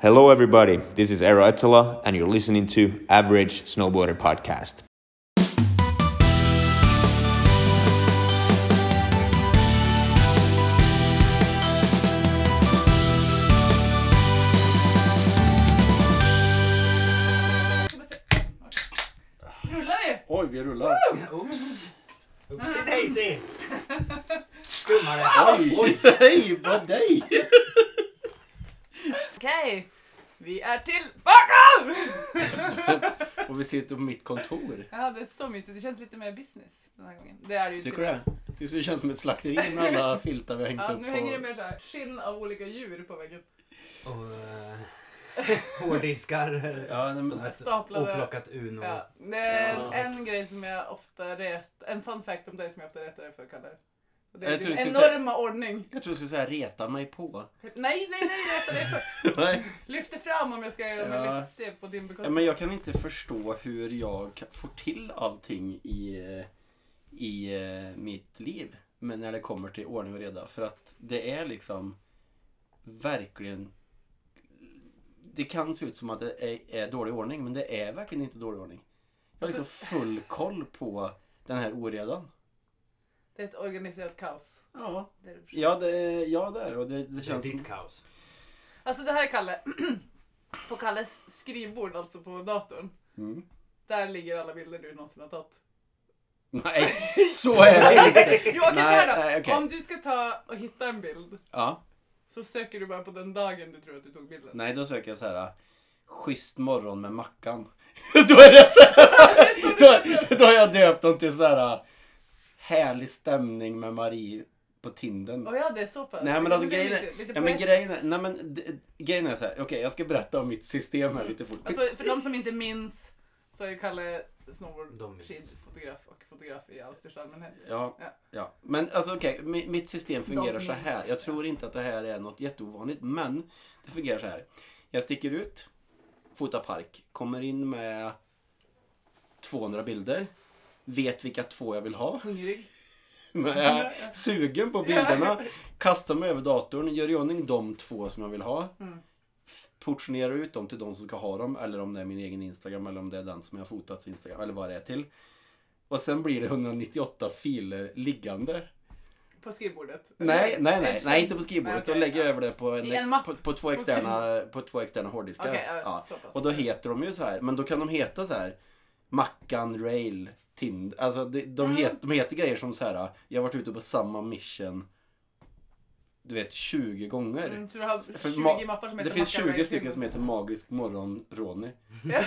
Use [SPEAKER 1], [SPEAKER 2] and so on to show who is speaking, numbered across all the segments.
[SPEAKER 1] Hello, everybody. This is Eero Etola, and you're listening to Average Snowboarder Podcast.
[SPEAKER 2] Rullar vi?
[SPEAKER 3] Oj, vi rullar.
[SPEAKER 4] Oops! Oopsie daisy! Skummare! Oj!
[SPEAKER 3] Oj, hej på dig!
[SPEAKER 2] Okej, vi är tillbaka!
[SPEAKER 3] Och vi sitter på mitt kontor.
[SPEAKER 2] Ja, det är så mysigt. Det känns lite mer business den här gången. Det är det ju
[SPEAKER 3] Tycker
[SPEAKER 2] typ.
[SPEAKER 3] du det? Tycker det känns som ett slakteri med alla filtar vi har hängt
[SPEAKER 2] Ja,
[SPEAKER 3] upp
[SPEAKER 2] nu hänger det
[SPEAKER 3] på?
[SPEAKER 2] mer så här skinn av olika djur på väggen.
[SPEAKER 4] Och eh, hårddiskar eh,
[SPEAKER 3] Ja, nej,
[SPEAKER 4] som
[SPEAKER 3] men,
[SPEAKER 4] ett
[SPEAKER 2] Staplade.
[SPEAKER 4] oplockat Uno.
[SPEAKER 2] Ja, det är
[SPEAKER 3] Ja.
[SPEAKER 2] en grej som jag ofta rätt, en fun fact om dig som jag ofta rättar dig för Kalle. Och Det är
[SPEAKER 3] Jag tror
[SPEAKER 2] din
[SPEAKER 3] du skulle säga-
[SPEAKER 2] enorma ordning.
[SPEAKER 3] jag tror du skulle säga reta mig på.
[SPEAKER 2] Nej, nej, nej, rättar dig för.
[SPEAKER 3] Nej.
[SPEAKER 2] Lyfter fram om jag ska göra mig
[SPEAKER 3] Ja.
[SPEAKER 2] listig på din
[SPEAKER 3] Ja,
[SPEAKER 2] bekostnad.
[SPEAKER 3] men jag kan inte förstå hur jag kan- får till allting i, eh, i eh, mitt liv. Men när det kommer till ordning och reda. För att det är liksom verkligen... Det kan se ut som att det är, är dålig ordning, men det är verkligen inte dålig ordning. Jag har liksom
[SPEAKER 2] Alltså-
[SPEAKER 3] full koll på den här oredan.
[SPEAKER 2] Det är ett organiserat kaos.
[SPEAKER 3] Ja,
[SPEAKER 2] Det är det förstås.
[SPEAKER 3] ja, det, ja det är det. och det. Det
[SPEAKER 4] Det är
[SPEAKER 3] känns som...
[SPEAKER 4] ditt kaos.
[SPEAKER 2] Alltså det här är Kalle. på Kalles skrivbord, alltså på datorn.
[SPEAKER 3] Mm.
[SPEAKER 2] Där ligger alla bilder du någonsin har tagit.
[SPEAKER 3] Nej, så är det inte!
[SPEAKER 2] Jo, okej, så här då.
[SPEAKER 3] nej, okej.
[SPEAKER 2] Om du ska ta och hitta en bild
[SPEAKER 3] Ja.
[SPEAKER 2] så söker du bara på den dagen du tror att du tog bilden.
[SPEAKER 3] Nej, då söker jag så här schysst morgon med Mackan. då är det så här, då, då har jag döpt dem till så här härlig stämning med Marie på Tindern.
[SPEAKER 2] Åh ja, det är så pass.
[SPEAKER 3] Nej men
[SPEAKER 2] Det
[SPEAKER 3] alltså
[SPEAKER 2] blir
[SPEAKER 3] grejen
[SPEAKER 2] mysigt,
[SPEAKER 3] är,
[SPEAKER 2] lite
[SPEAKER 3] ja, men
[SPEAKER 2] poetiskt.
[SPEAKER 3] grejen är, nej men d- grejen är så här, okej jag ska berätta om mitt system här lite fort.
[SPEAKER 2] Alltså för de som inte minns så är ju Kalle snowboard,
[SPEAKER 4] De minns.
[SPEAKER 2] skidfotograf och fotograf i all största allmänhet.
[SPEAKER 3] Ja,
[SPEAKER 2] Ja.
[SPEAKER 3] ja. Men alltså okej, mi- mitt system fungerar
[SPEAKER 2] De
[SPEAKER 3] så här.
[SPEAKER 2] minns.
[SPEAKER 3] Jag tror inte att det här är något jätteovanligt, men det fungerar så här. Jag sticker ut, fotar park, kommer in med 200 bilder, vet vilka två jag vill ha,
[SPEAKER 2] Hungrig.
[SPEAKER 3] men jag är sugen på bilderna, kastar mig över datorn, gör i ordning de två som jag vill ha,
[SPEAKER 2] Mm.
[SPEAKER 3] portionerar ut dem till de som ska ha dem, eller om det är min egen Instagram, eller om det är den som jag har fotats Instagram, eller vad det är till. Och sen blir det 198 filer liggande.
[SPEAKER 2] På skrivbordet.
[SPEAKER 3] Nej,
[SPEAKER 2] Eller?
[SPEAKER 3] nej,
[SPEAKER 2] Eller-
[SPEAKER 3] nej, nej, inte på skrivbordet.
[SPEAKER 2] Nej, okej,
[SPEAKER 3] då lägger jag
[SPEAKER 2] ja.
[SPEAKER 3] över det på, en
[SPEAKER 2] I en
[SPEAKER 3] ex,
[SPEAKER 2] mapp.
[SPEAKER 3] på, på, två, externa, på två externa hårddiskar.
[SPEAKER 2] Okej, ja,
[SPEAKER 3] ja.
[SPEAKER 2] så pass.
[SPEAKER 3] Och då heter de ju så här, men då kan de heta så här Mackan, Rail, Tind. Alltså de, de,
[SPEAKER 2] Mm.
[SPEAKER 3] het, de heter grejer som så här, jag har varit ute på samma mission du vet 20 gånger.
[SPEAKER 2] Mm, så du har
[SPEAKER 3] För
[SPEAKER 2] 20
[SPEAKER 3] ma-
[SPEAKER 2] mappar som heter
[SPEAKER 3] Det finns
[SPEAKER 2] Macaroni
[SPEAKER 3] 20 stycken
[SPEAKER 2] Tune.
[SPEAKER 3] som heter Magisk morgon Ronny.
[SPEAKER 2] ja,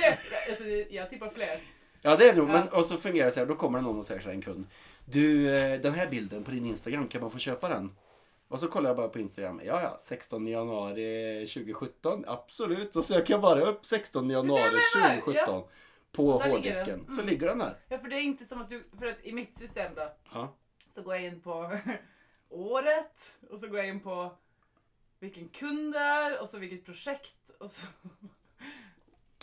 [SPEAKER 2] det, alltså, det- jag tippar fler.
[SPEAKER 3] Ja det är det nog,
[SPEAKER 2] Ja.
[SPEAKER 3] men och så fungerar det så här, då kommer det någon och säger så här, en kund. Du, eh, den här bilden på din Instagram, kan man få köpa den? Och så kollar jag bara på Instagram, ja ja, 16 januari 2017, absolut. Så söker jag bara upp 16 januari
[SPEAKER 2] jag menar,
[SPEAKER 3] 2017 på
[SPEAKER 2] Där ligger den.
[SPEAKER 3] hårddisken. Så
[SPEAKER 2] Mm.
[SPEAKER 3] ligger den där.
[SPEAKER 2] Ja, för det är inte som att du, för att i mitt system då,
[SPEAKER 3] Ja.
[SPEAKER 2] så går jag in på året och så går jag in på vilken kund det är och så vilket projekt och så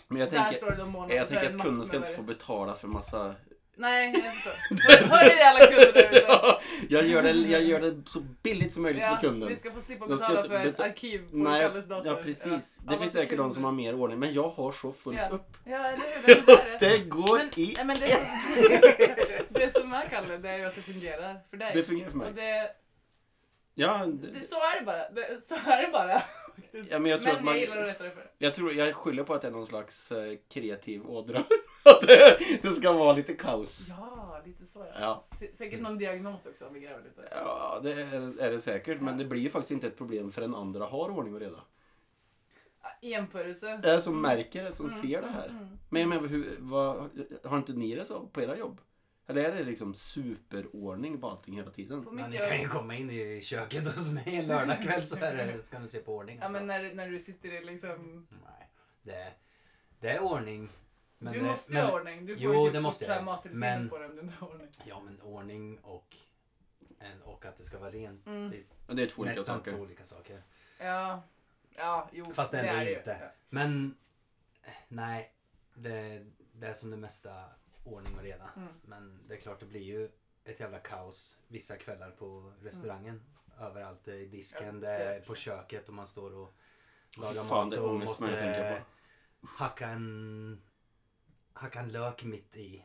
[SPEAKER 3] Men jag
[SPEAKER 2] där
[SPEAKER 3] tänker,
[SPEAKER 2] står det då månaden.
[SPEAKER 3] jag
[SPEAKER 2] så är
[SPEAKER 3] tänker
[SPEAKER 2] det
[SPEAKER 3] att
[SPEAKER 2] en
[SPEAKER 3] kunden
[SPEAKER 2] mapp
[SPEAKER 3] ska
[SPEAKER 2] med
[SPEAKER 3] inte få
[SPEAKER 2] varje-
[SPEAKER 3] betala för massa...
[SPEAKER 2] Nej, jag förstår. Hör ni det alla kunder där ute?
[SPEAKER 3] Ja, jag, gör det, jag gör det så billigt som möjligt för kunden.
[SPEAKER 2] ni ska få slippa
[SPEAKER 3] De ska
[SPEAKER 2] betala
[SPEAKER 3] inte
[SPEAKER 2] för ett
[SPEAKER 3] beta-
[SPEAKER 2] arkiv på
[SPEAKER 3] Nej,
[SPEAKER 2] Kalles dator.
[SPEAKER 3] ja precis.
[SPEAKER 2] Ja.
[SPEAKER 3] Det
[SPEAKER 2] Ja,
[SPEAKER 3] finns
[SPEAKER 2] vad
[SPEAKER 3] säkert de
[SPEAKER 2] kul.
[SPEAKER 3] som har mer ordning, men jag har så fullt
[SPEAKER 2] Ja.
[SPEAKER 3] upp.
[SPEAKER 2] Ja, eller hur? Det är där det.
[SPEAKER 3] Det går
[SPEAKER 2] Men,
[SPEAKER 3] i...
[SPEAKER 2] nej, men det, som, det som är Kalle, det är ju att det fungerar för dig.
[SPEAKER 3] Det fungerar för mig.
[SPEAKER 2] Och det,
[SPEAKER 3] Ja,
[SPEAKER 2] det,
[SPEAKER 3] det,
[SPEAKER 2] så är det bara. Det, så är det bara. faktiskt.
[SPEAKER 3] ja, men jag tror
[SPEAKER 2] men
[SPEAKER 3] att man...
[SPEAKER 2] jag gillar att rätta det för det.
[SPEAKER 3] Jag tror, jag skyller på att det är någon slags eh, kreativ ådra. att det, det ska vara lite kaos.
[SPEAKER 2] Ja, lite så ja.
[SPEAKER 3] Ja,
[SPEAKER 2] Sä- Säkert någon diagnos också om vi gräver lite.
[SPEAKER 3] ja det är, är det säkert. Men det blir ju faktiskt inte ett problem förrän andra har ordning och reda.
[SPEAKER 2] I Ah, jämförelse.
[SPEAKER 3] Det är som märker det, som ser det här.
[SPEAKER 2] Mm.
[SPEAKER 3] Men jag menar, hur, vad, har inte ni det så på era jobb? Eller är det liksom superordning på allting hela tiden?
[SPEAKER 2] På
[SPEAKER 4] Men
[SPEAKER 2] mitt
[SPEAKER 4] ni kan ju
[SPEAKER 2] jobb.
[SPEAKER 4] komma in i köket hos mig en lördagkväll så är det, ska ni se på ordning.
[SPEAKER 2] Ja,
[SPEAKER 4] Alltså.
[SPEAKER 2] men när, när du sitter i liksom.
[SPEAKER 4] Nej, det, det är ordning. Men
[SPEAKER 2] du
[SPEAKER 4] det,
[SPEAKER 2] måste ju
[SPEAKER 4] men,
[SPEAKER 2] ha ordning. Du får
[SPEAKER 4] Jo,
[SPEAKER 2] ju
[SPEAKER 4] det
[SPEAKER 2] typ
[SPEAKER 4] måste jag.
[SPEAKER 2] fortsätta mattillsynen
[SPEAKER 4] Men-
[SPEAKER 2] på den om du inte har ordning.
[SPEAKER 4] Ja men ordning och, en, och att det ska vara rent.
[SPEAKER 2] Mm.
[SPEAKER 4] Det är
[SPEAKER 3] Ja, Det är två olika
[SPEAKER 4] nästan två
[SPEAKER 3] saker.
[SPEAKER 4] olika saker.
[SPEAKER 2] Ja. Ja, jo.
[SPEAKER 4] Fast
[SPEAKER 2] det
[SPEAKER 4] ändå
[SPEAKER 2] är det ju.
[SPEAKER 4] inte.
[SPEAKER 2] Ja.
[SPEAKER 4] Men eh, nej, det, det är som det mesta ordning och reda.
[SPEAKER 2] Mm.
[SPEAKER 4] Men det är klart det blir ju ett jävla kaos vissa kvällar på restaurangen. Överallt, det är i disken,
[SPEAKER 2] Mm. Ja,
[SPEAKER 4] det
[SPEAKER 2] det
[SPEAKER 4] är
[SPEAKER 2] är
[SPEAKER 4] på köket och man står och laga
[SPEAKER 3] Fy fan,
[SPEAKER 4] mat
[SPEAKER 3] det är
[SPEAKER 4] och
[SPEAKER 3] ångest man tänker
[SPEAKER 4] måste
[SPEAKER 3] på.
[SPEAKER 4] hacka en, hacka en lök mitt i.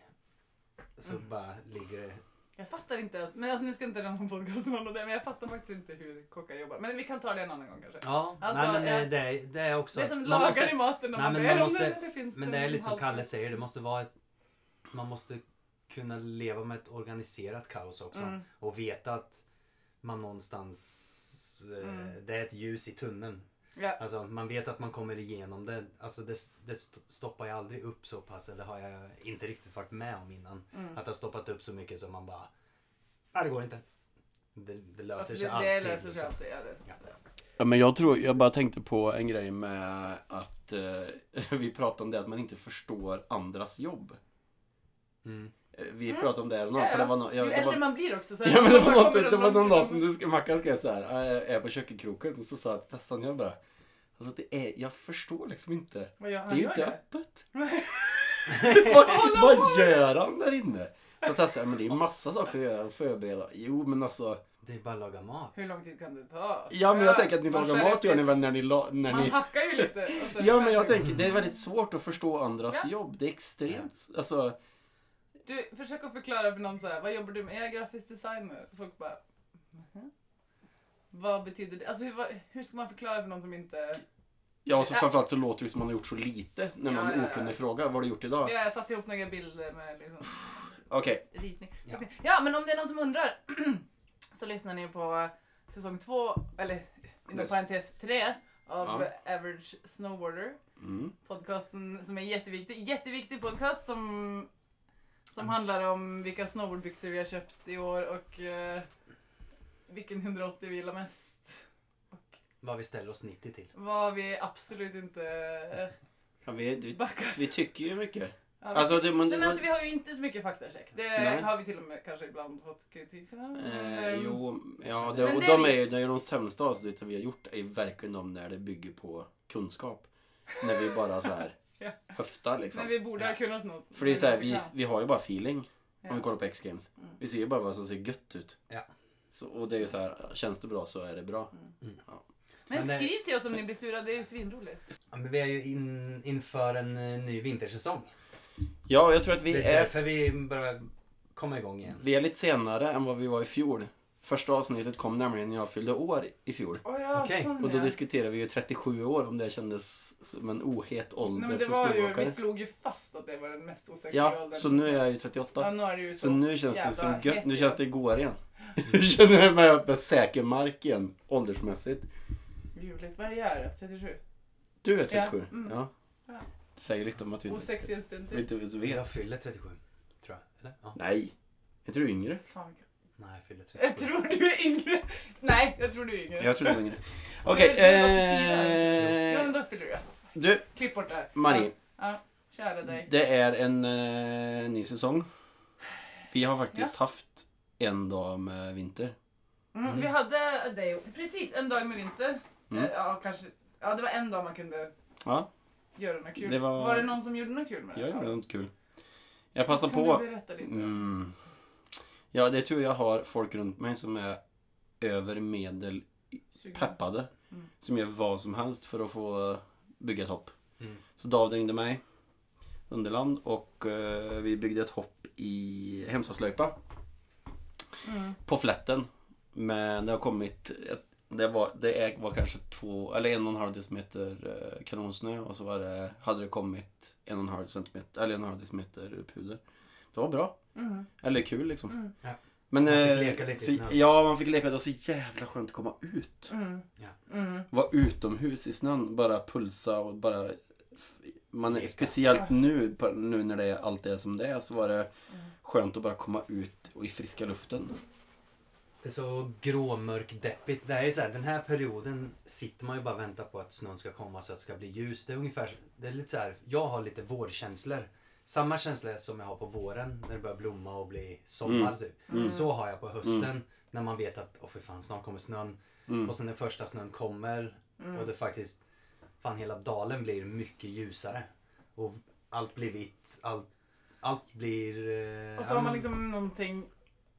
[SPEAKER 4] Så
[SPEAKER 2] Mm.
[SPEAKER 4] bara ligger det...
[SPEAKER 2] Jag fattar inte ens. Men alltså, nu ska inte den här podcasten handla om det. Men jag fattar faktiskt inte hur kockar jobbar. Men vi kan ta det en annan gång kanske.
[SPEAKER 4] Ja,
[SPEAKER 2] Alltså,
[SPEAKER 4] nej, men
[SPEAKER 2] jag-
[SPEAKER 4] eh, det, är- det är också...
[SPEAKER 2] det är som
[SPEAKER 4] man
[SPEAKER 2] lagar
[SPEAKER 4] måste-
[SPEAKER 2] i maten. och
[SPEAKER 4] nej,
[SPEAKER 2] man
[SPEAKER 4] men
[SPEAKER 2] ber
[SPEAKER 4] man
[SPEAKER 2] om
[SPEAKER 4] måste-
[SPEAKER 2] det, det finns
[SPEAKER 4] Men det är lite som
[SPEAKER 2] halv-
[SPEAKER 4] Kalle säger, det måste vara ett, Man måste kunna leva med ett organiserat kaos också.
[SPEAKER 2] Mm.
[SPEAKER 4] Och veta att man någonstans... eh,
[SPEAKER 2] Mm.
[SPEAKER 4] Det är ett ljus i tunneln.
[SPEAKER 2] Ja.
[SPEAKER 4] Alltså man vet att man kommer igenom det. Alltså det, det st- stoppar jag aldrig upp så pass. Eller har jag inte riktigt varit med om innan.
[SPEAKER 2] Mm.
[SPEAKER 4] Att det har stoppat upp så mycket som man bara... Nej det går inte. Det, det löser
[SPEAKER 2] Alltså,
[SPEAKER 4] sig
[SPEAKER 2] det,
[SPEAKER 4] alltid.
[SPEAKER 2] det löser sig
[SPEAKER 4] liksom.
[SPEAKER 2] alltid. Ja, det är sant.
[SPEAKER 3] Ja, men jag tror, jag bara tänkte på en grej med att eh, vi pratade om det att man inte förstår andras jobb.
[SPEAKER 4] Mm.
[SPEAKER 3] Eh, Vi
[SPEAKER 2] Mm.
[SPEAKER 3] pratade om det här
[SPEAKER 2] Ja,
[SPEAKER 3] för det var no-
[SPEAKER 2] Ju
[SPEAKER 3] jag, det var,
[SPEAKER 2] äldre man blir också så
[SPEAKER 3] Ja men det var, något,
[SPEAKER 2] kommer
[SPEAKER 3] det var någon dag
[SPEAKER 2] långt-
[SPEAKER 3] som du ska, Mackan skrev såhär, jag är på kökekroken och så sa jag till Tessan, jag bara Alltså det är, jag förstår liksom inte.
[SPEAKER 2] Vad gör han?
[SPEAKER 3] Det är ju
[SPEAKER 2] Gör
[SPEAKER 3] inte
[SPEAKER 2] det?
[SPEAKER 3] öppet.
[SPEAKER 2] Nej.
[SPEAKER 3] vad, vad gör han där inne? Så Tessa, "Ja, men det är ju massa saker att göra och förbereda. Jo men alltså.
[SPEAKER 4] Det är bara att laga mat.
[SPEAKER 2] Hur lång tid kan det ta?
[SPEAKER 3] Ja men jag tänker att ni
[SPEAKER 2] man
[SPEAKER 3] lagar
[SPEAKER 2] skär
[SPEAKER 3] mat
[SPEAKER 2] upp
[SPEAKER 3] gör
[SPEAKER 2] i-
[SPEAKER 3] ni väl när ni, la- när
[SPEAKER 2] Man
[SPEAKER 3] ni
[SPEAKER 2] hackar ju lite. och så-
[SPEAKER 3] Ja men jag tänker, det är väldigt svårt att förstå andras
[SPEAKER 2] Ja.
[SPEAKER 3] jobb. Det är extremt, alltså.
[SPEAKER 2] Du, försök att förklara för någon så här, vad jobbar du med? Jag är grafisk designer. Folk bara, "Mhm." Vad betyder det? Alltså hur, vad, hur ska man förklara för någon som inte...
[SPEAKER 3] Ja och så
[SPEAKER 2] Ja.
[SPEAKER 3] framförallt så låter det som man har gjort så lite när
[SPEAKER 2] Ja,
[SPEAKER 3] någon
[SPEAKER 2] ja, ja.
[SPEAKER 3] okunnig frågar, vad har du gjort idag?
[SPEAKER 2] Jag satte ihop några bilder med liksom
[SPEAKER 3] Okej,
[SPEAKER 2] ritning.
[SPEAKER 4] Ja.
[SPEAKER 2] Ja. men om det är någon som undrar så lyssnar ni på säsong två, eller inom
[SPEAKER 3] Yes.
[SPEAKER 2] parentes tre av
[SPEAKER 3] Ja.
[SPEAKER 2] Average Snowboarder.
[SPEAKER 3] mm.
[SPEAKER 2] podcasten som är jätteviktig. Jätteviktig podcast som, som
[SPEAKER 3] Mm.
[SPEAKER 2] handlar om vilka snowboardbyxor vi har köpt i år och eh, vilken 180 vi gillar mest. Och
[SPEAKER 4] Vad vi ställer oss 90 till.
[SPEAKER 2] vad vi absolut inte eh,
[SPEAKER 3] ja, vi, vi,
[SPEAKER 2] backar.
[SPEAKER 3] vi tycker ju mycket.
[SPEAKER 2] Ja, vi-
[SPEAKER 3] Alltså det, man,
[SPEAKER 2] Nej, men alltså, vi har ju inte så mycket faktacheck. Det
[SPEAKER 3] Nej.
[SPEAKER 2] har vi till och med kanske ibland fått kritik för.
[SPEAKER 3] Eh,
[SPEAKER 2] Ehm,
[SPEAKER 3] jo, ja,
[SPEAKER 4] Men
[SPEAKER 3] det, och
[SPEAKER 2] det
[SPEAKER 3] de
[SPEAKER 2] vet.
[SPEAKER 3] är ju, det är ju de sämsta avsnitten vi har gjort är ju verkligen de när det bygger på kunskap. När vi bara så här
[SPEAKER 2] Ja.
[SPEAKER 3] höftar liksom.
[SPEAKER 2] Men vi borde ha kunnat något.
[SPEAKER 3] För det är så här,
[SPEAKER 2] Men
[SPEAKER 3] vi,
[SPEAKER 2] inte
[SPEAKER 3] vi har ju bara feeling
[SPEAKER 2] kan.
[SPEAKER 3] om vi
[SPEAKER 2] Ja.
[SPEAKER 3] kollar på X-Games.
[SPEAKER 2] Mm.
[SPEAKER 3] Vi ser ju bara vad som ser gött ut.
[SPEAKER 4] Ja.
[SPEAKER 3] Så, och det är ju så här, känns det bra så är det bra.
[SPEAKER 2] Men
[SPEAKER 4] Men det-
[SPEAKER 2] skriv till oss om ni blir sura, det är ju svinroligt.
[SPEAKER 4] Ja, men vi är ju in, inför en eh, ny vintersäsong.
[SPEAKER 3] Ja, jag tror att vi
[SPEAKER 4] det är,
[SPEAKER 3] är,
[SPEAKER 4] därför vi börjar komma igång igen.
[SPEAKER 3] vi är lite senare än vad vi var i fjol. Första avsnittet kom nämligen när jag fyllde år i fjol.
[SPEAKER 2] Oh, ja,
[SPEAKER 4] Okej,
[SPEAKER 2] sån
[SPEAKER 3] Och då
[SPEAKER 2] ja.
[SPEAKER 3] diskuterade vi ju 37 år om det kändes som en ohet ålder
[SPEAKER 2] Nej, men det
[SPEAKER 3] som
[SPEAKER 2] var ju,
[SPEAKER 3] snowboardåkare.
[SPEAKER 2] vi slog ju fast att det var den mest osexiga
[SPEAKER 3] Ja,
[SPEAKER 2] åldern.
[SPEAKER 3] så nu är jag ju
[SPEAKER 2] Ja,
[SPEAKER 3] 38.
[SPEAKER 2] nu är det ju så.
[SPEAKER 3] Så nu känns det
[SPEAKER 2] jävla
[SPEAKER 3] som gött. Nu
[SPEAKER 2] hett.
[SPEAKER 3] känns det igår igen. Nu känner jag mig på säker mark igen, åldersmässigt.
[SPEAKER 2] Ljuvligt. Vad är det här? 37?
[SPEAKER 3] Du är
[SPEAKER 2] Ja,
[SPEAKER 3] 37.
[SPEAKER 2] mm.
[SPEAKER 3] Ja.
[SPEAKER 2] Ja.
[SPEAKER 3] Det säger lite om att vi inte,
[SPEAKER 2] Osexigaste stund.
[SPEAKER 3] vi inte ens vet.
[SPEAKER 4] Jag fyller 37, tror jag. Eller? Ja.
[SPEAKER 3] Nej. Är du yngre?
[SPEAKER 2] Fan,
[SPEAKER 4] Nej, jag fyller 37.
[SPEAKER 2] jag tror du är yngre. Nej, jag tror du är yngre.
[SPEAKER 3] Jag tror du är yngre.
[SPEAKER 2] Men
[SPEAKER 3] Okej.
[SPEAKER 2] du
[SPEAKER 3] eh,
[SPEAKER 2] är- du är 84. Ja, men då fyller du röst.
[SPEAKER 3] du,
[SPEAKER 2] Klipp bort det här.
[SPEAKER 3] Marie.
[SPEAKER 2] Ja, kära dig.
[SPEAKER 3] Det är en eh, ny säsong. Vi har faktiskt haft en dag med vinter.
[SPEAKER 2] Mm,
[SPEAKER 4] Mm.
[SPEAKER 2] Vi hade dig precis en dag med vinter.
[SPEAKER 3] Mm.
[SPEAKER 2] Eh, Ja, kanske. Ja, det var en dag man kunde
[SPEAKER 3] Ja,
[SPEAKER 2] göra något kul.
[SPEAKER 3] Det var-
[SPEAKER 2] det någon som gjorde något kul med det?
[SPEAKER 3] jag gjorde
[SPEAKER 2] Ja.
[SPEAKER 3] något kul. Jag passar
[SPEAKER 2] kan
[SPEAKER 3] på.
[SPEAKER 2] Du berätta lite?
[SPEAKER 3] Mm. Ja, det tror jag har folk runt mig som är över medel
[SPEAKER 2] Sugen.
[SPEAKER 3] peppade.
[SPEAKER 2] Mm.
[SPEAKER 3] Som gör vad som helst för att få bygga ett hopp.
[SPEAKER 4] Mm.
[SPEAKER 3] Så David ringde mig, Underland, och eh, vi byggde ett hopp i Hemsöslöjpa
[SPEAKER 2] Mm.
[SPEAKER 3] på flätten. Men det har kommit, ett, det, var, det är- var kanske två, eller en och en halv decimeter eh, kanonsnö och så var det, hade det kommit en och en halv centimeter, eller en och en halv decimeter puder. Det var bra.
[SPEAKER 2] Mm.
[SPEAKER 3] Eller kul liksom.
[SPEAKER 2] Mm.
[SPEAKER 3] Men,
[SPEAKER 4] Man fick
[SPEAKER 3] eh,
[SPEAKER 4] leka lite i
[SPEAKER 3] så,
[SPEAKER 4] snön.
[SPEAKER 3] Ja, man fick leka. Det var så jävla skönt att komma ut.
[SPEAKER 2] Mm.
[SPEAKER 4] Ja.
[SPEAKER 2] Mm.
[SPEAKER 3] Vara utomhus i snön, bara pulsa och bara... Man är,
[SPEAKER 4] Leka.
[SPEAKER 3] speciellt nu, på- nu när det är, allt är som det är, så var det
[SPEAKER 2] Mm.
[SPEAKER 3] skönt att bara komma ut och i friska luften.
[SPEAKER 4] Det är så gråmörkdeppigt. Det här är ju så här, den här perioden sitter man ju bara och väntar på att snön ska komma så att det ska bli ljus. Det är ungefär, det är lite så här, jag har lite vårkänslor. Samma känsla som jag har på våren när det börjar blomma och bli sommar
[SPEAKER 3] Mm.
[SPEAKER 4] typ.
[SPEAKER 3] Mm.
[SPEAKER 4] Så har jag på hösten när man vet att åh för fan snart kommer snön.
[SPEAKER 3] Mm.
[SPEAKER 4] Och sen när första snön kommer
[SPEAKER 2] Mm.
[SPEAKER 4] och det faktiskt, fan hela dalen blir mycket ljusare. Och allt blir vitt, allt, allt blir... eh,
[SPEAKER 2] Och
[SPEAKER 4] ja,
[SPEAKER 2] så har man
[SPEAKER 4] men-
[SPEAKER 2] liksom någonting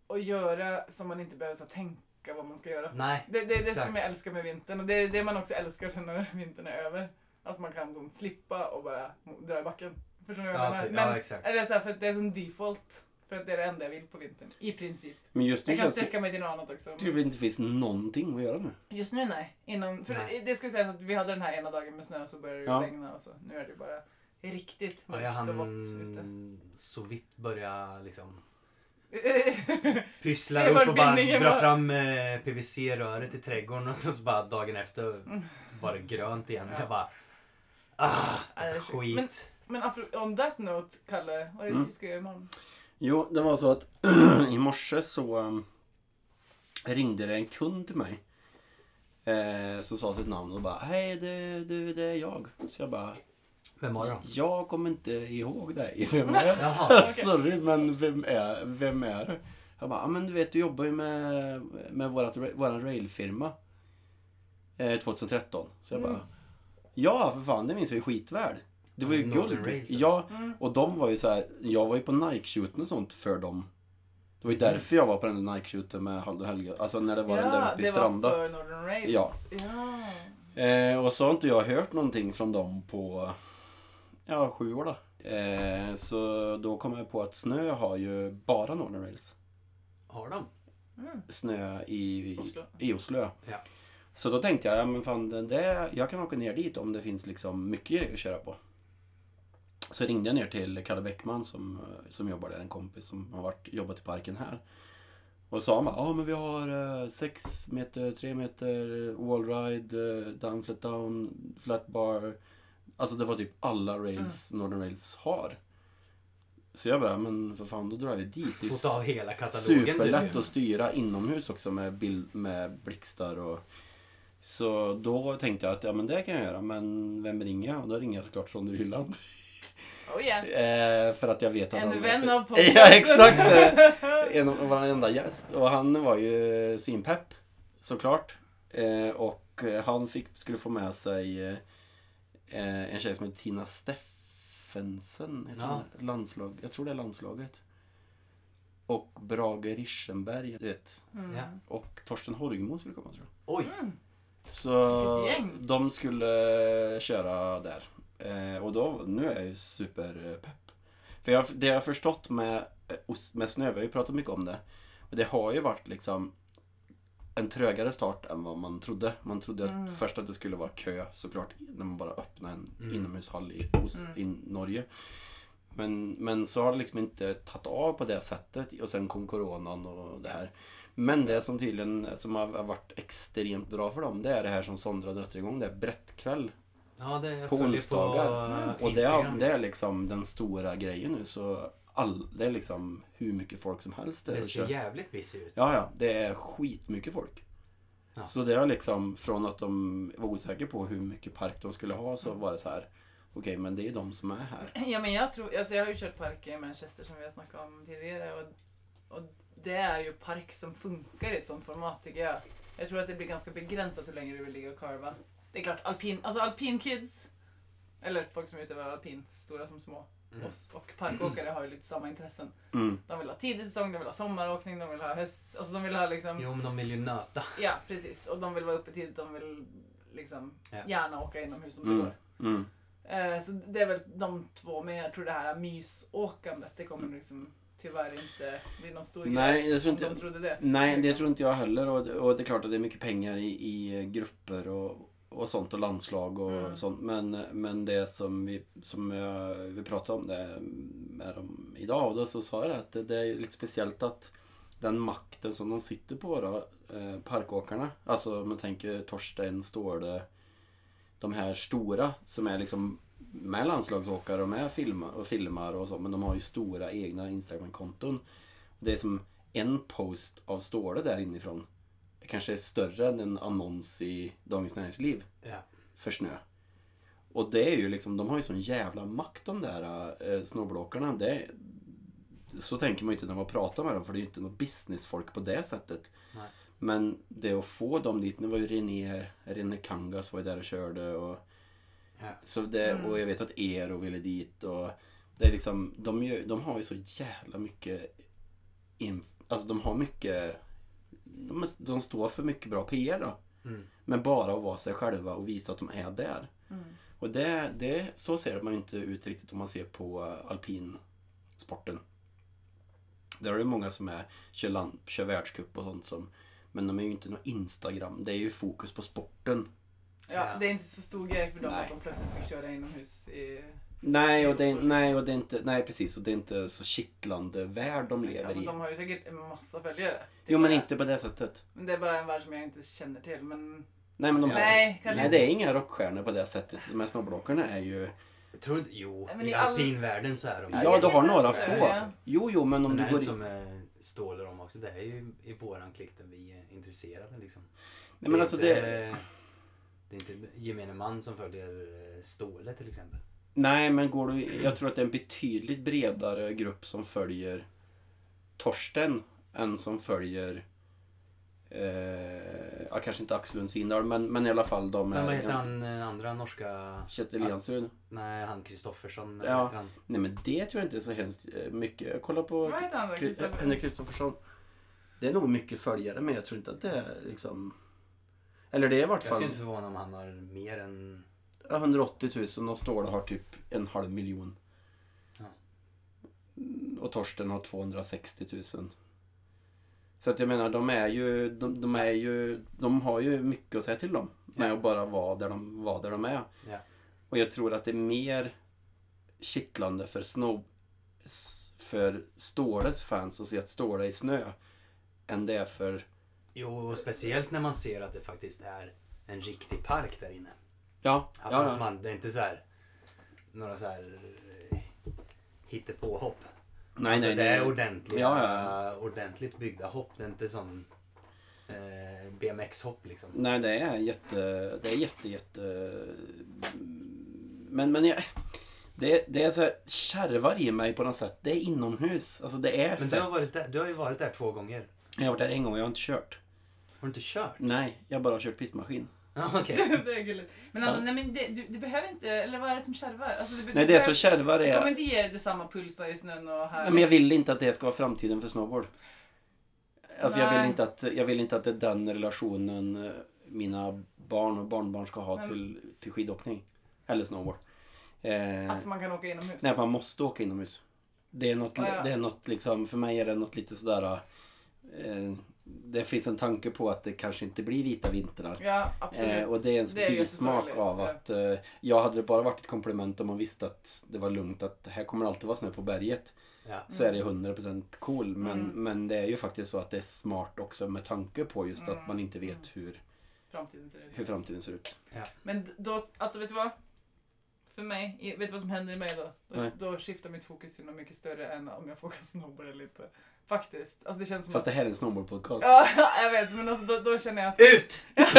[SPEAKER 2] att göra som man inte behöver så här, tänka klocka vad man ska göra.
[SPEAKER 4] Nej.
[SPEAKER 2] Det, det är det
[SPEAKER 4] Exakt.
[SPEAKER 2] som jag älskar med vintern och det är det man också älskar sen när vintern är över. Att man kan sån, slippa och bara dra i backen. Förstår du vad jag
[SPEAKER 4] Ja,
[SPEAKER 2] menar?
[SPEAKER 4] typ,
[SPEAKER 2] Men,
[SPEAKER 4] ja exakt.
[SPEAKER 2] eller så här, för att det är som default. För att det är det enda jag vill på vintern. I princip.
[SPEAKER 3] Men just nu
[SPEAKER 2] Jag kan
[SPEAKER 3] känns det
[SPEAKER 2] sträcka mig till något annat också.
[SPEAKER 3] typ inte finns någonting att göra nu.
[SPEAKER 2] Just nu nej. Innan, för
[SPEAKER 4] Nej.
[SPEAKER 2] Det skulle sägas att vi hade den här ena dagen med snö så började det
[SPEAKER 3] Ja.
[SPEAKER 2] regna och så. Nu är det bara riktigt
[SPEAKER 4] Ja, jag typ
[SPEAKER 2] mörkt och vått ute.
[SPEAKER 4] hann så vitt börja liksom
[SPEAKER 2] Se
[SPEAKER 4] pyssla
[SPEAKER 2] vart
[SPEAKER 4] upp och bara
[SPEAKER 2] bindningen var.
[SPEAKER 4] dra fram eh, PVC-röret i trädgården och sen så bara dagen efter var det grönt igen. Jag bara... Ah,
[SPEAKER 2] Ja, det är sjukt.
[SPEAKER 4] skit.
[SPEAKER 2] Men- Men apro- on that note, Kalle, vad är det
[SPEAKER 3] Mm.
[SPEAKER 2] du ska göra imorgon?
[SPEAKER 3] Jo, det var så att i morse så um, ringde det en kund till mig. Eh, som sa sitt namn och bara Hej det, du, det är jag. Så jag bara
[SPEAKER 4] Vem var det då?
[SPEAKER 3] Jag kommer inte ihåg dig. Vem är det?
[SPEAKER 4] Jaha.
[SPEAKER 3] Sorry men vem är, vem är det? Jag bara, "Ja, men du vet du jobbar ju med, med vårat, våran railfirma. Eh, 2013. Så jag bara,
[SPEAKER 2] Mm.
[SPEAKER 3] ja för fan det minns jag ju skitväl. Det var ju
[SPEAKER 4] Northern
[SPEAKER 3] guld.
[SPEAKER 4] Rails, eller?
[SPEAKER 3] ja,
[SPEAKER 2] Mm.
[SPEAKER 3] och de var ju så här, jag var ju på Nike-shooten och sånt för dem. Det var ju
[SPEAKER 2] Mm.
[SPEAKER 3] därför jag var på den där Nike-shooten med Halldor Helge, alltså när det var den där
[SPEAKER 2] Ja,
[SPEAKER 3] uppe i
[SPEAKER 2] det var
[SPEAKER 3] Stranda.
[SPEAKER 2] för Northern Rails.
[SPEAKER 3] Ja.
[SPEAKER 2] ja.
[SPEAKER 3] Eh, och så har inte jag hört någonting från dem på, ja, sju år då. Eh, så då kom jag på att Snö har ju bara Northern Rails.
[SPEAKER 4] Har de?
[SPEAKER 2] Mm.
[SPEAKER 3] Snö i, i
[SPEAKER 2] Oslo.
[SPEAKER 3] i Oslo. Ja.
[SPEAKER 4] Ja.
[SPEAKER 3] Så då tänkte jag, ja men fan den där, jag kan åka ner dit om det finns liksom mycket grejer att köra på. Så ringde jag ner till Kalle Bäckman som, eh, som jobbar där, en kompis som har varit, jobbat i parken här. Och sa han bara, ja men vi har 6 meter, 3 meter, wallride, eh, down flat down, flat bar. Alltså det var typ alla rails Northern Rails har. Så jag bara, men för fan då drar vi dit. Det är ju
[SPEAKER 4] Få ta av hela katalogen
[SPEAKER 3] Superlätt
[SPEAKER 4] typ.
[SPEAKER 3] att styra inomhus också med, bild, med blixtar och så då tänkte jag att ja men det kan jag göra men vem ringer jag? Och då ringer jag såklart Sondre Hylland.
[SPEAKER 2] Oh yeah.
[SPEAKER 3] Eh, för att jag vet att
[SPEAKER 2] En
[SPEAKER 3] han...
[SPEAKER 2] vän av podden.
[SPEAKER 3] Ja exakt! Eh, en av varenda gäst. Och han var ju svinpepp såklart. Eh, och eh, han fick, skulle få med sig eh, en tjej som heter Tina Steffensen. heter
[SPEAKER 4] Ja.
[SPEAKER 3] hon. Landslag, jag tror det är landslaget. Och Brage Rischenberg, du vet.
[SPEAKER 2] Mm.
[SPEAKER 4] Ja.
[SPEAKER 3] Och Torsten Horgmo skulle komma tror jag.
[SPEAKER 4] Oj,
[SPEAKER 3] Så
[SPEAKER 2] Vilket gäng.
[SPEAKER 3] de skulle köra där. Eh, och då, nu är jag ju superpepp. För jag, det jag har förstått med, eh, ost- med snö, vi har ju pratat mycket om det. Och det har ju varit liksom en trögare start än vad man trodde. Man trodde att
[SPEAKER 2] Mm.
[SPEAKER 3] först att det skulle vara kö såklart när man bara öppnade en
[SPEAKER 4] Mm.
[SPEAKER 3] inomhushall i, hos,
[SPEAKER 2] Mm.
[SPEAKER 3] i Norge. Men, men så har det liksom inte tagit av på det sättet och sen kom coronan och det här. Men det som tydligen som har har varit extremt bra för dem det är det här som Sondra har dragit igång, det är Brettkväll.
[SPEAKER 4] ja, det jag
[SPEAKER 3] På
[SPEAKER 4] följer
[SPEAKER 3] onsdagar.
[SPEAKER 4] på eh,
[SPEAKER 3] Och det är,
[SPEAKER 4] Instagram.
[SPEAKER 3] det är liksom den stora grejen nu så all, det är liksom hur mycket folk som helst där
[SPEAKER 4] Det
[SPEAKER 3] och
[SPEAKER 4] ser
[SPEAKER 3] kör.
[SPEAKER 4] jävligt busy ut.
[SPEAKER 3] Ja, ja, det är skitmycket folk.
[SPEAKER 4] Ja.
[SPEAKER 3] Så det är liksom från att de var osäkra på hur mycket park de skulle ha så var det så här. Okej, men det är de som är här.
[SPEAKER 2] Ja men jag tror, alltså jag har ju kört park i Manchester som vi har snackat om tidigare och, och det är ju park som funkar i ett sånt format tycker jag. Jag tror att det blir ganska begränsat hur länge du vill ligga och karva. Det är klart alpin, alltså alpin kids, eller folk som utövar alpin, stora som små,
[SPEAKER 4] Mm.
[SPEAKER 2] oss, och parkåkare har ju lite samma intressen.
[SPEAKER 3] Mm.
[SPEAKER 2] De vill ha tidig säsong, de vill ha sommaråkning, de vill ha höst, alltså de vill ha liksom
[SPEAKER 4] Jo, men de vill ju nöta.
[SPEAKER 2] Ja, precis. Och de vill vara uppe tidigt. De vill liksom
[SPEAKER 4] Ja.
[SPEAKER 2] gärna åka inomhus om det
[SPEAKER 3] Mm.
[SPEAKER 2] går.
[SPEAKER 3] Mm.
[SPEAKER 2] Eh, så det är väl de två. Men jag tror det här mysåkandet, det kommer liksom tyvärr inte bli någon stor
[SPEAKER 3] Nej, jag tror
[SPEAKER 2] om
[SPEAKER 3] inte-
[SPEAKER 2] de trodde det.
[SPEAKER 3] Nej, det
[SPEAKER 2] Liksom.
[SPEAKER 3] tror inte jag heller. Och, och det är klart att det är mycket pengar i, i grupper och, och sånt och landslag och
[SPEAKER 2] Mm.
[SPEAKER 3] sånt. Men, men det som vi, som jag, vi pratade om det med dem idag och då så sa jag det att det, det är lite speciellt att den makten som de sitter på då, eh, parkåkarna, alltså om man tänker Torsten, Ståhle, de här stora som är liksom med landslagsåkare och med filma, och filmar och så, men de har ju stora egna Instagram-konton. Det är som en post av Ståhle där inifrån kanske är större än en annons i Dagens Näringsliv
[SPEAKER 4] Ja.
[SPEAKER 3] för snö. Och det är ju liksom, de har ju sån jävla makt de där eh, snowboardåkarna. Det, så tänker man ju inte när man pratar med dem för det är ju inte något businessfolk på det sättet.
[SPEAKER 4] Nej.
[SPEAKER 3] Men det att få dem dit, nu var ju René, René Kangas var ju där och körde och
[SPEAKER 4] Ja.
[SPEAKER 3] så det,
[SPEAKER 2] Mm.
[SPEAKER 3] och jag vet att Eero ville dit och det är liksom, de, gör, de har ju så jävla mycket inf- Alltså de har mycket de, är- de står för mycket bra PR då.
[SPEAKER 4] Mm.
[SPEAKER 3] Men bara att vara sig själva och visa att de är där.
[SPEAKER 2] Mm.
[SPEAKER 3] Och det, det, så ser man ju inte ut riktigt om man ser på eh, alpinsporten. Där är det många som är, kör, land, kör världscup och sånt som men de är ju inte någon Instagram. Det är ju fokus på sporten.
[SPEAKER 2] Ja, det är inte så stor grej för dem
[SPEAKER 3] Nej.
[SPEAKER 2] att de plötsligt fick köra inomhus i...
[SPEAKER 3] Nej, och det, är- nej, och det är inte, nej precis. Och det är inte så kittlande värld de lever
[SPEAKER 2] Alltså
[SPEAKER 3] i.
[SPEAKER 2] de har ju säkert en massa följare.
[SPEAKER 3] Jo, men
[SPEAKER 2] Det är-
[SPEAKER 3] inte på det sättet.
[SPEAKER 2] Men Det är bara en värld som jag inte känner till. Men...
[SPEAKER 3] Nej, men de
[SPEAKER 2] Nej, kanske
[SPEAKER 3] nej,
[SPEAKER 2] inte.
[SPEAKER 3] det är inga rockstjärnor på det sättet. De här snowblockarna är ju...
[SPEAKER 4] Jag tror inte, jo,
[SPEAKER 2] Nej, men
[SPEAKER 4] i
[SPEAKER 2] i all-
[SPEAKER 4] alpinvärlden så är de
[SPEAKER 3] Ja, du har några
[SPEAKER 2] det,
[SPEAKER 3] få.
[SPEAKER 2] ja.
[SPEAKER 3] Jo, jo, men om
[SPEAKER 4] Men det
[SPEAKER 3] du
[SPEAKER 4] är
[SPEAKER 3] går
[SPEAKER 4] inte
[SPEAKER 3] in...
[SPEAKER 4] som eh, Ståhl och de också. Det är ju i våran klick där vi är intresserade liksom.
[SPEAKER 3] Nej, men
[SPEAKER 4] är
[SPEAKER 3] alltså
[SPEAKER 4] inte,
[SPEAKER 3] det...
[SPEAKER 4] det är inte gemene man som följer eh, Ståle till exempel.
[SPEAKER 3] Nej, men går du... Jag tror att det är en betydligt bredare grupp som följer Torsten än som följer... Eh, ja, kanske inte Axel Lund Svindal, men, men i alla fall de...
[SPEAKER 4] Men
[SPEAKER 3] är-
[SPEAKER 4] vad heter han eh, andra norska?
[SPEAKER 3] Kjell Jansrud.
[SPEAKER 4] Nej, han Kristoffersson. eller
[SPEAKER 3] Ja.
[SPEAKER 4] vad heter han?
[SPEAKER 3] Nej, men det tror jag inte är så hemskt eh, mycket. Kolla på
[SPEAKER 2] Vad heter han då?
[SPEAKER 3] Kri-
[SPEAKER 2] Kristoffer?
[SPEAKER 3] Henrik Kristoffersson. Det är nog mycket följare, men jag tror inte att det är liksom... Eller det är i vart
[SPEAKER 4] Jag skulle
[SPEAKER 3] fall
[SPEAKER 4] inte förvåna om han har mer än...
[SPEAKER 3] 180 000 och Ståle har typ en halv miljon.
[SPEAKER 4] Ja.
[SPEAKER 3] Mm, Och Torsten har 260 000. Så att jag menar, de är ju, de, de är ju, de har ju mycket att säga till om. Med
[SPEAKER 4] Ja.
[SPEAKER 3] att bara vara där de, vara där de är.
[SPEAKER 4] Ja.
[SPEAKER 3] Och jag tror att det är mer kittlande för snow, s- för Ståles fans att se att Ståle är i snö. Än det är för,
[SPEAKER 4] Jo, och speciellt när man ser att det faktiskt är en riktig park där inne.
[SPEAKER 3] ja,
[SPEAKER 4] Alltså
[SPEAKER 3] ja,
[SPEAKER 4] att
[SPEAKER 3] ja.
[SPEAKER 4] man, det är inte så här några så här eh, hittepåhopp.
[SPEAKER 3] Nej,
[SPEAKER 4] alltså
[SPEAKER 3] nej,
[SPEAKER 4] det
[SPEAKER 3] nej.
[SPEAKER 4] är ordentliga,
[SPEAKER 3] Ja, ja,
[SPEAKER 4] ordentligt byggda hopp. Det är inte sån eh, BMX-hopp liksom.
[SPEAKER 3] Nej, det är jätte, det är jätte, jätte... mm, Men, men jag... Det, det är så här, kärvar i mig på något sätt. Det är inomhus. Alltså det är
[SPEAKER 4] Men du
[SPEAKER 3] fett.
[SPEAKER 4] har, varit där, du har ju varit där två gånger.
[SPEAKER 3] Jag har varit där en gång och jag har inte kört.
[SPEAKER 4] Har du inte kört?
[SPEAKER 3] Nej, jag har bara kört pistmaskin.
[SPEAKER 4] Ja, okej.
[SPEAKER 2] det är gulligt. Men alltså, nej, men det, du, det behöver inte... Eller vad är det som kärvar? Alltså, du,
[SPEAKER 3] Nej, det är så kärvar det
[SPEAKER 2] Jag kommer
[SPEAKER 3] är.
[SPEAKER 2] inte ge dig samma pulsa i snön och här.
[SPEAKER 3] Nej, men jag vill inte att det ska vara framtiden för snowboard. Alltså jag vill,
[SPEAKER 2] Nej.
[SPEAKER 3] inte att, jag vill inte att det är den relationen eh, mina barn och barnbarn ska ha
[SPEAKER 2] Nej.
[SPEAKER 3] till, till skidåkning. Eller snowboard. Eh,
[SPEAKER 2] Att man kan åka inomhus.
[SPEAKER 3] Nej, att man måste åka inomhus. Det är något,
[SPEAKER 2] Ja, ja.
[SPEAKER 3] det är något liksom, för mig är det något lite sådär... Eh, det finns en tanke på att det kanske inte blir vita vintrar.
[SPEAKER 2] Ja, absolut.
[SPEAKER 3] Eh, och det är en
[SPEAKER 2] ju
[SPEAKER 3] bismak
[SPEAKER 2] jättesorgligt,
[SPEAKER 3] av
[SPEAKER 2] ja.
[SPEAKER 3] att... Eh, jag hade det bara varit ett komplement om man visste att det var lugnt, att här kommer alltid vara snö på berget.
[SPEAKER 4] Ja.
[SPEAKER 3] Så är det 100% cool. Men,
[SPEAKER 2] Mm.
[SPEAKER 3] men det är ju faktiskt så att det är smart också med tanke på just att
[SPEAKER 2] Mm.
[SPEAKER 3] man inte vet hur,
[SPEAKER 2] Framtiden ser ut.
[SPEAKER 3] hur framtiden ser ut.
[SPEAKER 2] Men d- då, alltså vet du vad? För mig, i- vet du vad som händer i mig då? Då,
[SPEAKER 3] Nej.
[SPEAKER 2] då skiftar mitt fokus till något mycket större än om jag får åka snowboard eller inte. Faktiskt. Alltså det känns som
[SPEAKER 3] Fast det
[SPEAKER 2] att...
[SPEAKER 3] här är en snowboardpodcast.
[SPEAKER 2] Ja, jag vet. Men alltså, då, då känner jag...
[SPEAKER 4] Ut!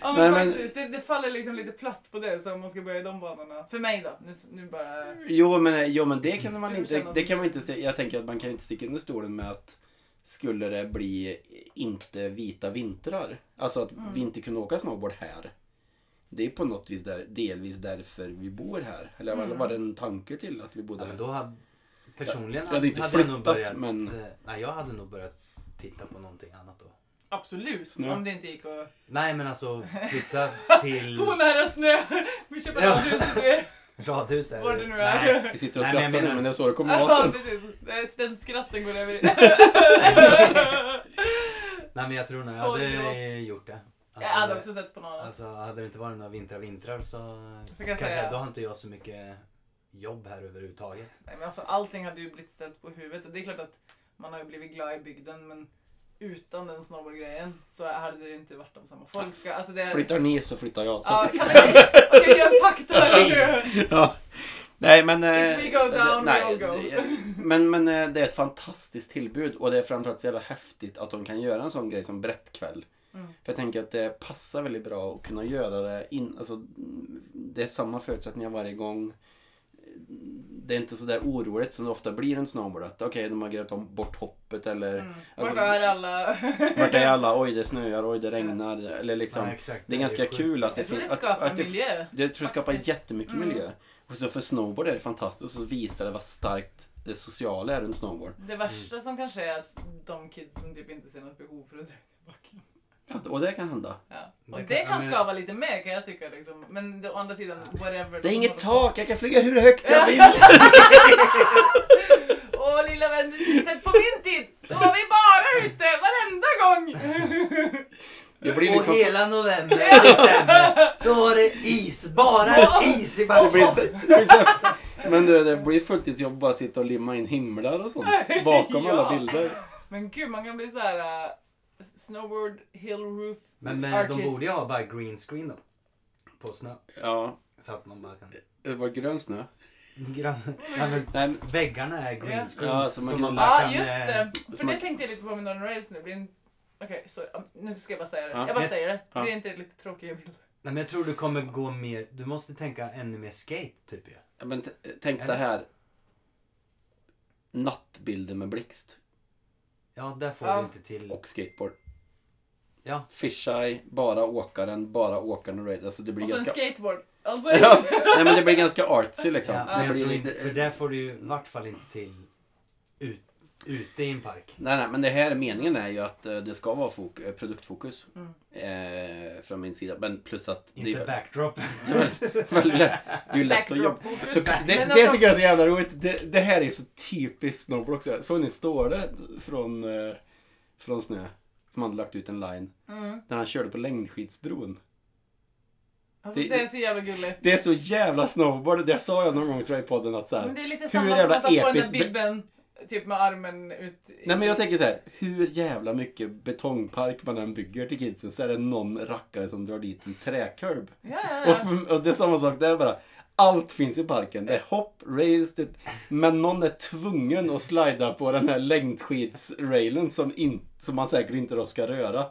[SPEAKER 2] Ja,
[SPEAKER 3] Nej,
[SPEAKER 2] men
[SPEAKER 3] men-
[SPEAKER 2] faktiskt, det, det faller liksom lite platt på det så om man ska börja i de banorna. För mig då. Nu, nu bara...
[SPEAKER 3] Jo men, jo, men det kan man
[SPEAKER 2] Du
[SPEAKER 3] inte,
[SPEAKER 2] känner
[SPEAKER 3] det
[SPEAKER 2] att-
[SPEAKER 3] kan man inte, se- jag tänker att man kan inte sticka under stolen med att skulle det bli inte vita vintrar, alltså att
[SPEAKER 2] Mm.
[SPEAKER 3] vi inte kunde åka snowboard här. Det är på något vis där, delvis därför vi bor här. Eller mm. var det en tanke till att vi bodde
[SPEAKER 4] Ja,
[SPEAKER 3] här?
[SPEAKER 4] men då hade, personligen
[SPEAKER 3] Jag hade inte
[SPEAKER 4] jag nog
[SPEAKER 3] flyttat,
[SPEAKER 4] börjat,
[SPEAKER 3] men-
[SPEAKER 4] eh, nej, jag hade nog börjat titta på någonting annat då.
[SPEAKER 2] Absolut.
[SPEAKER 3] Snö.
[SPEAKER 2] Om det inte gick att...
[SPEAKER 4] Nej men alltså flytta till
[SPEAKER 2] Bo nära snö! Vi köper
[SPEAKER 4] Ja.
[SPEAKER 2] ett hus i det.
[SPEAKER 4] radhus där.
[SPEAKER 2] Var det nu är.
[SPEAKER 4] Nej.
[SPEAKER 3] Vi sitter och
[SPEAKER 4] Nej, men jag
[SPEAKER 3] skrattar nu
[SPEAKER 4] menar-
[SPEAKER 3] men det är så det kommer vara
[SPEAKER 2] Ja,
[SPEAKER 3] sen.
[SPEAKER 2] precis. Det- Den skratten går över i...
[SPEAKER 4] Nej men jag tror nog jag
[SPEAKER 2] Så
[SPEAKER 4] hade
[SPEAKER 2] idiot.
[SPEAKER 4] gjort det.
[SPEAKER 2] Jag hade också sett på någon annan.
[SPEAKER 4] alltså hade det inte varit några vintrar vintrar så
[SPEAKER 2] jag
[SPEAKER 4] kanske
[SPEAKER 2] säga-
[SPEAKER 4] då har inte jag så mycket jobb här överhuvudtaget.
[SPEAKER 2] Nej, men alltså, allting hade ju blivit ställt på huvudet och det är klart att man har ju blivit glad i bygden men utan den snowboardgrejen så hade det ju inte varit de samma folk. Alltså, det...
[SPEAKER 3] Flyttar ni så flyttar jag. Så.
[SPEAKER 2] Ja, kan vi Okej, vi gör en pakt här nu.
[SPEAKER 3] Ja. Nej men... eh,
[SPEAKER 2] If we go down,
[SPEAKER 3] nej,
[SPEAKER 2] we all go.
[SPEAKER 3] det- men, men eh, det är ett fantastiskt tillbud och det är framförallt så jävla häftigt att de kan göra en sån grej som Brättkväll.
[SPEAKER 2] Mm.
[SPEAKER 3] För jag tänker att det passar väldigt bra att kunna göra det in, alltså, mm, Det är samma förutsättningar varje gång. Det är inte så där oroligt som det ofta blir en snowboard. att Okej, de har grävt om bort hoppet eller
[SPEAKER 2] Mm.
[SPEAKER 3] alltså,
[SPEAKER 2] Vart är alla?
[SPEAKER 3] vart är alla? Oj, det snöar, oj, det regnar. Eller liksom,
[SPEAKER 4] Nej, exakt,
[SPEAKER 3] det är ganska
[SPEAKER 4] sjukt.
[SPEAKER 3] kul att det
[SPEAKER 2] Jag tror det
[SPEAKER 3] finns... Att,
[SPEAKER 2] skapar
[SPEAKER 3] att det,
[SPEAKER 2] miljö.
[SPEAKER 3] jag tror det skapar
[SPEAKER 2] Faktiskt.
[SPEAKER 3] jättemycket miljö. Och så för snowboard är det fantastiskt och så visar det vad starkt det sociala är runt snowboard.
[SPEAKER 2] Det värsta
[SPEAKER 3] Mm.
[SPEAKER 2] som kan ske är att de kidsen typ inte ser något behov för att dra ut i backen.
[SPEAKER 3] Ja, och det kan hända.
[SPEAKER 2] Ja.
[SPEAKER 4] Det
[SPEAKER 2] Och
[SPEAKER 4] kan-
[SPEAKER 2] det
[SPEAKER 4] ja,
[SPEAKER 2] kan
[SPEAKER 4] men-
[SPEAKER 2] skava lite mer kan jag tycka liksom. Men det, å andra sidan, whatever.
[SPEAKER 3] Det är
[SPEAKER 2] de
[SPEAKER 3] inget
[SPEAKER 2] håller på-
[SPEAKER 3] tak, jag kan flyga hur högt jag vill!
[SPEAKER 2] Åh lilla vän, du skulle sett på min tid! Då var vi bara ute varenda gång!
[SPEAKER 3] Det blir liksom...
[SPEAKER 4] Och hela november, december, då var det is. Bara is i
[SPEAKER 3] Det blir,
[SPEAKER 4] backen.
[SPEAKER 3] så, det blir så, men du, det blir fulltidsjobb att bara sitta och limma in himlar och sånt bakom
[SPEAKER 2] Ja.
[SPEAKER 3] alla bilder.
[SPEAKER 2] Men gud, man kan bli så här eh, snowboard, hill roof,
[SPEAKER 4] Men, men
[SPEAKER 2] artist.
[SPEAKER 4] de borde ju ha bara green screen då. På snö.
[SPEAKER 3] Ja,
[SPEAKER 4] Så att man bara kan...
[SPEAKER 3] det var grön snö.
[SPEAKER 4] Grann... Ja, men
[SPEAKER 3] Nej, men-
[SPEAKER 4] väggarna är green
[SPEAKER 2] Ja.
[SPEAKER 4] screens.
[SPEAKER 3] Ja, så
[SPEAKER 4] så
[SPEAKER 3] man
[SPEAKER 4] man,
[SPEAKER 3] kan-
[SPEAKER 2] Ja,
[SPEAKER 4] bara kan...
[SPEAKER 2] just
[SPEAKER 4] eh,
[SPEAKER 2] det. För
[SPEAKER 3] som
[SPEAKER 2] det
[SPEAKER 3] man-
[SPEAKER 2] tänkte jag lite på med Northern Rails nu. Blir en... Okej, sorry. Ja, nu ska jag bara säga det.
[SPEAKER 3] Ja.
[SPEAKER 2] Jag bara
[SPEAKER 4] Men-
[SPEAKER 2] säger det.
[SPEAKER 3] Ja.
[SPEAKER 2] Blir inte det lite tråkiga bilder?
[SPEAKER 4] Nej, men jag tror du kommer gå mer... Du måste tänka ännu mer skate, typ ju.
[SPEAKER 3] Ja, Men t- tänk det här. Nattbilder med blixt
[SPEAKER 4] Ja, där får
[SPEAKER 2] Ja.
[SPEAKER 4] du inte till...
[SPEAKER 3] och skateboard.
[SPEAKER 4] Ja.
[SPEAKER 3] Fisheye, bara åkaren, bara åkaren och raid. Alltså det blir
[SPEAKER 2] Och så en
[SPEAKER 3] ganska...
[SPEAKER 2] skateboard. Alltså,
[SPEAKER 3] Ja, nej men det blir ganska artsy liksom.
[SPEAKER 4] Ja,
[SPEAKER 3] det
[SPEAKER 4] men jag
[SPEAKER 3] blir,
[SPEAKER 4] tror inte, för där får du ju i vart fall inte till ut, ute i en park.
[SPEAKER 3] Nej, nej, men det här meningen är ju att eh, det ska vara fok- eh, produktfokus.
[SPEAKER 2] Mm.
[SPEAKER 3] Eh, från min sida. Men plus att det,
[SPEAKER 4] Inte
[SPEAKER 3] är-
[SPEAKER 4] backdrop.
[SPEAKER 3] det är väldigt- väldigt lätt. Det är ju lätt att jobba.
[SPEAKER 2] Backdrop-fokus.
[SPEAKER 3] Så det,
[SPEAKER 2] Men
[SPEAKER 3] det
[SPEAKER 2] alltså-
[SPEAKER 3] tycker jag är så jävla roligt. Det, det här är så typiskt snowboard också. Såg ni Ståle från, eh, från Snö? Som hade lagt ut en line.
[SPEAKER 2] Mm.
[SPEAKER 3] När han körde på längdskidsbron.
[SPEAKER 2] Alltså,
[SPEAKER 3] Det-
[SPEAKER 2] det är så jävla gulligt.
[SPEAKER 3] Det är så jävla snowboard. Det sa jag någon gång tror jag i podden att så här,
[SPEAKER 2] Men det är lite
[SPEAKER 3] hur
[SPEAKER 2] samma som
[SPEAKER 3] jävla
[SPEAKER 2] att ta på den
[SPEAKER 3] episkt
[SPEAKER 2] där
[SPEAKER 3] be-
[SPEAKER 2] bibben. Typ med armen ut. i-
[SPEAKER 3] Nej men jag tänker så här, hur jävla mycket betongpark man än bygger till kidsen så är det någon rackare som drar dit en träkurb.
[SPEAKER 2] Ja, ja,
[SPEAKER 3] Och,
[SPEAKER 2] ja.
[SPEAKER 3] för, och det är samma sak där bara. Allt finns i parken. Det är hopp, rails, det, men någon är tvungen att slida på den här längdskidsrailen som, in, som man säkert inte då ska röra.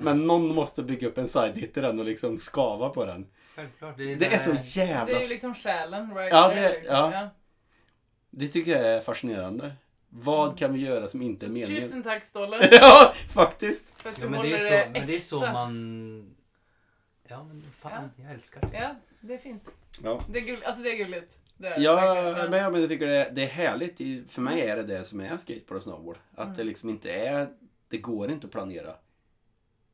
[SPEAKER 3] Men någon måste bygga upp en side hit i den och liksom skava på den.
[SPEAKER 4] Självklart. Det är,
[SPEAKER 3] Det är så
[SPEAKER 2] Det är
[SPEAKER 3] jävla...
[SPEAKER 2] ju liksom själen right
[SPEAKER 3] Ja,
[SPEAKER 2] there.
[SPEAKER 3] det-
[SPEAKER 2] liksom.
[SPEAKER 3] ja. Det tycker jag är fascinerande. Vad kan vi göra som inte är meningen?
[SPEAKER 2] Tusen tack Ståle
[SPEAKER 3] Ja, faktiskt.
[SPEAKER 2] för att du
[SPEAKER 4] ja, men,
[SPEAKER 2] håller
[SPEAKER 4] det är
[SPEAKER 2] det,
[SPEAKER 4] så, men det är så
[SPEAKER 2] äkta.
[SPEAKER 4] man... Ja, men fan, jag älskar det.
[SPEAKER 2] Ja, det är fint.
[SPEAKER 3] Ja.
[SPEAKER 2] Det är gulligt. Alltså det är gulligt. Det är det
[SPEAKER 3] Ja,
[SPEAKER 2] verkligen.
[SPEAKER 3] men jag men jag tycker det är, det är härligt. Det är ju- För mig är det det som är skateboard och snowboard. Att
[SPEAKER 2] Mm.
[SPEAKER 3] det liksom inte är... Det går inte att planera.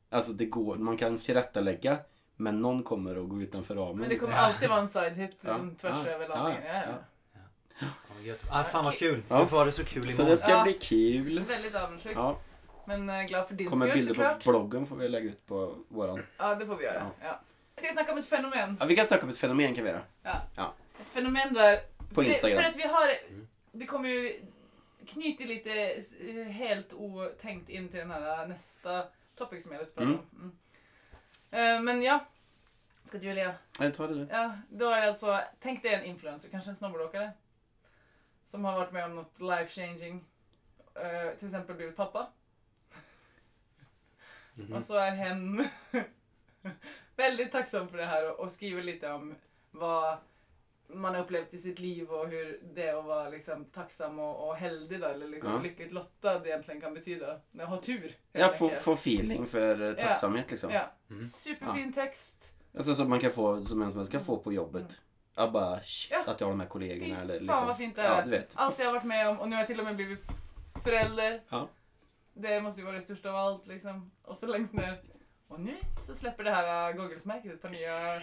[SPEAKER 3] Alltså, det går, man kan tillrättalägga, men någon kommer att gå utanför ramen.
[SPEAKER 2] Men det kommer
[SPEAKER 4] Ja.
[SPEAKER 2] alltid vara en side hit
[SPEAKER 3] Ja,
[SPEAKER 2] som tvärs
[SPEAKER 3] ja,
[SPEAKER 2] över allting.
[SPEAKER 3] ja,
[SPEAKER 2] Ja, ja.
[SPEAKER 3] ja.
[SPEAKER 4] Ja, gött. ah, fan vad kul.
[SPEAKER 3] Ja.
[SPEAKER 4] Du får ha det så kul
[SPEAKER 3] Så det
[SPEAKER 4] imorgon.
[SPEAKER 3] ska
[SPEAKER 2] Ja.
[SPEAKER 3] bli kul.
[SPEAKER 2] Väldigt avundsjuk.
[SPEAKER 3] Ja,
[SPEAKER 2] Men eh, glad för din
[SPEAKER 3] kommer
[SPEAKER 2] skull
[SPEAKER 3] bilder
[SPEAKER 2] såklart.
[SPEAKER 3] på bloggen får vi lägga ut på våran.
[SPEAKER 2] Ja, det får vi göra. Ja. Ska vi snacka om ett fenomen?
[SPEAKER 3] Ja, vi kan snacka om ett fenomen kan vi göra.
[SPEAKER 2] Ett fenomen där...
[SPEAKER 3] På
[SPEAKER 2] För,
[SPEAKER 3] Instagram. Mm.
[SPEAKER 2] för att vi har... Det kommer ju... Knyter lite eh, helt otänkt in till den här äh, nästa topic som jag vill prata om. Mm. Eh, Men ja. Ska du Julia?
[SPEAKER 3] Nej, ta det du.
[SPEAKER 2] Ja, då är det alltså, tänk dig en influencer, kanske en snowboardåkare. Som har varit med om något life changing. Eh, till exempel blivit pappa. Och så är hen väldigt tacksam för det här och, och skriver lite om vad man har upplevt i sitt liv och hur det att vara liksom tacksam och, och heldig då, eller liksom
[SPEAKER 3] Ja.
[SPEAKER 2] lyckligt lottad egentligen kan betyda. Att ha tur. helt
[SPEAKER 3] Jag får,
[SPEAKER 2] enkelt.
[SPEAKER 3] får feeling för eh,
[SPEAKER 2] Ja.
[SPEAKER 3] tacksamhet liksom.
[SPEAKER 2] ja. Superfin text.
[SPEAKER 3] Alltså som man kan få, som en svenska får på jobbet. Jag bara, shit,
[SPEAKER 2] Mm. Ja.
[SPEAKER 3] att jag har de här kollegorna
[SPEAKER 2] Fy
[SPEAKER 3] eller
[SPEAKER 2] fan,
[SPEAKER 3] liksom.
[SPEAKER 2] vad fint det
[SPEAKER 3] Ja,
[SPEAKER 2] är.
[SPEAKER 3] du vet.
[SPEAKER 2] Allt jag har varit med om och nu har jag till och med blivit förälder.
[SPEAKER 3] Ja.
[SPEAKER 2] Det måste ju vara det största av allt liksom. Och så längst ner. Och nu så släpper det här äh, Goggles-märket ett par nya,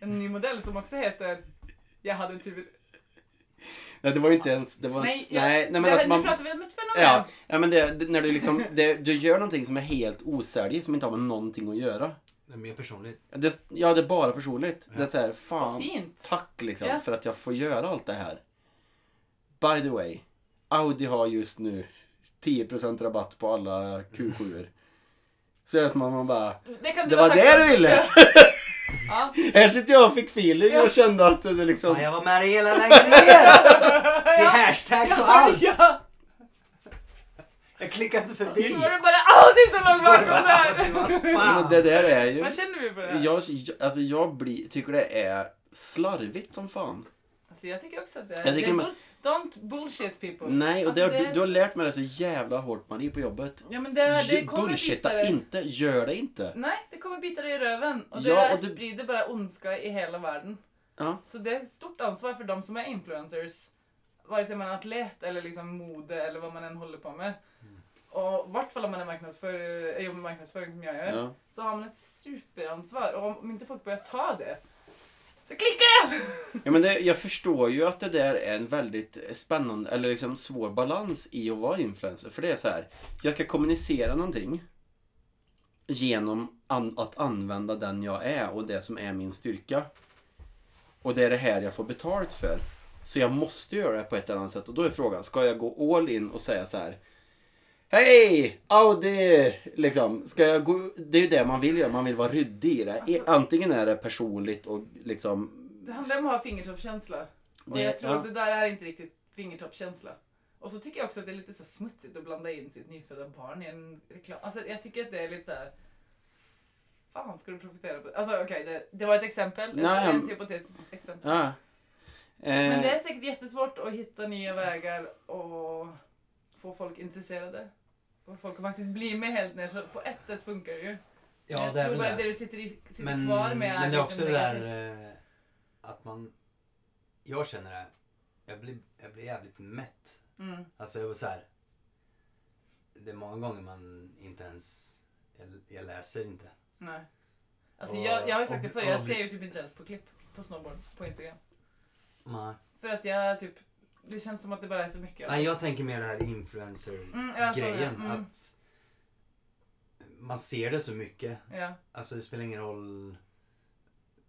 [SPEAKER 2] en ny modell som också heter Jag hade tur.
[SPEAKER 3] Nej, det var ju inte ens... Det var,
[SPEAKER 2] Nej, jag,
[SPEAKER 3] nej, nej, men
[SPEAKER 2] det,
[SPEAKER 3] att
[SPEAKER 2] här-
[SPEAKER 3] man...
[SPEAKER 2] nu pratar vi om ett fenomen.
[SPEAKER 3] Ja, ja, men det, det, när du liksom... Det, du gör någonting som är helt osäljigt, som inte har med någonting att göra.
[SPEAKER 4] Det är mer personligt.
[SPEAKER 3] Det, ja, det är bara personligt. Det är så här, fan,
[SPEAKER 2] Vad fint.
[SPEAKER 3] tack liksom
[SPEAKER 2] Ja.
[SPEAKER 3] för att jag får göra allt det här. By the way, Audi har just nu 10% rabatt på alla Q7. er Så det är som att man bara,
[SPEAKER 2] Det, kan du
[SPEAKER 3] det
[SPEAKER 2] vara
[SPEAKER 3] var det
[SPEAKER 2] tacksam
[SPEAKER 3] du
[SPEAKER 2] för.
[SPEAKER 3] ville!
[SPEAKER 2] Ja.
[SPEAKER 3] Här sitter jag och fick feeling
[SPEAKER 2] Ja.
[SPEAKER 3] och kände att det liksom...
[SPEAKER 4] Ja, jag var med dig hela vägen ner! Till hashtags och allt!
[SPEAKER 2] Ja,
[SPEAKER 4] Jag klickade inte förbi.
[SPEAKER 2] så var det bara Audi som låg bakom det här.
[SPEAKER 3] Ja,
[SPEAKER 4] Fan.
[SPEAKER 3] men det där är ju...
[SPEAKER 2] Vad känner vi för det här?
[SPEAKER 3] Jag, jag- alltså jag blir, tycker det är slarvigt som fan.
[SPEAKER 2] Alltså jag tycker också att det är...
[SPEAKER 3] Jag tycker
[SPEAKER 2] det är
[SPEAKER 3] man-
[SPEAKER 2] bull- don't bullshit people.
[SPEAKER 3] Nej, och det
[SPEAKER 2] alltså,
[SPEAKER 3] har,
[SPEAKER 2] det
[SPEAKER 3] du,
[SPEAKER 2] är
[SPEAKER 3] du har
[SPEAKER 2] så-
[SPEAKER 3] lärt mig det så jävla hårt Marie på jobbet.
[SPEAKER 2] Ja men det, det
[SPEAKER 3] Ju-
[SPEAKER 2] kommer bita
[SPEAKER 3] Bullshitta
[SPEAKER 2] dig.
[SPEAKER 3] inte, gör det inte.
[SPEAKER 2] Nej, det kommer bita dig i röven. Och det
[SPEAKER 3] Ja, och det-
[SPEAKER 2] sprider bara ondska i hela världen.
[SPEAKER 3] Ja.
[SPEAKER 2] Så det är ett stort ansvar för de som är influencers. Vare sig man är atlet eller liksom mode eller vad man än håller på med. Och i vart fall om man är marknadsför, eh, jobbar med marknadsföring som jag gör.
[SPEAKER 3] Ja.
[SPEAKER 2] Så har man ett superansvar. Och om- om inte folk börjar ta det. Så klickar jag!
[SPEAKER 3] Ja, men det, jag förstår ju att det där är en väldigt spännande, eller liksom svår balans i att vara influencer. För det är så här, jag ska kommunicera någonting genom an, att använda den jag är och det som är min styrka. Och det är det här jag får betalt för. Så jag måste göra det på ett eller annat sätt. Och då är frågan, ska jag gå all in och säga så här Hej! Audi! Liksom, ska jag gå... Det är ju det man vill göra, man vill vara ryddig i det. I-
[SPEAKER 2] Alltså-
[SPEAKER 3] Antingen är det personligt och liksom
[SPEAKER 2] Det handlar om att ha fingertoppskänsla. Och
[SPEAKER 3] Det-
[SPEAKER 2] jag tror
[SPEAKER 3] ja.
[SPEAKER 2] att det där är inte riktigt fingertoppskänsla. Och så tycker jag också att det är lite så smutsigt att blanda in sitt nyfödda barn i en reklam. Alltså jag tycker att det är lite så här. Fan ska du profitera på Alltså okej, det, det var ett exempel. ett-
[SPEAKER 3] Nej,
[SPEAKER 2] ett
[SPEAKER 3] men-
[SPEAKER 2] hypotetiskt exempel.
[SPEAKER 3] Ja. Ah. Eh,
[SPEAKER 2] Men det är säkert jättesvårt att hitta nya vägar och få folk intresserade. Och folk att faktiskt bli med helt ner. Så på ett sätt funkar det ju.
[SPEAKER 4] Ja,
[SPEAKER 2] jag
[SPEAKER 4] det är
[SPEAKER 2] tror
[SPEAKER 4] väl
[SPEAKER 2] bara
[SPEAKER 4] det.
[SPEAKER 2] det du sitter, i, sitter
[SPEAKER 4] men,
[SPEAKER 2] kvar med
[SPEAKER 4] men det är
[SPEAKER 2] liksom
[SPEAKER 4] också det där
[SPEAKER 2] negativt.
[SPEAKER 4] eh, att man... Jag känner det. Jag blir, jag blir jävligt mätt.
[SPEAKER 2] Mm.
[SPEAKER 4] Alltså jag var så här. Det är många gånger man inte ens... Jag, jag läser inte.
[SPEAKER 2] Nej. Alltså
[SPEAKER 4] Och-
[SPEAKER 2] jag, jag har ju sagt det
[SPEAKER 4] och-
[SPEAKER 2] förr, jag
[SPEAKER 4] och-
[SPEAKER 2] ser ju typ inte ens på klipp på snowboard på Instagram.
[SPEAKER 4] Nej.
[SPEAKER 2] För att jag typ, det känns som att det bara är så mycket.
[SPEAKER 4] Nej, jag tänker mer det här influencer-grejen.
[SPEAKER 2] Mm, jag såg det. Mm.
[SPEAKER 4] Att man ser det så mycket.
[SPEAKER 2] Ja.
[SPEAKER 4] Alltså det spelar ingen roll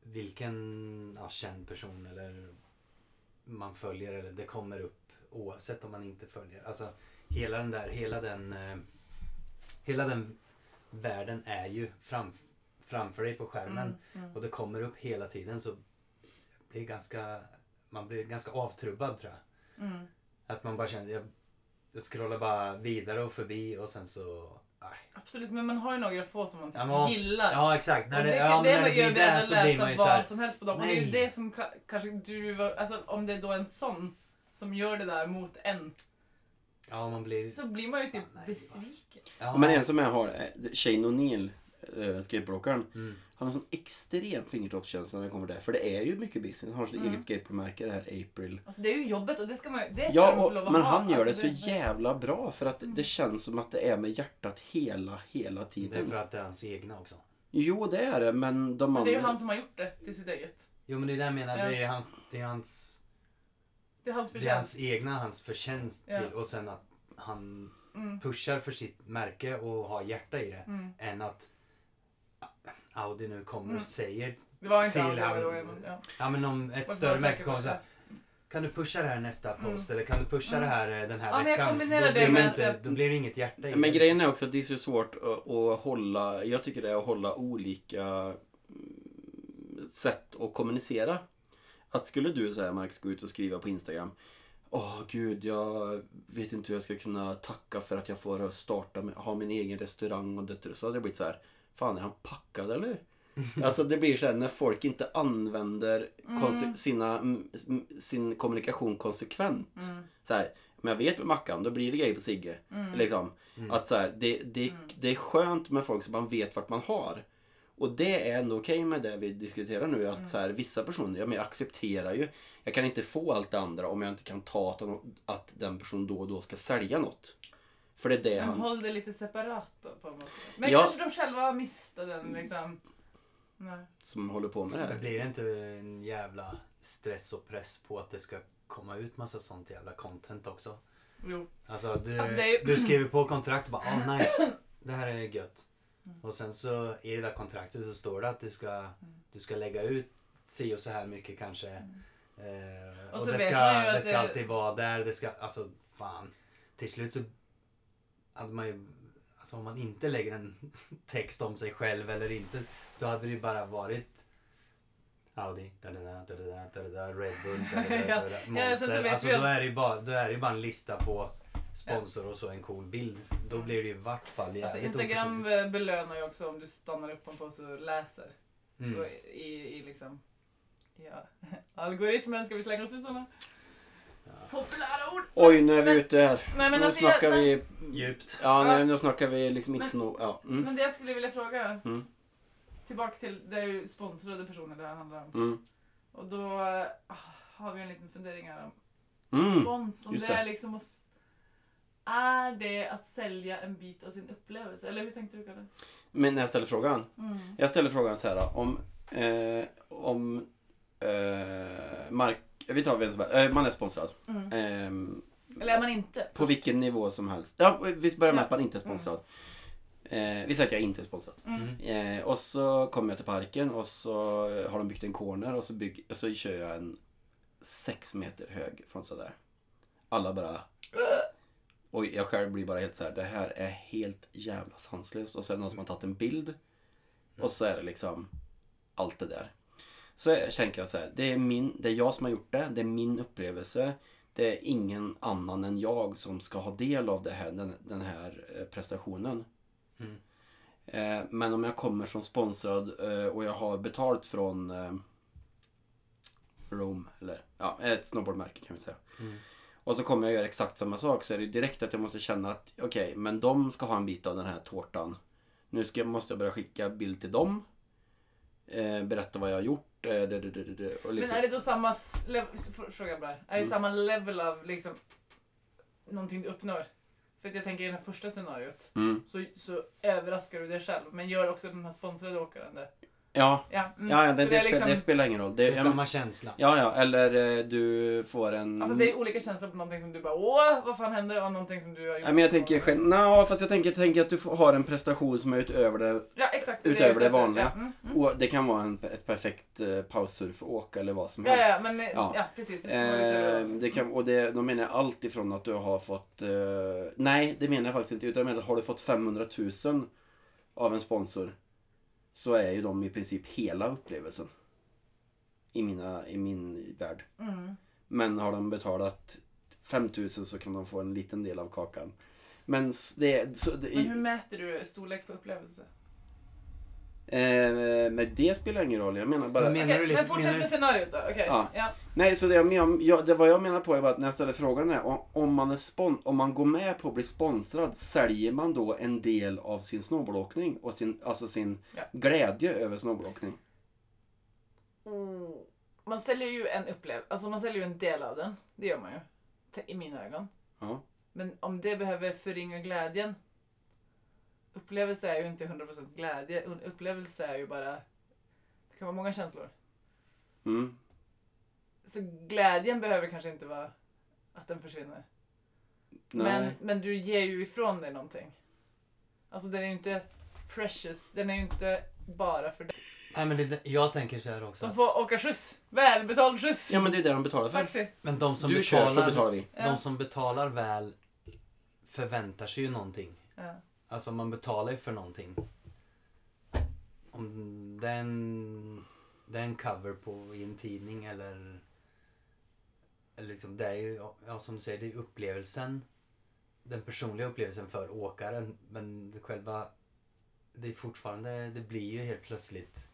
[SPEAKER 4] vilken ja, känd person eller man följer eller det kommer upp oavsett om man inte följer. Alltså hela den där, hela den eh, hela den världen är ju fram, framför dig på skärmen
[SPEAKER 2] Mm, mm.
[SPEAKER 4] och det kommer upp hela tiden så det är ganska, man blir ganska avtrubbad tror jag.
[SPEAKER 2] Mm.
[SPEAKER 4] Att man bara känner, jag, jag scrollar bara vidare och förbi och sen så, aj.
[SPEAKER 2] Absolut, men man har ju några få som man typ
[SPEAKER 4] Ja, men-
[SPEAKER 2] gillar.
[SPEAKER 4] Ja exakt, när
[SPEAKER 2] Och
[SPEAKER 4] det,
[SPEAKER 2] det,
[SPEAKER 4] ja,
[SPEAKER 2] det,
[SPEAKER 4] men när det
[SPEAKER 2] gör
[SPEAKER 4] blir
[SPEAKER 2] vi ändå
[SPEAKER 4] det så blir man ju
[SPEAKER 2] läsa
[SPEAKER 4] så här,
[SPEAKER 2] vad som helst på dem. Och det är ju
[SPEAKER 4] nej.
[SPEAKER 2] det som ka- kanske du, var- alltså om det är då en sån som gör det där mot en.
[SPEAKER 4] Ja, man blir...
[SPEAKER 2] Så blir man ju typ
[SPEAKER 4] Fan, nej,
[SPEAKER 2] besviken.
[SPEAKER 4] Ja.
[SPEAKER 3] Men en som jag har, eh, Shane O'Neill, eh, skateboardåkaren.
[SPEAKER 4] Mm.
[SPEAKER 3] Han har sån extrem fingertoppskänsla när det kommer till det. För det är ju mycket business. Han har sitt eget skateboardmärke, det här April.
[SPEAKER 2] Alltså det är ju jobbet och det ska man Mm. det ska
[SPEAKER 3] Ja,
[SPEAKER 2] de få lov
[SPEAKER 3] och,
[SPEAKER 2] att
[SPEAKER 3] men
[SPEAKER 2] ha.
[SPEAKER 3] han gör det
[SPEAKER 2] Alltså, Mm.
[SPEAKER 3] så jävla bra. För att det känns som att det är med hjärtat hela, hela
[SPEAKER 4] Det är
[SPEAKER 3] tiden.
[SPEAKER 4] för att det är hans egna också.
[SPEAKER 3] Jo, det är det. Men de
[SPEAKER 2] Men det är ju
[SPEAKER 3] andra-
[SPEAKER 2] han som har gjort det till sitt eget.
[SPEAKER 4] Jo, men det är det jag menar.
[SPEAKER 2] Ja.
[SPEAKER 4] Det, är han, det, är hans,
[SPEAKER 2] Det är hans
[SPEAKER 4] det är
[SPEAKER 2] förtjänst.
[SPEAKER 4] hans egna, hans förtjänst
[SPEAKER 2] Ja.
[SPEAKER 4] till. Och sen att han
[SPEAKER 2] Mm.
[SPEAKER 4] pushar för sitt märke och har hjärta i det.
[SPEAKER 2] Mm.
[SPEAKER 4] Än att Audi nu kommer
[SPEAKER 2] Mm.
[SPEAKER 4] och säger...
[SPEAKER 2] Det var inte
[SPEAKER 4] Till
[SPEAKER 2] han. det var
[SPEAKER 4] han.
[SPEAKER 2] då Edmund, ja.
[SPEAKER 4] Ja, men om ett
[SPEAKER 2] Vad
[SPEAKER 4] större
[SPEAKER 2] bra
[SPEAKER 4] märke
[SPEAKER 2] säker
[SPEAKER 4] kommer och
[SPEAKER 2] på det.
[SPEAKER 4] säger kan du pusha det här nästa
[SPEAKER 2] Mm.
[SPEAKER 4] post eller kan du pusha
[SPEAKER 2] Mm.
[SPEAKER 4] det här eh, den här
[SPEAKER 2] Ja, men jag
[SPEAKER 4] veckan? Då
[SPEAKER 2] kombinerar det
[SPEAKER 4] blir,
[SPEAKER 2] med-
[SPEAKER 4] det inte, då blir det inget hjärta i
[SPEAKER 3] Men
[SPEAKER 4] det.
[SPEAKER 3] grejen är också att det är så svårt att, att hålla, jag tycker det är att hålla olika mm, sätt att kommunicera. Att skulle du säga Marcus gå ut och skriva på Instagram Åh gud, jag vet inte hur jag ska kunna tacka för att jag får starta med, ha min egen restaurang och döttrar. Så hade det blivit så här, fan är han packad eller? alltså det blir så här när folk inte använder konse- sina, mm, mm, sin kommunikation konsekvent.
[SPEAKER 2] Mm.
[SPEAKER 3] Så här, men jag vet med Mackan, då blir det grejer på Sigge. Liksom. Att så här, det, det,
[SPEAKER 2] Mm.
[SPEAKER 3] det är skönt med folk som man vet vart man har. Och det är ändå okej med det vi diskuterar nu.
[SPEAKER 2] Mm.
[SPEAKER 3] Att så här, vissa personer, ja, men jag accepterar ju. Jag kan inte få allt det andra om jag inte kan ta att, de- att den personen då och då ska sälja något. För det är det
[SPEAKER 2] Men
[SPEAKER 3] han...
[SPEAKER 2] håll det lite separat då på något sätt. Men
[SPEAKER 3] Ja.
[SPEAKER 2] kanske de själva har missat den
[SPEAKER 4] Mm.
[SPEAKER 2] liksom. Nej.
[SPEAKER 3] som håller på med det
[SPEAKER 4] Men
[SPEAKER 3] här.
[SPEAKER 4] blir det inte en jävla stress och press på att det ska komma ut massa sånt jävla content också?
[SPEAKER 2] Jo.
[SPEAKER 4] Alltså du,
[SPEAKER 2] Alltså, det är ju-
[SPEAKER 4] du skriver på kontrakt och bara ah nice, det här är gött.
[SPEAKER 2] Mm.
[SPEAKER 4] Och sen så i det där kontraktet så står det att du ska, du ska lägga ut si och så här mycket kanske. Eh,
[SPEAKER 2] Mm. Och
[SPEAKER 4] och
[SPEAKER 2] så
[SPEAKER 4] det
[SPEAKER 2] vet
[SPEAKER 4] ska,
[SPEAKER 2] man ju
[SPEAKER 4] det
[SPEAKER 2] att
[SPEAKER 4] ska
[SPEAKER 2] det-
[SPEAKER 4] alltid vara där, det ska, alltså fan. Till slut så hade man ju, alltså om man inte lägger en text om sig själv eller inte, då hade det ju bara varit Audi, da, da, da, da, da, da, da, Red Bull, da, da, da, da, da,
[SPEAKER 2] Ja, ja, så- så
[SPEAKER 4] Monster.
[SPEAKER 2] vet
[SPEAKER 4] Alltså
[SPEAKER 2] vi
[SPEAKER 4] då
[SPEAKER 2] att-
[SPEAKER 4] är det ju bara, då är det ju bara en lista på sponsor och så en cool bild. Då blir det ju i vart fall
[SPEAKER 2] Mm. Alltså
[SPEAKER 4] jävligt
[SPEAKER 2] Instagram
[SPEAKER 4] opersonligt.
[SPEAKER 2] be- belönar ju också om du stannar upp på en påse och läser.
[SPEAKER 4] Mm.
[SPEAKER 2] Så i, i liksom... Ja. Algoritmen, ska vi slänga oss med sådana? Populära ord!
[SPEAKER 3] Oj, nu är vi ute här.
[SPEAKER 2] Nej, men
[SPEAKER 3] nu
[SPEAKER 2] alltså,
[SPEAKER 3] snackar
[SPEAKER 2] jag,
[SPEAKER 3] vi...
[SPEAKER 4] Djupt.
[SPEAKER 3] Ja,
[SPEAKER 2] Ja.
[SPEAKER 3] nej, nu snackar vi liksom inte
[SPEAKER 2] Men-
[SPEAKER 3] så... nog- Ja, mm,
[SPEAKER 2] Men det jag skulle vilja fråga.
[SPEAKER 3] Mm.
[SPEAKER 2] Tillbaka till, det är ju sponsrade personer det handlar om.
[SPEAKER 3] mm.
[SPEAKER 2] Och då eh, har vi en liten fundering här om
[SPEAKER 3] Mm.
[SPEAKER 2] spons. Om
[SPEAKER 3] just
[SPEAKER 2] det
[SPEAKER 3] det.
[SPEAKER 2] är liksom att, s- Är det att sälja en bit av sin upplevelse? Eller hur tänkte du Kalle?
[SPEAKER 3] Men när jag ställer frågan.
[SPEAKER 2] Mm.
[SPEAKER 3] Jag ställer frågan så här om... Eh, om eh, mark... Vi tar vem som helst. Eh, man är sponsrad.
[SPEAKER 2] Mm.
[SPEAKER 3] Ehm,
[SPEAKER 2] Eller är man inte?
[SPEAKER 3] på vilken nivå som helst. Ja, vi börjar med
[SPEAKER 2] Ja.
[SPEAKER 3] att man inte är sponsrad. Eh, vi säger att jag inte är sponsrad.
[SPEAKER 2] Mm.
[SPEAKER 3] Eh, och så kommer jag till parken och så har de byggt en corner och så, bygg, och så kör jag en sex meter hög från där. Alla bara... Och jag själv blir bara helt så här, det här är helt jävla sanslöst. Och så är det någon som har tagit en bild. Och så är det liksom allt det där. Så tänker jag så här, det är, min, det är jag som har gjort det, det är min upplevelse. Det är ingen annan än jag som ska ha del av det här, den, den här eh, prestationen.
[SPEAKER 4] Mm.
[SPEAKER 3] Eh, men om jag kommer som sponsrad eh, och jag har betalt från eh, Rome, eller ja, ett snowboardmärke kan vi säga.
[SPEAKER 4] Mm.
[SPEAKER 3] Och så kommer jag göra exakt samma sak så är det direkt att jag måste känna att okej, men de ska ha en bit av den här tårtan. Nu ska, jag- måste jag börja skicka bild till dem. Eh, berätta vad jag har gjort. Eh, det, det, det, det, det, och liksom.
[SPEAKER 2] Men är det då samma... s- lev- s- fr- Fråga bara. Är det
[SPEAKER 3] Mm.
[SPEAKER 2] samma level av liksom någonting du uppnår? För att jag tänker i det här första scenariot
[SPEAKER 3] mm.
[SPEAKER 2] så, så överraskar du dig själv men gör också den här sponsrade åkaren det.
[SPEAKER 3] Ja,
[SPEAKER 2] Ja, mm.
[SPEAKER 3] ja, ja
[SPEAKER 2] Så
[SPEAKER 3] det, det,
[SPEAKER 2] är
[SPEAKER 3] spel, det spelar ingen roll. Det,
[SPEAKER 4] Det är
[SPEAKER 3] ja,
[SPEAKER 4] samma känsla.
[SPEAKER 3] Ehm, Ja, ja, eller eh, du får en...
[SPEAKER 2] Ja, fast det är olika känslor på någonting som du bara åh, vad fan hände? Och någonting som du har gjort.
[SPEAKER 3] Nej, men jag tänker, gen- Nå, fast jag tänker, jag tänker att du får- har en prestation som är utöver det.
[SPEAKER 2] ja, exakt, är
[SPEAKER 3] utöver
[SPEAKER 2] jag
[SPEAKER 3] det
[SPEAKER 2] ute efter.
[SPEAKER 3] vanliga.
[SPEAKER 2] Ja, mm, mm.
[SPEAKER 3] Och det kan vara en, ett perfekt eh, paussurfåk eller vad som
[SPEAKER 2] ja,
[SPEAKER 3] helst.
[SPEAKER 2] ja, men eh,
[SPEAKER 3] Ja.
[SPEAKER 2] ja. precis. Det ska man utöver
[SPEAKER 3] Eh,
[SPEAKER 4] Ehm,
[SPEAKER 2] det.
[SPEAKER 3] det kan, och det, då menar jag allt ifrån att du har fått... Eh, nej, det menar jag faktiskt inte. Utan jag menar, har du fått 500 000 av en sponsor så är ju de i princip hela upplevelsen. I, mina, i min värld.
[SPEAKER 2] Mm.
[SPEAKER 3] Men har de betalat 5 000 så kan de få en liten del av kakan. Men s- det... Så, det
[SPEAKER 2] Men hur mäter du storlek på upplevelse?
[SPEAKER 3] eh, men det spelar ingen roll. Jag menar bara...
[SPEAKER 4] Men- Menar
[SPEAKER 2] Okej,
[SPEAKER 4] du lite-
[SPEAKER 2] men fortsätt
[SPEAKER 4] menar du-
[SPEAKER 2] med scenariot då. Okej.
[SPEAKER 3] Ja.
[SPEAKER 2] Ja.
[SPEAKER 3] Nej, så det, jag, men- jag, det vad jag menar på är bara att när jag ställer frågan är om- om man, är spon, om man går med på att bli sponsrad, säljer man då en del av sin snowboardåkning och sin, alltså sin
[SPEAKER 2] Ja.
[SPEAKER 3] glädje över snowboardåkning?
[SPEAKER 2] Mm. Man säljer ju en upplevelse, alltså man säljer ju en del av den. Det gör man ju. Te- I mina ögon.
[SPEAKER 3] Ja.
[SPEAKER 2] Men om det behöver förringa glädjen. Upplevelse är ju inte 100% glädje. Un- Upplevelse är ju bara... Det kan vara många känslor.
[SPEAKER 3] Mm.
[SPEAKER 2] Så glädjen behöver kanske inte vara att den försvinner.
[SPEAKER 3] Nej.
[SPEAKER 2] Men, men du ger ju ifrån dig någonting. Alltså den är ju inte precious. Den är ju inte bara för dig.
[SPEAKER 4] Nej, men det, jag tänker så här också.
[SPEAKER 2] De
[SPEAKER 4] Att,
[SPEAKER 2] får åka skjuts. Välbetald skjuts.
[SPEAKER 3] Ja, men det är det de betalar för.
[SPEAKER 2] Taxi.
[SPEAKER 4] men de som,
[SPEAKER 3] Du kör så betalar
[SPEAKER 4] betalar,
[SPEAKER 3] vi.
[SPEAKER 2] Ja.
[SPEAKER 4] de som betalar väl förväntar sig ju någonting.
[SPEAKER 2] Ja.
[SPEAKER 4] Alltså man betalar ju för någonting. Om det är en, det är en cover på i en tidning eller... eller liksom, det är ju, ja, som du säger, det är upplevelsen. Den personliga upplevelsen för åkaren. Men det själva... Det är fortfarande, det blir ju helt plötsligt...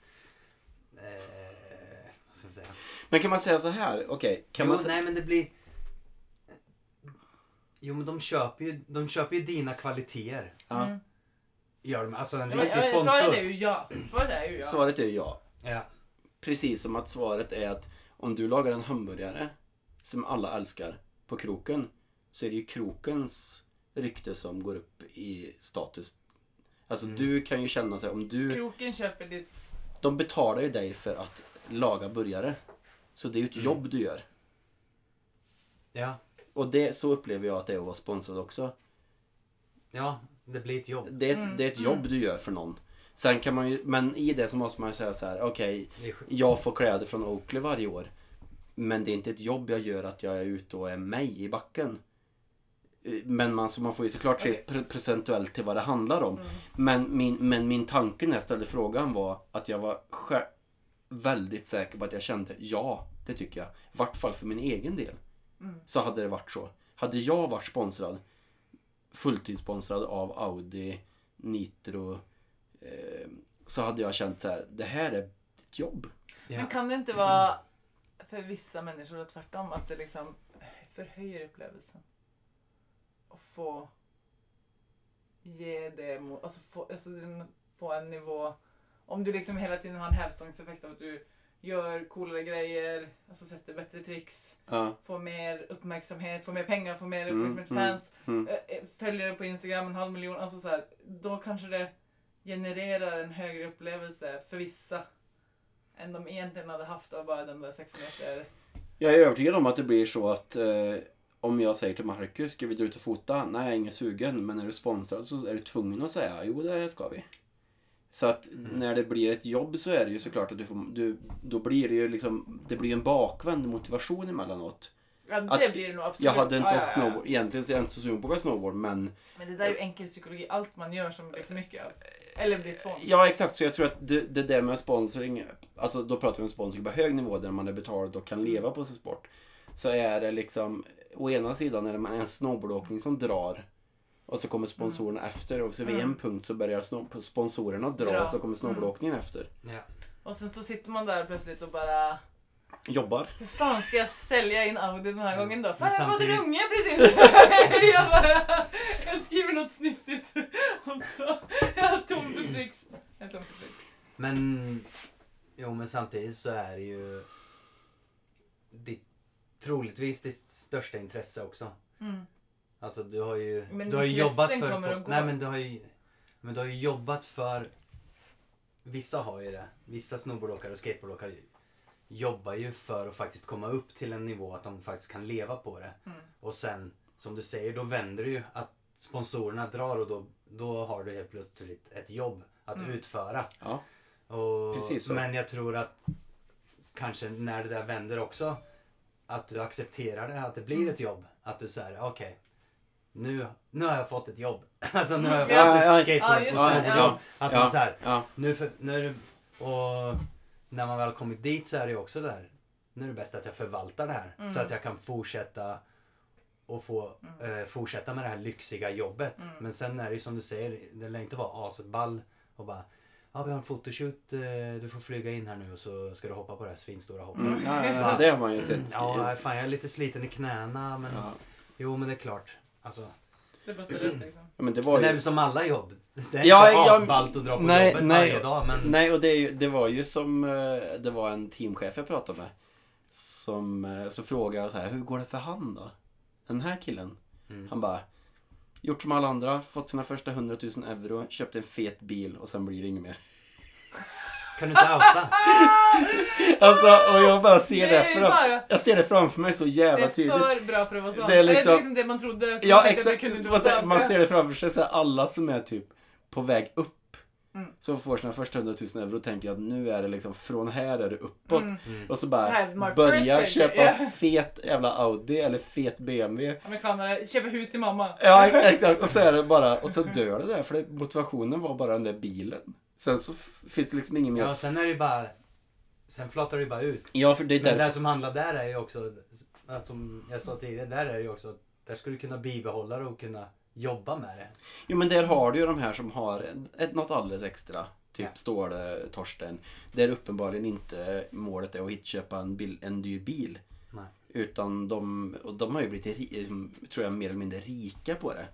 [SPEAKER 4] Eh, vad ska man säga?
[SPEAKER 3] Men kan man säga så här? Okej. Kan
[SPEAKER 4] jo,
[SPEAKER 3] man säga...
[SPEAKER 4] nej men det blir... eh, Jo men de köper ju, de köper ju dina kvaliteter.
[SPEAKER 3] Ja.
[SPEAKER 2] Mm.
[SPEAKER 4] Gör de, alltså en
[SPEAKER 2] Ja, men-
[SPEAKER 4] riktig
[SPEAKER 2] ja, Svaret
[SPEAKER 4] sponsor.
[SPEAKER 2] är ju ja. Svaret är ju ja.
[SPEAKER 3] Svaret är ja.
[SPEAKER 4] Ja.
[SPEAKER 3] Precis som att svaret är att om du lagar en hamburgare som alla älskar på kroken så är det ju krokens rykte som går upp i status. Alltså du kan ju känna sig om du...
[SPEAKER 2] Kroken köper ditt...
[SPEAKER 3] De betalar ju dig för att laga burgare. Så det är ju ett jobb du gör.
[SPEAKER 4] Ja,
[SPEAKER 3] Och det, så upplever jag att det är att vara sponsrad också.
[SPEAKER 4] ja, det blir ett jobb.
[SPEAKER 3] Det är ett, det är ett jobb du gör för någon. Sen kan man ju, men i det så måste man ju säga så här: okej,
[SPEAKER 4] Det är sjukt.
[SPEAKER 3] jag får kläder från Oakley varje år. Men det är inte ett jobb jag gör att jag är ute och är mig i backen. Eh, Men man, så man får ju såklart se
[SPEAKER 2] Okej.
[SPEAKER 3] pre- procentuellt till vad det handlar om. Men, min, men min tanke när jag ställde frågan var att jag var sjä- väldigt säker på att jag kände ja, det tycker jag. I vart fall för min egen del. Så hade det varit så. Hade jag varit sponsrad, fulltidssponsrad av Audi, Nitro, eh, så hade jag känt så här, det här är ett jobb.
[SPEAKER 4] Ja.
[SPEAKER 2] Men kan det inte vara för vissa människor tvärtom? Att det liksom förhöjer upplevelsen? Och få ge det mot... Alltså, få, alltså det är på en nivå... Om du liksom hela tiden har en hävstångseffekt av att du gör coolare grejer, alltså sätter bättre tricks,
[SPEAKER 3] Ja.
[SPEAKER 2] får mer uppmärksamhet, får mer pengar, får mer
[SPEAKER 3] Mm,
[SPEAKER 2] uppmärksamhet,
[SPEAKER 3] mm.
[SPEAKER 2] fans,
[SPEAKER 3] Mm.
[SPEAKER 2] eh, följare på Instagram, en halv miljon, alltså så här, då kanske det genererar en högre upplevelse för vissa än de egentligen hade haft av bara den där 6 meter.
[SPEAKER 3] Jag är övertygad om att det blir så att eh, om jag säger till Marcus, ska vi dra ut och fota? Nej, jag är ingen sugen. Men är du sponsrad så är du tvungen att säga, jo det ska vi. Så att när det blir ett jobb så är det ju såklart att du får, du, då blir det ju liksom, det blir en bakvänd motivation emellanåt.
[SPEAKER 2] Ja, det
[SPEAKER 3] Att-
[SPEAKER 2] blir det nog absolut.
[SPEAKER 3] Jag hade inte
[SPEAKER 2] Ja, ja,
[SPEAKER 3] åkt
[SPEAKER 2] ja.
[SPEAKER 3] snowboard, egentligen så är jag inte så sugen på att åka snowboard men
[SPEAKER 2] Men det där är ju enkel psykologi, allt man gör som blir för mycket av. Eller blir tvång.
[SPEAKER 3] Ja, exakt. Så jag tror att det, det där med sponsring, alltså då pratar vi om sponsring på hög nivå där man är betald och kan leva på sin sport. Så är det liksom, å ena sidan är det en snowboardåkning som drar och så kommer sponsorerna efter och så vid en
[SPEAKER 2] Mm.
[SPEAKER 3] punkt så börjar snob- sponsorerna dra
[SPEAKER 2] Dra.
[SPEAKER 3] och så kommer snowboardåkningen efter.
[SPEAKER 4] Ja.
[SPEAKER 2] Och sen så sitter man där plötsligt och bara
[SPEAKER 3] Jobbar.
[SPEAKER 2] Hur fan ska jag sälja in Audi den här gången då? Fan,
[SPEAKER 4] Men
[SPEAKER 2] jag har fått en
[SPEAKER 4] samtidigt-
[SPEAKER 2] unge precis! jag bara Jag skriver något snyftigt och så Jag har tomt på tricks. Jag har tomt på tricks.
[SPEAKER 4] Men, jo men samtidigt så är det ju ditt, troligtvis ditt största intresse också.
[SPEAKER 2] Mm.
[SPEAKER 4] Alltså du har ju,
[SPEAKER 2] Men
[SPEAKER 4] du har ju
[SPEAKER 2] intressen
[SPEAKER 4] jobbat för...
[SPEAKER 2] kommer
[SPEAKER 4] för-
[SPEAKER 2] och går.
[SPEAKER 4] nej men du har ju, men du har ju jobbat för... Vissa har ju det. Vissa snowboardåkare och skateboardåkare jobbar ju för att faktiskt komma upp till en nivå att de faktiskt kan leva på det.
[SPEAKER 2] Mm.
[SPEAKER 4] Och sen, som du säger, då vänder det ju att sponsorerna drar och då, då har du helt plötsligt ett jobb att
[SPEAKER 2] Mm.
[SPEAKER 4] utföra.
[SPEAKER 3] Ja.
[SPEAKER 4] Och,
[SPEAKER 3] Precis så.
[SPEAKER 4] men jag tror att kanske när det där vänder också att du accepterar det, att det
[SPEAKER 2] Mm.
[SPEAKER 4] blir ett jobb. Att du säger okej, nu, nu har jag fått ett jobb. alltså nu har jag fått
[SPEAKER 2] Ja,
[SPEAKER 4] ett
[SPEAKER 3] ja, ja.
[SPEAKER 2] Ja,
[SPEAKER 4] skateboard
[SPEAKER 2] just
[SPEAKER 4] och
[SPEAKER 2] det,
[SPEAKER 4] snowboardjobb. Att
[SPEAKER 3] Ja,
[SPEAKER 4] man så här,
[SPEAKER 3] ja.
[SPEAKER 4] nu, för, nu är det, och när man väl kommit dit så är det ju också där. Nu är det bäst att jag förvaltar det här så att jag kan fortsätta och få eh, fortsätta med det här lyxiga jobbet. Men sen är det ju som du säger, det lär inte vara asball och bara Ja vi har en fotoshoot, eh, du får flyga in här nu och så ska du hoppa på det här svinstora hoppet.
[SPEAKER 3] Mm, ja, ja, ja, det har man ju sett.
[SPEAKER 4] Ja fan jag är lite sliten i knäna men
[SPEAKER 3] Ja.
[SPEAKER 4] jo men det är klart. Alltså,
[SPEAKER 2] Det bara ställer upp liksom.
[SPEAKER 3] Ja, men det var
[SPEAKER 4] men
[SPEAKER 3] ju...
[SPEAKER 4] det är väl som alla jobb. Det är
[SPEAKER 3] Ja,
[SPEAKER 4] inte
[SPEAKER 3] ja,
[SPEAKER 4] asballt att dra på
[SPEAKER 3] nej,
[SPEAKER 4] jobbet
[SPEAKER 3] nej.
[SPEAKER 4] varje dag men
[SPEAKER 3] Nej, och det, är ju- det var ju som eh, det var en teamchef jag pratade med. Som eh, så frågade jag så här, hur går det för han då? Den här killen. Han bara, gjort som alla andra, fått sina första 100 000 euro, köpt en fet bil och sen blir det inget mer.
[SPEAKER 4] kan du inte outa?
[SPEAKER 3] Alltså, och jag bara ser
[SPEAKER 2] Det
[SPEAKER 3] det,
[SPEAKER 2] är ju bara-
[SPEAKER 3] fram, jag ser det framför mig så
[SPEAKER 2] Det
[SPEAKER 3] jävla
[SPEAKER 2] är
[SPEAKER 3] tydligt.
[SPEAKER 2] för bra för att vara sant.
[SPEAKER 3] Det är
[SPEAKER 2] Eller Det
[SPEAKER 3] liksom-
[SPEAKER 2] är liksom det man trodde. så
[SPEAKER 3] Ja,
[SPEAKER 2] tänkte att det
[SPEAKER 3] exakt.
[SPEAKER 2] kunde inte
[SPEAKER 3] Man
[SPEAKER 2] vara
[SPEAKER 3] ser,
[SPEAKER 2] sant.
[SPEAKER 3] man ser det framför sig, så här, alla som är typ på väg upp.
[SPEAKER 2] Mm.
[SPEAKER 3] Som får sina första 100 000 euro och tänker att nu är det liksom från här är det uppåt.
[SPEAKER 2] Mm.
[SPEAKER 3] Och så
[SPEAKER 2] Det
[SPEAKER 3] bara
[SPEAKER 2] här är my
[SPEAKER 3] börja
[SPEAKER 2] first picture,
[SPEAKER 3] köpa
[SPEAKER 2] yeah.
[SPEAKER 3] fet jävla Audi eller fet BMW.
[SPEAKER 2] Amerikanare köper hus till mamma.
[SPEAKER 3] Ja exakt och så är det bara och så dör det där för det, motivationen var bara den där bilen. Sen så f- finns det liksom ingen mer.
[SPEAKER 4] Ja, sen är det bara... Sen flatar det bara ut.
[SPEAKER 3] Ja för det är
[SPEAKER 4] Men
[SPEAKER 3] därför.
[SPEAKER 4] det som handlar där är ju också, att som jag sa tidigare, där är det ju också att där ska du kunna bibehålla det och kunna jobba med det.
[SPEAKER 3] Jo men där har du ju de här som har ett- ett, något alldeles extra. Typ
[SPEAKER 4] Ja.
[SPEAKER 3] Ståle, Torsten. Där uppenbarligen inte målet är att hit köpa en, bil, en dyr bil.
[SPEAKER 4] Nej.
[SPEAKER 3] Utan de, och de har ju blivit, ri- liksom, tror jag, mer eller mindre rika på det.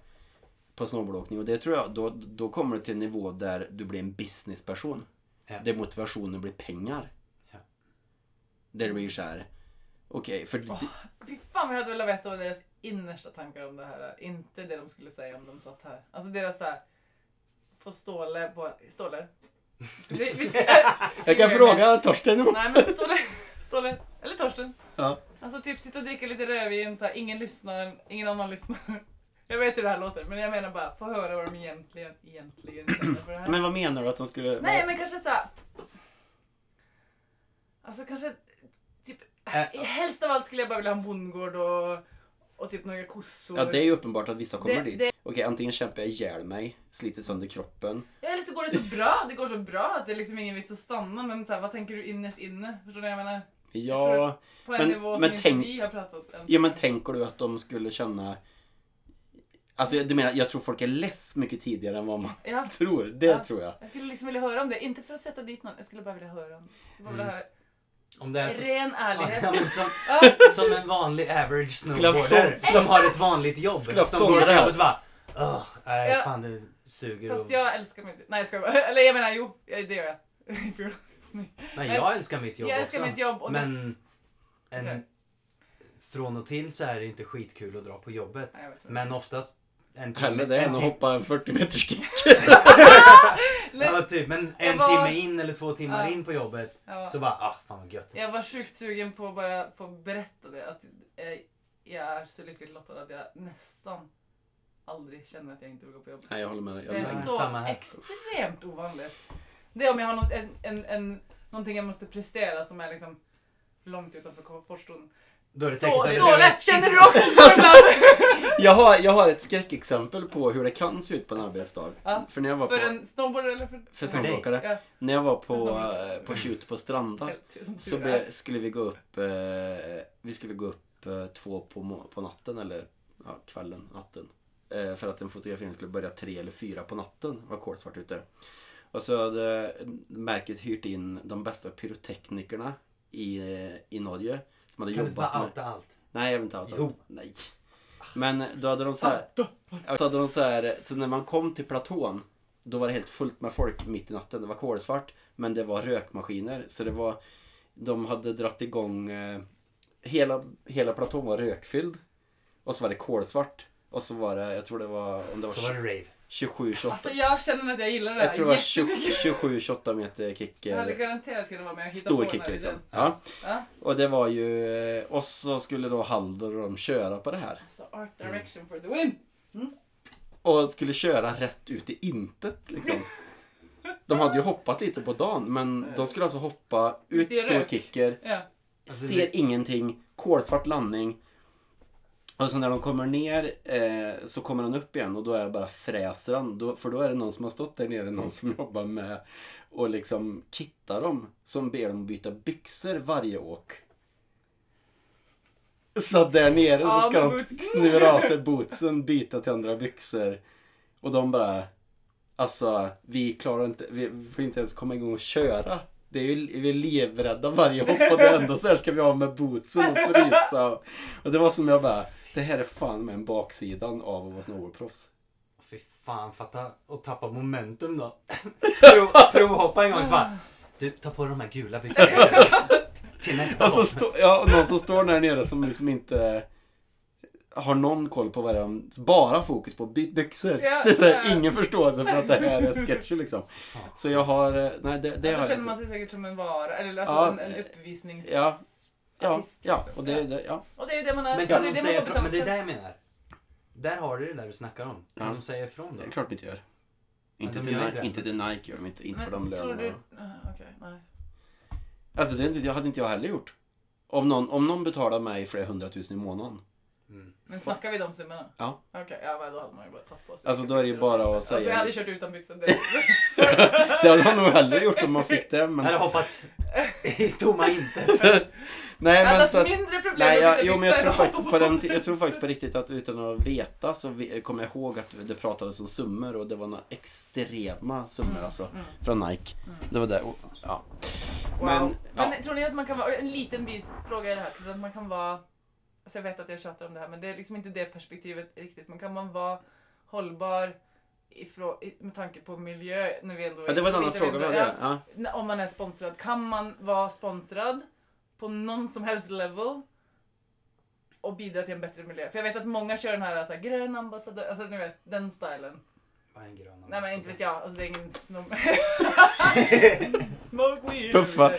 [SPEAKER 3] På snowboardåkning. Och det tror jag, då, då kommer det till en nivå där du blir en businessperson.
[SPEAKER 4] Ja.
[SPEAKER 3] Där motivationen blir pengar.
[SPEAKER 4] Ja.
[SPEAKER 3] Där det blir så här. Okej, för det-
[SPEAKER 2] Fy fan vad jag hade velat veta vad deras innersta tankar om det här är. Inte det de skulle säga om de satt här. Alltså deras såhär... Få Ståle på... Ståle? Ska Vi, vi ska,
[SPEAKER 3] jag kan fråga Torsten. om-
[SPEAKER 2] Nej men Ståle. Ståle. Eller Torsten.
[SPEAKER 3] Ja.
[SPEAKER 2] Alltså typ sitta och dricka lite rödvin såhär. Ingen lyssnar. Ingen annan lyssnar. Jag vet hur det här låter men jag menar bara få höra vad de egentligen, egentligen känner för det här.
[SPEAKER 3] Men vad menar du att de skulle...
[SPEAKER 2] Nej men kanske såhär... Alltså kanske typ...
[SPEAKER 4] Äh.
[SPEAKER 2] Helst av allt skulle jag bara vilja ha en bondgård och, och typ några kossor.
[SPEAKER 3] Ja, det är ju uppenbart att vissa kommer
[SPEAKER 2] Det-
[SPEAKER 3] dit.
[SPEAKER 2] det-
[SPEAKER 3] Okej, antingen kämpar jag ihjäl mig, sliter sönder kroppen.
[SPEAKER 2] Ja, Eller så går det så bra, det går så bra att det är liksom ingen vits att stanna men så här, vad tänker du innerst inne? Förstår du vad jag menar?
[SPEAKER 3] Ja,
[SPEAKER 2] tror- På en
[SPEAKER 3] Men-
[SPEAKER 2] nivå som
[SPEAKER 3] men
[SPEAKER 2] inte
[SPEAKER 3] tänk-
[SPEAKER 2] vi har pratat än.
[SPEAKER 3] ja men tänker du att de skulle känna... Alltså du menar, jag tror folk är less mycket tidigare än vad man
[SPEAKER 2] Ja,
[SPEAKER 3] tror. Det
[SPEAKER 2] Ja.
[SPEAKER 3] tror jag.
[SPEAKER 2] jag skulle liksom vilja höra om det, inte för att sätta dit någon, jag skulle bara vilja höra om jag skulle bara
[SPEAKER 3] Mm.
[SPEAKER 2] vilja höra.
[SPEAKER 4] Om det är
[SPEAKER 3] Alltså-
[SPEAKER 4] så...
[SPEAKER 2] Ren ärlighet.
[SPEAKER 4] Ja, men som,
[SPEAKER 2] Ja,
[SPEAKER 4] som en vanlig average
[SPEAKER 3] Skulle ha
[SPEAKER 4] snowboarder
[SPEAKER 3] sålt-
[SPEAKER 4] som har ett vanligt jobb.
[SPEAKER 3] Skulle ha
[SPEAKER 4] Som
[SPEAKER 3] sålt
[SPEAKER 4] går
[SPEAKER 3] det
[SPEAKER 4] där
[SPEAKER 3] här.
[SPEAKER 4] och så bara... "Ugh, Nej,
[SPEAKER 2] Ja.
[SPEAKER 4] fan det suger. Och,
[SPEAKER 2] fast jag älskar mig inte. Nej jag skojar bara. Eller jag menar jo, det gör jag. Snygg.
[SPEAKER 4] Nej,
[SPEAKER 2] Men-
[SPEAKER 4] jag älskar mitt jobb
[SPEAKER 2] Jag
[SPEAKER 4] också.
[SPEAKER 2] älskar mitt jobb och det...
[SPEAKER 4] Men en,
[SPEAKER 2] Okej.
[SPEAKER 4] från och till så är det inte skitkul att dra på jobbet.
[SPEAKER 2] Nej, jag vet inte.
[SPEAKER 4] Men oftast en timme,
[SPEAKER 3] Hellre det än
[SPEAKER 4] en
[SPEAKER 3] att
[SPEAKER 4] timme,
[SPEAKER 3] hoppa en 40 meters kick.
[SPEAKER 4] ja, typ, men en
[SPEAKER 2] var-
[SPEAKER 4] timme in eller två timmar
[SPEAKER 2] Ja.
[SPEAKER 4] in på jobbet
[SPEAKER 2] Ja.
[SPEAKER 4] så bara ah fan vad gött.
[SPEAKER 2] Jag var sjukt sugen på att bara få berätta det. Att eh, jag är så lyckligt lottad att jag nästan aldrig känner att jag inte vill gå på jobb.
[SPEAKER 3] Nej, jag håller med dig. Jag
[SPEAKER 2] Det är
[SPEAKER 3] håller
[SPEAKER 4] Nej,
[SPEAKER 3] med. dig.
[SPEAKER 4] samma
[SPEAKER 2] så
[SPEAKER 4] här.
[SPEAKER 2] extremt ovanligt. Det är om jag har något, en, en, en, någonting jag måste prestera som är liksom långt utanför komfortzonen.
[SPEAKER 4] Då är det säkert
[SPEAKER 2] Stå-
[SPEAKER 4] att jag
[SPEAKER 2] Ståle,
[SPEAKER 4] behöver-
[SPEAKER 2] känner du också så
[SPEAKER 3] Alltså.
[SPEAKER 2] ibland?
[SPEAKER 3] Jag har, jag har ett skräckexempel på hur det kan se ut på en arbetsdag.
[SPEAKER 2] Ja.
[SPEAKER 3] För när jag var
[SPEAKER 2] För
[SPEAKER 3] på,
[SPEAKER 2] en snowboarder eller för...
[SPEAKER 3] för
[SPEAKER 4] dig.
[SPEAKER 3] snowboardåkare,
[SPEAKER 2] Ja,
[SPEAKER 3] när jag var
[SPEAKER 2] För
[SPEAKER 3] på,
[SPEAKER 2] snowboardåkare.
[SPEAKER 3] eh, på shoot på Stranda
[SPEAKER 2] eller tur- som
[SPEAKER 3] så
[SPEAKER 2] tur
[SPEAKER 3] be,
[SPEAKER 2] är.
[SPEAKER 3] skulle vi gå upp, eh, vi skulle gå upp eh, två på, må- på natten eller ja, kvällen, natten. Eh, för att en fotografering skulle börja tre eller fyra på natten, det var kolsvart ute. Och så hade eh, märket hyrt in de bästa pyroteknikerna i, eh, i Norge. Som hade
[SPEAKER 4] Kan du inte
[SPEAKER 3] jobbat
[SPEAKER 4] bara
[SPEAKER 3] med...
[SPEAKER 4] outa allt?
[SPEAKER 3] Nej, jag vill inte outa.
[SPEAKER 4] Jo.
[SPEAKER 3] Nej. Men då hade de så här... Så hade de så här... Så när man kom till platån, då var det helt fullt med folk mitt i natten. Det var kolsvart, men det var rökmaskiner. Så det var... De hade dratt igång... Eh, hela, hela platån var rökfylld. Och så var det kolsvart. Och så var det, jag tror det var, om det var,
[SPEAKER 4] Så var det rave.
[SPEAKER 3] 27, 28...
[SPEAKER 2] Alltså jag känner att jag gillar det här
[SPEAKER 3] jag tror det var
[SPEAKER 2] jättemycket.
[SPEAKER 3] 27, 28 meter kick.
[SPEAKER 2] Jag
[SPEAKER 3] eh,
[SPEAKER 2] hade garanterat kunnat vara med och hitta på
[SPEAKER 3] Stor
[SPEAKER 2] den
[SPEAKER 3] kick
[SPEAKER 2] här
[SPEAKER 3] liksom.
[SPEAKER 2] idén.
[SPEAKER 3] Ja.
[SPEAKER 2] Ja.
[SPEAKER 3] Och det var ju... Och så skulle då Haldor och de köra på det här.
[SPEAKER 2] Alltså art
[SPEAKER 3] Mm.
[SPEAKER 2] direction for the win!
[SPEAKER 3] Och skulle köra rätt ut i intet liksom. De hade ju hoppat lite på dagen men de skulle alltså hoppa
[SPEAKER 2] Ut i
[SPEAKER 3] ut
[SPEAKER 2] rök.
[SPEAKER 3] storkicker,
[SPEAKER 2] Ja.
[SPEAKER 4] Alltså,
[SPEAKER 3] ser ingenting, kolsvart landning. Och så när de kommer ner eh, så kommer han upp igen och då är det bara fräser han. Då, för då är det någon som har stått där nere, någon som jobbar med och liksom kittar dem. Som ber dem byta byxor varje åk. Så att där nere så
[SPEAKER 2] Ja,
[SPEAKER 3] ska
[SPEAKER 2] men
[SPEAKER 3] de
[SPEAKER 2] bootsen.
[SPEAKER 3] snurra av sig bootsen, byta till andra byxor. Och de bara... Alltså, vi klarar inte... Vi får inte ens komma igång och köra. Det är ju, vi är livrädda varje hopp och det enda så här ska vi ha med bootsen och frysa. Och det var som jag bara... Det här är fan med en baksidan av att vara snowboardproffs.
[SPEAKER 4] Fy fan, fatta och tappa momentum då. Prov, provhoppa en gång så bara. Du, ta på dig de här gula byxorna. Till nästa
[SPEAKER 3] Alltså,
[SPEAKER 4] gång.
[SPEAKER 3] stå, ja, och någon som står där nere som liksom inte har någon koll på vad det är. Bara fokus på byt byxor.
[SPEAKER 2] Ja,
[SPEAKER 3] så, det är
[SPEAKER 2] ja.
[SPEAKER 3] Ingen förståelse för att det här är sketcher liksom.
[SPEAKER 4] Fan.
[SPEAKER 3] Så jag har... eh, Nej, det, det
[SPEAKER 2] ja,
[SPEAKER 3] har
[SPEAKER 2] då
[SPEAKER 3] jag
[SPEAKER 2] känner man sig säkert som en vara, eller alltså
[SPEAKER 3] Ja,
[SPEAKER 2] en, en
[SPEAKER 3] eh,
[SPEAKER 2] uppvisnings...
[SPEAKER 3] ja, Ja,
[SPEAKER 2] artist,
[SPEAKER 3] ja,
[SPEAKER 2] liksom.
[SPEAKER 3] och det, det ja.
[SPEAKER 2] och det är ju det man är.
[SPEAKER 4] Men kan
[SPEAKER 2] alltså,
[SPEAKER 4] de
[SPEAKER 2] det är
[SPEAKER 4] säga
[SPEAKER 2] man får
[SPEAKER 4] ifrån? Men det är
[SPEAKER 2] betala
[SPEAKER 4] det jag menar. Där har du det där du snackar om. Kan
[SPEAKER 3] Ja.
[SPEAKER 4] de säga ifrån då?
[SPEAKER 3] Det är klart vi inte gör.
[SPEAKER 4] Men
[SPEAKER 3] Inte,
[SPEAKER 4] de
[SPEAKER 3] till,
[SPEAKER 4] gör
[SPEAKER 3] Ni-
[SPEAKER 4] inte det.
[SPEAKER 3] inte till Nike gör de inte, inte för de
[SPEAKER 2] Men tror du...
[SPEAKER 3] lönerna.
[SPEAKER 2] Ah, Okej, nej.
[SPEAKER 3] Alltså det är inte- det hade inte jag heller gjort. Om någon, om någon betalar mig flera hundratusen i månaden.
[SPEAKER 4] Mm.
[SPEAKER 2] Men snackar vi de summorna?
[SPEAKER 3] Ja.
[SPEAKER 2] Okej, ja men då hade man ju bara tagit på sig
[SPEAKER 3] Alltså då är det ju
[SPEAKER 2] byxor och-
[SPEAKER 3] bara att säga.
[SPEAKER 2] Alltså jag hade kört utan byxor direkt.
[SPEAKER 3] Det hade jag nog hellre gjort om man fick det.
[SPEAKER 4] Jag
[SPEAKER 3] Men...
[SPEAKER 4] hade hoppat i tomma intet.
[SPEAKER 3] Nej
[SPEAKER 2] Jag hade
[SPEAKER 3] men så
[SPEAKER 2] haft
[SPEAKER 3] att...
[SPEAKER 2] mindre problem
[SPEAKER 3] Nej,
[SPEAKER 2] med
[SPEAKER 3] jag,
[SPEAKER 2] att byta
[SPEAKER 3] jo, men jag, tror
[SPEAKER 2] byxor än
[SPEAKER 3] faktiskt på
[SPEAKER 2] att-
[SPEAKER 3] den, jag tror faktiskt på riktigt att utan att veta så vi, kommer jag ihåg att det pratades om summor och det var några extrema summor alltså.
[SPEAKER 2] Mm.
[SPEAKER 3] Från Nike. Det var det. Och, ja.
[SPEAKER 2] Wow.
[SPEAKER 3] Men,
[SPEAKER 2] Men,
[SPEAKER 3] ja.
[SPEAKER 2] tror ni att man kan vara, en liten bifråga i det här, tror ni att man kan vara, alltså jag vet att jag tjatar om det här men det är liksom inte det perspektivet riktigt, men kan man vara hållbar ifrå, i- med tanke på miljö när vi ändå
[SPEAKER 3] ja, det var en annan
[SPEAKER 2] inte vet
[SPEAKER 3] fråga.
[SPEAKER 2] vad-
[SPEAKER 3] Vad det? är. Ja.
[SPEAKER 2] ja, Om man är sponsrad, kan man vara sponsrad på någon som helst level och bidra till en bättre miljö? För jag vet att många kör den här, så här grön ambassadör, alltså ni vet den stilen.
[SPEAKER 4] Vad är en grön
[SPEAKER 2] Nej men
[SPEAKER 4] ambassadör?
[SPEAKER 2] inte vet jag, alltså det är ingen snom... Smoke weed!
[SPEAKER 3] Puffa.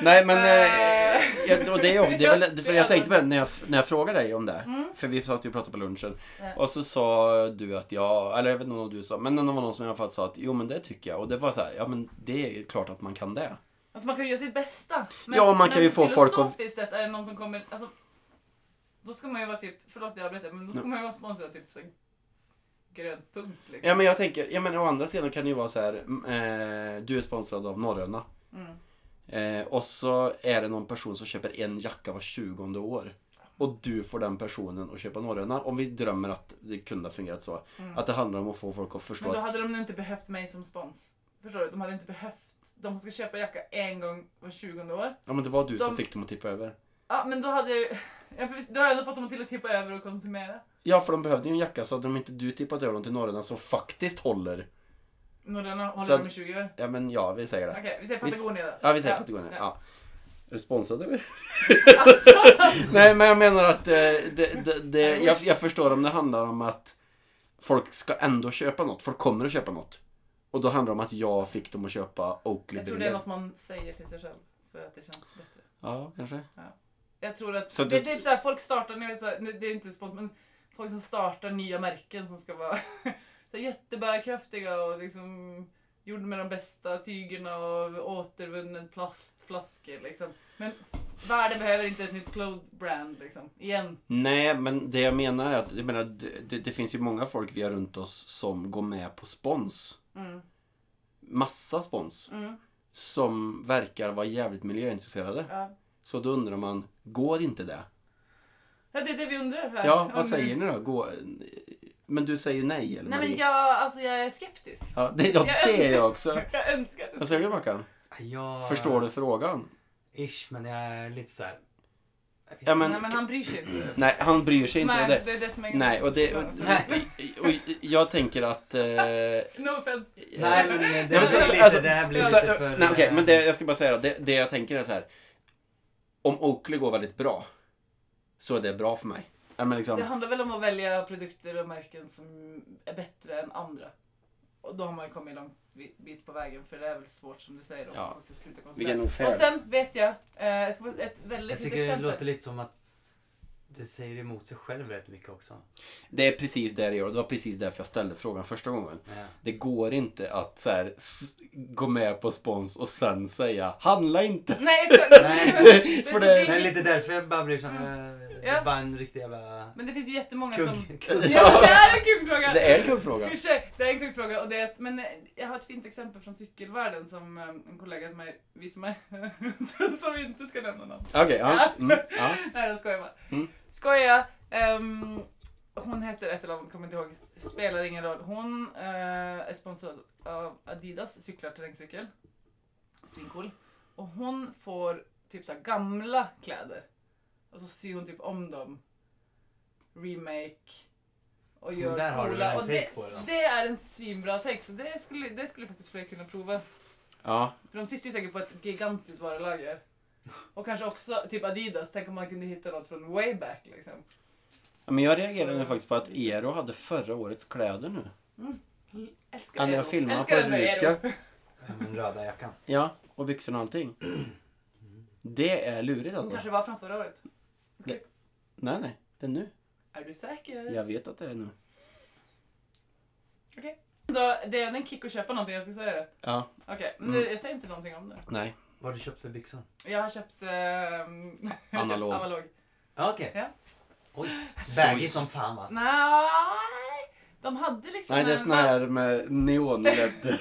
[SPEAKER 3] Nej men,
[SPEAKER 2] Eh.
[SPEAKER 3] eh, jag- och det är om, det är väl, för jag tänkte på det när jag, när jag frågade dig om det. För vi satt ju och pratade på lunchen.
[SPEAKER 2] Ja.
[SPEAKER 3] Och så sa du att jag, eller jag vet inte om du sa, men det var någon som i alla fall sa att jo men det tycker jag. Och det var så här, ja men det är klart att man kan det.
[SPEAKER 2] Alltså man kan ju göra sitt bästa.
[SPEAKER 3] Ja, man kan ju få folk att-
[SPEAKER 2] filosofiskt sett är det någon som kommer... Alltså, då ska man ju vara typ, förlåt jag avbryter, men då ska man ju vara sponsrad typ så, grönt punkt liksom.
[SPEAKER 3] Ja men jag tänker, ja men å andra sidan kan det ju vara så här, eh, du är sponsrad av Norröna.
[SPEAKER 2] Mm.
[SPEAKER 3] Eh, och så är det någon person som köper en jacka var tjugonde år. Och du får den personen att köpa Norröna. Om vi drömmer att det kunde ha fungerat så. Att det handlar om att få folk att förstå
[SPEAKER 2] Mm. Men då
[SPEAKER 3] att
[SPEAKER 2] hade de nog inte behövt mig som spons. Förstår du? De hade inte behövt. De som ska köpa jacka en gång var 20 år.
[SPEAKER 3] Ja men det var du som
[SPEAKER 2] De-
[SPEAKER 3] fick dem att tippa över.
[SPEAKER 2] Ja, men då hade jag ju... Ja, för visst, då har jag ändå fått dem till att tippa över och konsumera.
[SPEAKER 3] Ja för de behövde ju en jacka så hade de inte du tippat över dem till norrarna som faktiskt håller.
[SPEAKER 2] Norrländerna
[SPEAKER 3] Så
[SPEAKER 2] håller
[SPEAKER 3] att-
[SPEAKER 2] med 20 år.
[SPEAKER 3] Ja, men ja, vi säger det.
[SPEAKER 2] Okej, vi säger Patagonia då.
[SPEAKER 3] Ja, vi säger Patagonia. Ja. Är du sponsrad eller?
[SPEAKER 2] Alltså,
[SPEAKER 3] Nej, men jag menar att eh, det, det, det,
[SPEAKER 2] I
[SPEAKER 3] jag,
[SPEAKER 2] wish.
[SPEAKER 3] jag förstår om det handlar om att folk ska ändå köpa något. Folk kommer att köpa något. Och då handlar det om att jag fick dem att köpa
[SPEAKER 2] jag tror det är
[SPEAKER 3] Oakley-brillor.
[SPEAKER 2] något man säger till sig själv för att det känns bättre.
[SPEAKER 3] Ja, kanske.
[SPEAKER 2] Jag tror att
[SPEAKER 3] Så
[SPEAKER 2] det är
[SPEAKER 3] du-
[SPEAKER 2] typ såhär, folk startar, ni vet, såhär, nu- det är inte spons, men folk som startar nya märken som ska vara så jättebärkraftiga och liksom gjorda med de bästa tygerna och återvunnen plastflaskor liksom. Men världen behöver inte ett nytt cloth brand liksom. Igen.
[SPEAKER 3] Nej, men det jag menar är att jag menar, det- det, det finns ju många folk vi har runt oss som går med på spons.
[SPEAKER 2] Mm.
[SPEAKER 3] Massa spons.
[SPEAKER 2] Mm.
[SPEAKER 3] Som verkar vara jävligt miljöintresserade.
[SPEAKER 2] Ja.
[SPEAKER 3] Så då undrar man, går inte det?
[SPEAKER 2] ja, det är det vi undrar här.
[SPEAKER 3] Ja, vad
[SPEAKER 2] Om-
[SPEAKER 3] säger ni då? Gå... Men du säger nej, eller
[SPEAKER 2] Nej men
[SPEAKER 3] Marie?
[SPEAKER 2] jag, alltså jag är skeptisk.
[SPEAKER 3] Ja, det, ja, det är jag också. Alltså,
[SPEAKER 2] Jag önskar att det
[SPEAKER 3] Vad säger du, Mackan?
[SPEAKER 4] Jag...
[SPEAKER 3] Förstår du frågan?
[SPEAKER 4] Ish, men jag är lite såhär... jag vet
[SPEAKER 3] Ja, men-
[SPEAKER 2] Nej men han bryr sig inte.
[SPEAKER 3] Nej, han bryr sig inte
[SPEAKER 2] Nej,
[SPEAKER 3] om det.
[SPEAKER 2] det är det som är
[SPEAKER 3] Nej, och det... Och, och, och jag tänker att... Eh,
[SPEAKER 2] No offense.
[SPEAKER 4] Nej men det
[SPEAKER 3] men
[SPEAKER 4] blir
[SPEAKER 3] så- så-
[SPEAKER 4] lite,
[SPEAKER 3] alltså-
[SPEAKER 4] det här blir
[SPEAKER 3] så-
[SPEAKER 4] lite för...
[SPEAKER 3] nej, okej, men det, jag ska bara säga då, det, det jag tänker är så här. Om Oakley går väldigt bra, så är det bra för mig. Ja, men liksom,
[SPEAKER 2] Det handlar väl om att välja produkter och märken som är bättre än andra. Och då har man ju kommit en lång bi- bit på vägen för det är väl svårt som du säger då
[SPEAKER 3] Ja.
[SPEAKER 2] att faktiskt sluta
[SPEAKER 3] vi är
[SPEAKER 2] konsumera.
[SPEAKER 3] nog
[SPEAKER 2] Och
[SPEAKER 3] fair.
[SPEAKER 2] sen vet jag, eh, jag ska få ett
[SPEAKER 4] Jag
[SPEAKER 2] väldigt fint
[SPEAKER 4] tycker det
[SPEAKER 2] exempel.
[SPEAKER 4] låter lite som att det säger emot sig själv rätt mycket också.
[SPEAKER 3] Det är precis det det gör och det var precis därför jag ställde frågan första gången.
[SPEAKER 4] Ja.
[SPEAKER 3] Det går inte att så här, s- gå med på spons och sen säga handla inte.
[SPEAKER 2] Nej exakt!
[SPEAKER 4] Nej,
[SPEAKER 3] för
[SPEAKER 2] det
[SPEAKER 4] Det
[SPEAKER 2] blir-
[SPEAKER 4] är lite därför jag bara blir sån...
[SPEAKER 2] Ja.
[SPEAKER 4] Mm. Bara en riktig jävla...
[SPEAKER 2] Men det finns ju jättemånga som...
[SPEAKER 4] Kugg. kugg.
[SPEAKER 2] Ja, det här är en kul fråga!
[SPEAKER 3] Det är en kul fråga.
[SPEAKER 2] Touché. Det är en sjuk fråga. Och det är ett, men eh, jag har ett fint exempel från cykelvärlden som eh, en kollega till mig visade mig. som inte ska nämna namn.
[SPEAKER 3] Okej, ja. Mm, ja.
[SPEAKER 2] Nej, då skojar jag bara.
[SPEAKER 3] Mm.
[SPEAKER 2] Skoja. Ehm, hon heter ett eller annat, kommer inte ihåg. Spelar ingen roll. Hon eh, är sponsrad av Adidas cyklar terrängcykel. Svincool. Och hon får typ så här gamla kläder. Och så syr hon typ om dem. Remake. Och
[SPEAKER 4] Men
[SPEAKER 2] gör
[SPEAKER 4] där har du
[SPEAKER 2] coola.
[SPEAKER 4] en
[SPEAKER 2] och
[SPEAKER 4] take
[SPEAKER 2] det,
[SPEAKER 4] på den.
[SPEAKER 2] det är en svinbra text. Så det skulle, det skulle faktiskt fler kunna prova.
[SPEAKER 3] ja.
[SPEAKER 2] För de sitter ju säkert på ett gigantiskt varulager. Och kanske också typ Adidas. Tänk om man kunde hitta något från way back liksom.
[SPEAKER 3] Ja, Men jag reagerar
[SPEAKER 2] Så-
[SPEAKER 3] nu faktiskt på att Eero hade förra årets kläder nu.
[SPEAKER 2] Älskar
[SPEAKER 3] Ja, när
[SPEAKER 2] Eero.
[SPEAKER 3] jag filmade på
[SPEAKER 2] Älskar den där Eero.
[SPEAKER 3] Ruka.
[SPEAKER 4] Ja, men röda jackan.
[SPEAKER 3] Ja, och byxorna och allting. Det är lurigt alltså.
[SPEAKER 2] Kanske var från förra året.
[SPEAKER 3] Nej, nej. Det är nu.
[SPEAKER 2] Är du säker?
[SPEAKER 3] Jag vet att det är nu.
[SPEAKER 2] Då, det är en kick att köpa någonting, jag ska säga det.
[SPEAKER 3] Ja,
[SPEAKER 2] Okej, men
[SPEAKER 3] Mm.
[SPEAKER 2] det- jag säger inte någonting om det.
[SPEAKER 3] nej.
[SPEAKER 4] Vad har du köpt för byxor?
[SPEAKER 2] Jag har köpt ehm, jag har köpt
[SPEAKER 3] Analog.
[SPEAKER 2] analog.
[SPEAKER 4] Ja, okej.
[SPEAKER 2] Ja.
[SPEAKER 4] Oj,
[SPEAKER 3] Så-
[SPEAKER 4] baggy som fan va?
[SPEAKER 2] Nej, de hade liksom
[SPEAKER 3] Nej, det är
[SPEAKER 2] en-
[SPEAKER 3] sån här med neonled.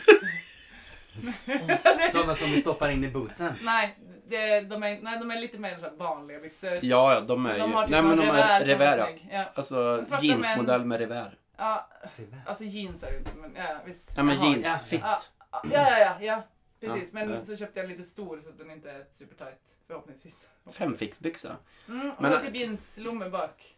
[SPEAKER 4] Sådana som du stoppar in i bootsen.
[SPEAKER 2] Nej, det, de är, nej, de är lite mer så här vanliga byxor.
[SPEAKER 3] Ja, ja, de är
[SPEAKER 2] Men
[SPEAKER 3] ju...
[SPEAKER 2] de har typ
[SPEAKER 3] nej, men
[SPEAKER 2] någon
[SPEAKER 3] de
[SPEAKER 2] revär
[SPEAKER 3] är
[SPEAKER 2] som är
[SPEAKER 3] revär. ja.
[SPEAKER 2] snygg. Ja.
[SPEAKER 3] Alltså
[SPEAKER 2] Svarta
[SPEAKER 3] jeansmodell med revär.
[SPEAKER 2] Ja,
[SPEAKER 4] Privat.
[SPEAKER 2] Alltså jeans är det inte, men ja visst.
[SPEAKER 3] Nej, men
[SPEAKER 4] Jaha, ja.
[SPEAKER 3] jeans. Fitt.
[SPEAKER 2] Ja, ja, ja, ja, ja. Precis,
[SPEAKER 3] Ja,
[SPEAKER 2] men
[SPEAKER 3] ja.
[SPEAKER 2] så köpte jag en lite stor så att den inte är supertight förhoppningsvis.
[SPEAKER 3] Femfixbyxa.
[SPEAKER 2] Mm, och
[SPEAKER 3] Men-
[SPEAKER 2] men, typ jeanslomme bak.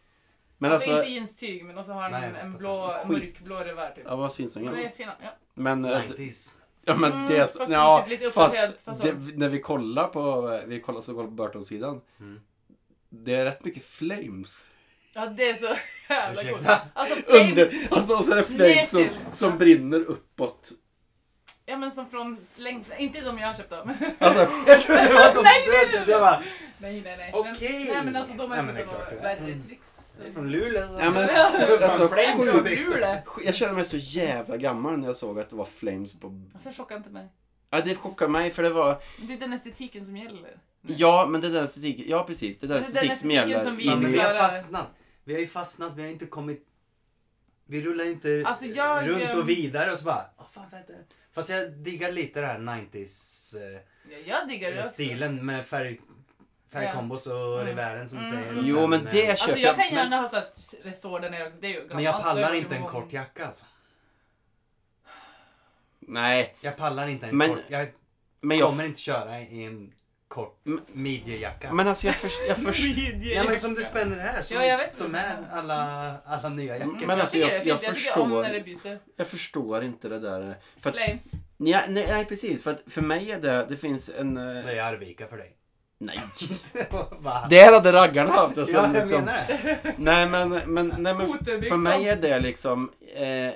[SPEAKER 3] Men
[SPEAKER 2] alltså,
[SPEAKER 3] alltså...
[SPEAKER 2] inte jeanstyg men också har han
[SPEAKER 4] Nej, jag
[SPEAKER 2] en, en
[SPEAKER 4] fattar.
[SPEAKER 2] blå,
[SPEAKER 3] Skit.
[SPEAKER 2] mörkblå revär typ.
[SPEAKER 3] Ja, vad fint som
[SPEAKER 2] De är
[SPEAKER 3] helst.
[SPEAKER 2] jättefina. Ja.
[SPEAKER 3] Men... eh, d-
[SPEAKER 4] 90s.
[SPEAKER 3] Ja, men
[SPEAKER 2] Mm,
[SPEAKER 3] det...
[SPEAKER 2] fast
[SPEAKER 3] ja,
[SPEAKER 2] typ lite
[SPEAKER 3] fast
[SPEAKER 2] uppdaterad fasong.
[SPEAKER 3] det, när vi kollar på... Vi kollar så kollar på Burton-sidan.
[SPEAKER 4] Mm.
[SPEAKER 3] Det är rätt mycket flames.
[SPEAKER 2] ja, det är så jävla coolt.
[SPEAKER 4] Ursäkta.
[SPEAKER 2] Alltså flames,
[SPEAKER 3] Under, alltså, och så är det flames som,
[SPEAKER 2] Ner till.
[SPEAKER 3] som brinner uppåt.
[SPEAKER 2] ja men som från längst, inte de jag har köpt då. men-
[SPEAKER 3] Alltså,
[SPEAKER 4] Jag trodde det var de
[SPEAKER 2] Nej,
[SPEAKER 4] som
[SPEAKER 2] nej,
[SPEAKER 4] jag köpte. Jag bara,
[SPEAKER 2] nej nej nej.
[SPEAKER 4] Okej.
[SPEAKER 2] Men, nej men alltså de
[SPEAKER 4] Nej, men
[SPEAKER 2] har
[SPEAKER 4] det är
[SPEAKER 2] sett några
[SPEAKER 4] klart.
[SPEAKER 2] värre
[SPEAKER 4] Mm.
[SPEAKER 2] tricks.
[SPEAKER 4] det är från Luleå. så-
[SPEAKER 3] ja, men,
[SPEAKER 4] Fan,
[SPEAKER 3] alltså,
[SPEAKER 4] flames
[SPEAKER 2] En
[SPEAKER 4] på
[SPEAKER 2] från
[SPEAKER 4] byxor.
[SPEAKER 2] Luleå.
[SPEAKER 3] jag kände mig så jävla gammal när jag såg att det var flames på...
[SPEAKER 2] Alltså chocka inte mig.
[SPEAKER 3] Ja, det chockade mig för det var...
[SPEAKER 2] Det är den estetiken som gäller.
[SPEAKER 3] Ja, men det är den estetiken. Ja, precis. Det är den
[SPEAKER 2] Det är den
[SPEAKER 3] estetik som
[SPEAKER 2] estetiken
[SPEAKER 3] gäller.
[SPEAKER 2] som vi
[SPEAKER 3] i
[SPEAKER 4] Fan, men vi har
[SPEAKER 2] Luleå.
[SPEAKER 4] fastnat. Vi har ju fastnat, vi har inte kommit... Vi rullar ju inte
[SPEAKER 2] Alltså, jag,
[SPEAKER 4] runt
[SPEAKER 2] ehm,
[SPEAKER 4] och vidare och så bara... Åh, fan, vänta. Fast jag diggar lite det här 90s eh,
[SPEAKER 2] Ja, jag diggar det också.
[SPEAKER 4] stilen med färg, färgkombos och
[SPEAKER 2] Mm.
[SPEAKER 4] revären som du
[SPEAKER 2] Mm,
[SPEAKER 4] säger.
[SPEAKER 2] mm.
[SPEAKER 4] och
[SPEAKER 3] Jo,
[SPEAKER 4] sen,
[SPEAKER 3] men
[SPEAKER 4] eh,
[SPEAKER 3] det köper
[SPEAKER 2] Alltså jag kan
[SPEAKER 3] men-
[SPEAKER 2] gärna ha såhär resår där nere också, det är ju gammalt.
[SPEAKER 4] Men jag pallar
[SPEAKER 2] Det är ju
[SPEAKER 4] inte en
[SPEAKER 2] många-
[SPEAKER 4] kort jacka alltså.
[SPEAKER 3] Nej,
[SPEAKER 4] Jag pallar inte en
[SPEAKER 3] Men-
[SPEAKER 4] kort... Jag
[SPEAKER 3] men jag...
[SPEAKER 4] kommer inte köra i en kort
[SPEAKER 3] Men-
[SPEAKER 4] midjejacka.
[SPEAKER 3] Men alltså jag, förs- jag, förs-
[SPEAKER 4] ja, men som du spänner här. Som,
[SPEAKER 2] Ja, jag vet.
[SPEAKER 4] som är alla, alla nya jackor.
[SPEAKER 3] Men alltså, jag-
[SPEAKER 2] tycker det är fint.
[SPEAKER 3] jag
[SPEAKER 2] tycker om
[SPEAKER 3] förstår.
[SPEAKER 2] när det byter.
[SPEAKER 3] jag förstår inte det där. För att,
[SPEAKER 2] Flames.
[SPEAKER 3] nej, nej, nej, precis. För, att för mig är det, det finns en... eh,
[SPEAKER 4] Det är Arvika för dig.
[SPEAKER 3] Nej!
[SPEAKER 4] Va?
[SPEAKER 3] Där hade raggarna haft det
[SPEAKER 4] ja,
[SPEAKER 3] som
[SPEAKER 4] jag
[SPEAKER 3] liksom...
[SPEAKER 4] menar det.
[SPEAKER 3] Nej men, men, nej, men
[SPEAKER 2] Skoterbyxor.
[SPEAKER 3] för mig är det liksom eh,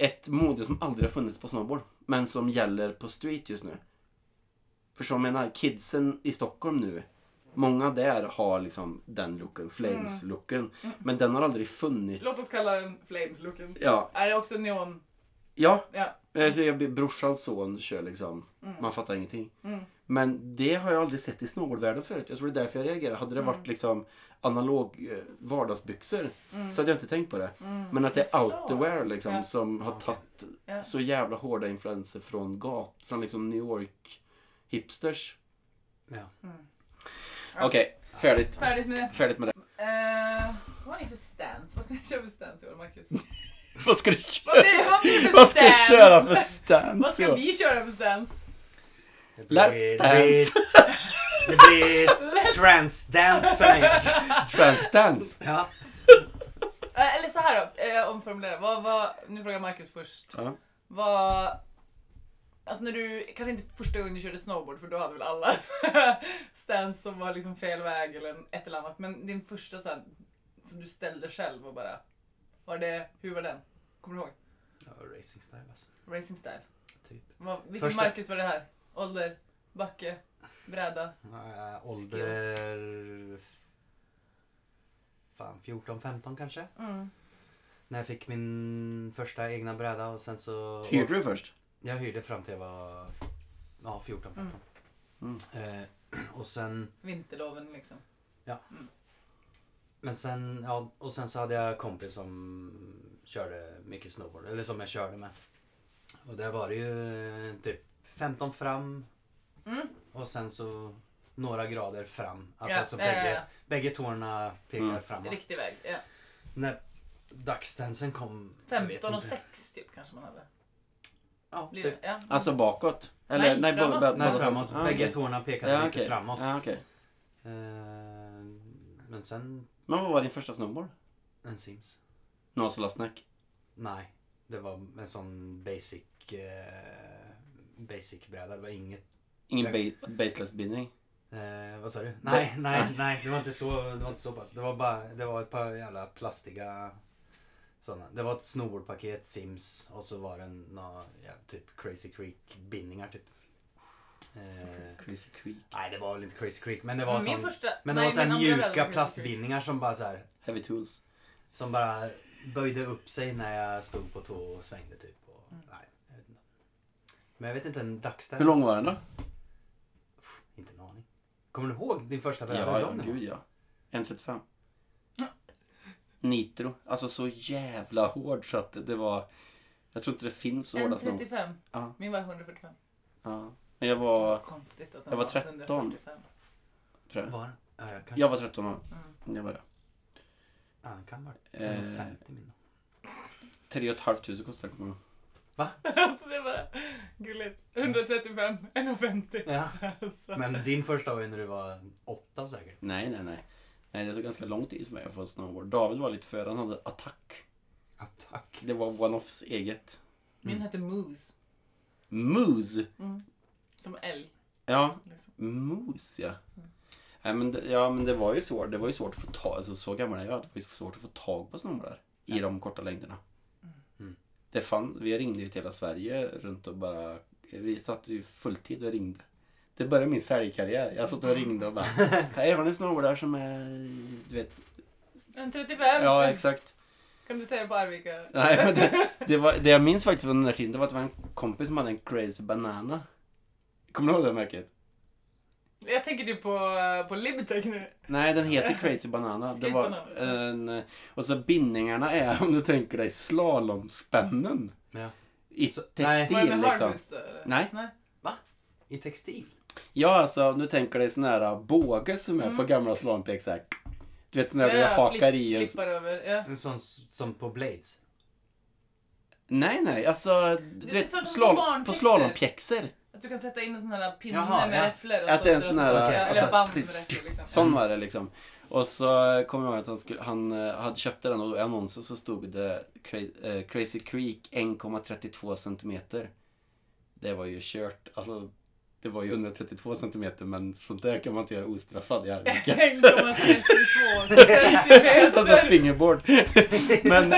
[SPEAKER 3] ett mode som aldrig har funnits på snowboard. Men som gäller på street just nu. För som jag menar, kidsen i Stockholm nu. Många där har liksom den looken, flames-looken. Men den har aldrig funnits.
[SPEAKER 2] Låt oss kalla den Flames-looken.
[SPEAKER 3] Ja,
[SPEAKER 2] Är det också neon?
[SPEAKER 3] ja
[SPEAKER 2] Ja.
[SPEAKER 3] Alltså, jag, brorsans son kör liksom. Man fattar ingenting. Men det har jag aldrig sett i snowboardvärlden förut. Jag tror det är därför jag reagerar. Hade det varit liksom analog eh, vardagsbyxor så hade jag inte tänkt på det. Men att det är outerwear liksom
[SPEAKER 2] Ja.
[SPEAKER 3] som har tagit
[SPEAKER 2] Ja.
[SPEAKER 3] så jävla hårda influenser från gat, från liksom New York hipsters.
[SPEAKER 4] Ja.
[SPEAKER 2] Ja.
[SPEAKER 3] Okej, färdigt.
[SPEAKER 2] Färdigt med det.
[SPEAKER 3] Färdigt med det.
[SPEAKER 2] Eh, vad har ni för stance? Vad ska ni köra för stance i år, Marcus?
[SPEAKER 3] Vad ska du
[SPEAKER 2] Vad blir vad blir det för
[SPEAKER 3] Vad ska jag
[SPEAKER 2] stance?
[SPEAKER 3] köra för stance?
[SPEAKER 2] Vad ska vi köra för stance?
[SPEAKER 4] Det blir-
[SPEAKER 3] Let's
[SPEAKER 4] det blir- Det blir transdance för mig. alltså.
[SPEAKER 3] Transdance.
[SPEAKER 4] Ja.
[SPEAKER 2] Eh, eller så här då, eh, omformulera. Vad, vad, nu frågar Marcus först.
[SPEAKER 3] Ja.
[SPEAKER 2] Vad... Alltså när du, kanske inte första gången du körde snowboard för då hade väl alla stance som var liksom fel väg eller ett eller annat. Men din första så här, som du ställde själv och bara, var det, hur var den? Kommer du ihåg?
[SPEAKER 4] Ja, Racing style alltså.
[SPEAKER 2] Racing style.
[SPEAKER 4] Typ.
[SPEAKER 2] Vad, vilken
[SPEAKER 4] Första-
[SPEAKER 2] Marcus var det här? Ålder, backe, bräda.
[SPEAKER 4] Eh, ålder... Fan, 14-15 kanske.
[SPEAKER 2] Mm.
[SPEAKER 4] När jag fick min första egna bräda och sen så...
[SPEAKER 3] Hyrde du först?
[SPEAKER 4] Jag hyrde fram till jag var ja, 14-15.
[SPEAKER 3] Mm.
[SPEAKER 4] Eh, och sen...
[SPEAKER 2] Vinterloven liksom.
[SPEAKER 4] Men sen, ja, och sen så hade jag kompis som körde mycket snowboard, eller som jag körde med. Och där var det ju eh, typ 15 fram
[SPEAKER 2] Mm.
[SPEAKER 4] och sen så några grader fram. Alltså,
[SPEAKER 2] Ja,
[SPEAKER 4] alltså
[SPEAKER 2] ja, ja,
[SPEAKER 4] bägge,
[SPEAKER 2] ja.
[SPEAKER 4] bägge tårna pekar
[SPEAKER 3] Mm.
[SPEAKER 4] framåt.
[SPEAKER 2] Riktig väg. Ja.
[SPEAKER 4] När dagsdansen kom... jag vet
[SPEAKER 2] 15 och
[SPEAKER 4] inte.
[SPEAKER 2] 6 typ kanske man hade.
[SPEAKER 4] Ja,
[SPEAKER 2] Blir det?
[SPEAKER 4] typ.
[SPEAKER 2] Ja.
[SPEAKER 3] Alltså bakåt? Eller,
[SPEAKER 2] Nej,
[SPEAKER 3] bo-
[SPEAKER 2] framåt.
[SPEAKER 3] bo- bo-
[SPEAKER 4] Nej, framåt.
[SPEAKER 3] Ah,
[SPEAKER 4] Bägge
[SPEAKER 3] okej.
[SPEAKER 4] tårna pekade
[SPEAKER 3] Ja,
[SPEAKER 4] lite
[SPEAKER 3] okej.
[SPEAKER 4] framåt.
[SPEAKER 3] Ja, okej.
[SPEAKER 4] Eh, men sen
[SPEAKER 3] Men vad var din första snowboard?
[SPEAKER 4] en Sims.
[SPEAKER 3] Naselasnack?
[SPEAKER 4] Nej, det var en sån basic... Eh, basic bräda. Det var inget...
[SPEAKER 3] Ingen ba- baseless bindning?
[SPEAKER 4] Eh, vad sa du? Nej, nej, nej. Det var inte så, det var inte så pass. Det var bara det var ett par jävla plastiga sådana. Det var ett snowboardpaket, Sims och så var det några ja, typ Crazy Creek bindningar typ. Eh,
[SPEAKER 3] Crazy Creek?
[SPEAKER 4] nej, det var väl inte Crazy Creek, men det var
[SPEAKER 2] Min
[SPEAKER 4] sån,
[SPEAKER 2] första-
[SPEAKER 4] men det
[SPEAKER 2] nej,
[SPEAKER 4] var sån
[SPEAKER 2] min andra bräda var
[SPEAKER 4] mjuka
[SPEAKER 2] Crazy
[SPEAKER 4] plastbindningar som bara så här,
[SPEAKER 3] Heavy Tools?
[SPEAKER 4] som bara böjde upp sig när jag stod på tå och svängde typ. Och,
[SPEAKER 2] Mm.
[SPEAKER 4] nej, jag vet inte. Men jag vet inte en dagsdans.
[SPEAKER 3] Hur lång var den då?
[SPEAKER 4] Inte en aning. Kommer du ihåg din första bräda?
[SPEAKER 3] Ja,
[SPEAKER 4] Hur
[SPEAKER 3] ja
[SPEAKER 4] lång den var?
[SPEAKER 3] gud ja. 1,35. Nitro. Alltså så jävla hård så att det var... Jag tror inte det finns så hårda snowboard.
[SPEAKER 2] 135.
[SPEAKER 3] Ja.
[SPEAKER 2] Min var 145.
[SPEAKER 3] Ja. Men jag var...
[SPEAKER 2] Konstigt att den
[SPEAKER 3] Jag var 13.
[SPEAKER 2] 145.
[SPEAKER 3] Tror jag.
[SPEAKER 4] Var? Ja, jag kanske...
[SPEAKER 3] jag var 13 år.
[SPEAKER 2] Mm.
[SPEAKER 3] Det var det.
[SPEAKER 4] Ja, den kan vara
[SPEAKER 3] Eh.
[SPEAKER 4] 50 min.
[SPEAKER 3] 3 500 kostade det, kommer jag ihåg.
[SPEAKER 2] alltså det var gulligt. 135, 150.
[SPEAKER 4] Ja.
[SPEAKER 2] Alltså.
[SPEAKER 4] Men din första var ju när du var åtta säkert.
[SPEAKER 3] Nej, nej, nej. Nej, det tog ganska lång tid för mig att få en snowboard. David var lite före. Han hade attack.
[SPEAKER 4] Attack.
[SPEAKER 3] Det var one-offs eget.
[SPEAKER 2] Min hette Moose.
[SPEAKER 3] Moose!
[SPEAKER 4] Mm.
[SPEAKER 2] Som älg.
[SPEAKER 3] Ja,
[SPEAKER 2] Liksom.
[SPEAKER 3] Mos, ja. Nej, men det, ja, men det var ju svårt. Det var ju svårt att få tag alltså, så gammal är jag. Det var ju svårt att få tag på snowboardar i de korta längderna.
[SPEAKER 4] Mm.
[SPEAKER 3] Det fanns, vi ringde ju till hela Sverige runt och bara... Vi satt ju fulltid och ringde. Det började min säljkarriär. Jag satt och ringde och bara... Hej, har ni snowboardar som är... Du vet...
[SPEAKER 2] 135.
[SPEAKER 3] Ja, exakt.
[SPEAKER 2] Kan du säga det på Arvika?
[SPEAKER 3] Nej, men det, det, var, det jag minns faktiskt från den där tiden, det var att det var en kompis som hade en crazy banana. Kommer du ihåg det märket?
[SPEAKER 2] Jag tänker typ på, på Libtech nu.
[SPEAKER 3] Nej, den heter Crazy Banana. Det var en, eh, och så bindningarna är, om du tänker dig, slalomspännen.
[SPEAKER 4] Ja.
[SPEAKER 3] I
[SPEAKER 4] Så-
[SPEAKER 2] Var det
[SPEAKER 3] textil
[SPEAKER 2] med
[SPEAKER 3] liksom.
[SPEAKER 2] Harvest då, eller?
[SPEAKER 3] Nej.
[SPEAKER 2] Nej.
[SPEAKER 4] I textil.
[SPEAKER 3] Ja, alltså om du tänker dig sån här eh, båge som är på gamla slalompjäxor. Du vet sån där
[SPEAKER 2] Mm. Ja,
[SPEAKER 3] du
[SPEAKER 2] ja,
[SPEAKER 3] hakar
[SPEAKER 2] flipp-
[SPEAKER 3] i en...
[SPEAKER 2] Flippar över. Ja.
[SPEAKER 4] En sån s- som på Blades.
[SPEAKER 3] Nej, nej, alltså du
[SPEAKER 2] är
[SPEAKER 3] vet,
[SPEAKER 2] som på
[SPEAKER 3] slalom, på
[SPEAKER 2] barnpjäxor.
[SPEAKER 3] slalompjäxor.
[SPEAKER 2] Att du kan sätta in en sån här pinne
[SPEAKER 4] Jaha,
[SPEAKER 2] med
[SPEAKER 4] ja.
[SPEAKER 2] räfflor. och
[SPEAKER 3] Att
[SPEAKER 2] så
[SPEAKER 3] det är en sån
[SPEAKER 2] dra-
[SPEAKER 3] här-
[SPEAKER 2] ja,
[SPEAKER 4] alltså,
[SPEAKER 2] Eller band med
[SPEAKER 3] klick.
[SPEAKER 2] räfflor liksom.
[SPEAKER 3] Sån var det liksom. Och så kommer jag ihåg att han, skulle, han eh, hade köpt den och i annonsen så stod det Cra- eh, Crazy Creek 1,32 centimeter. Det var ju kört. Alltså, det var ju 132 centimeter men sånt där kan man inte göra ostraffad i Arvika.
[SPEAKER 2] 1,32 centimeter.
[SPEAKER 3] alltså fingerboard. men,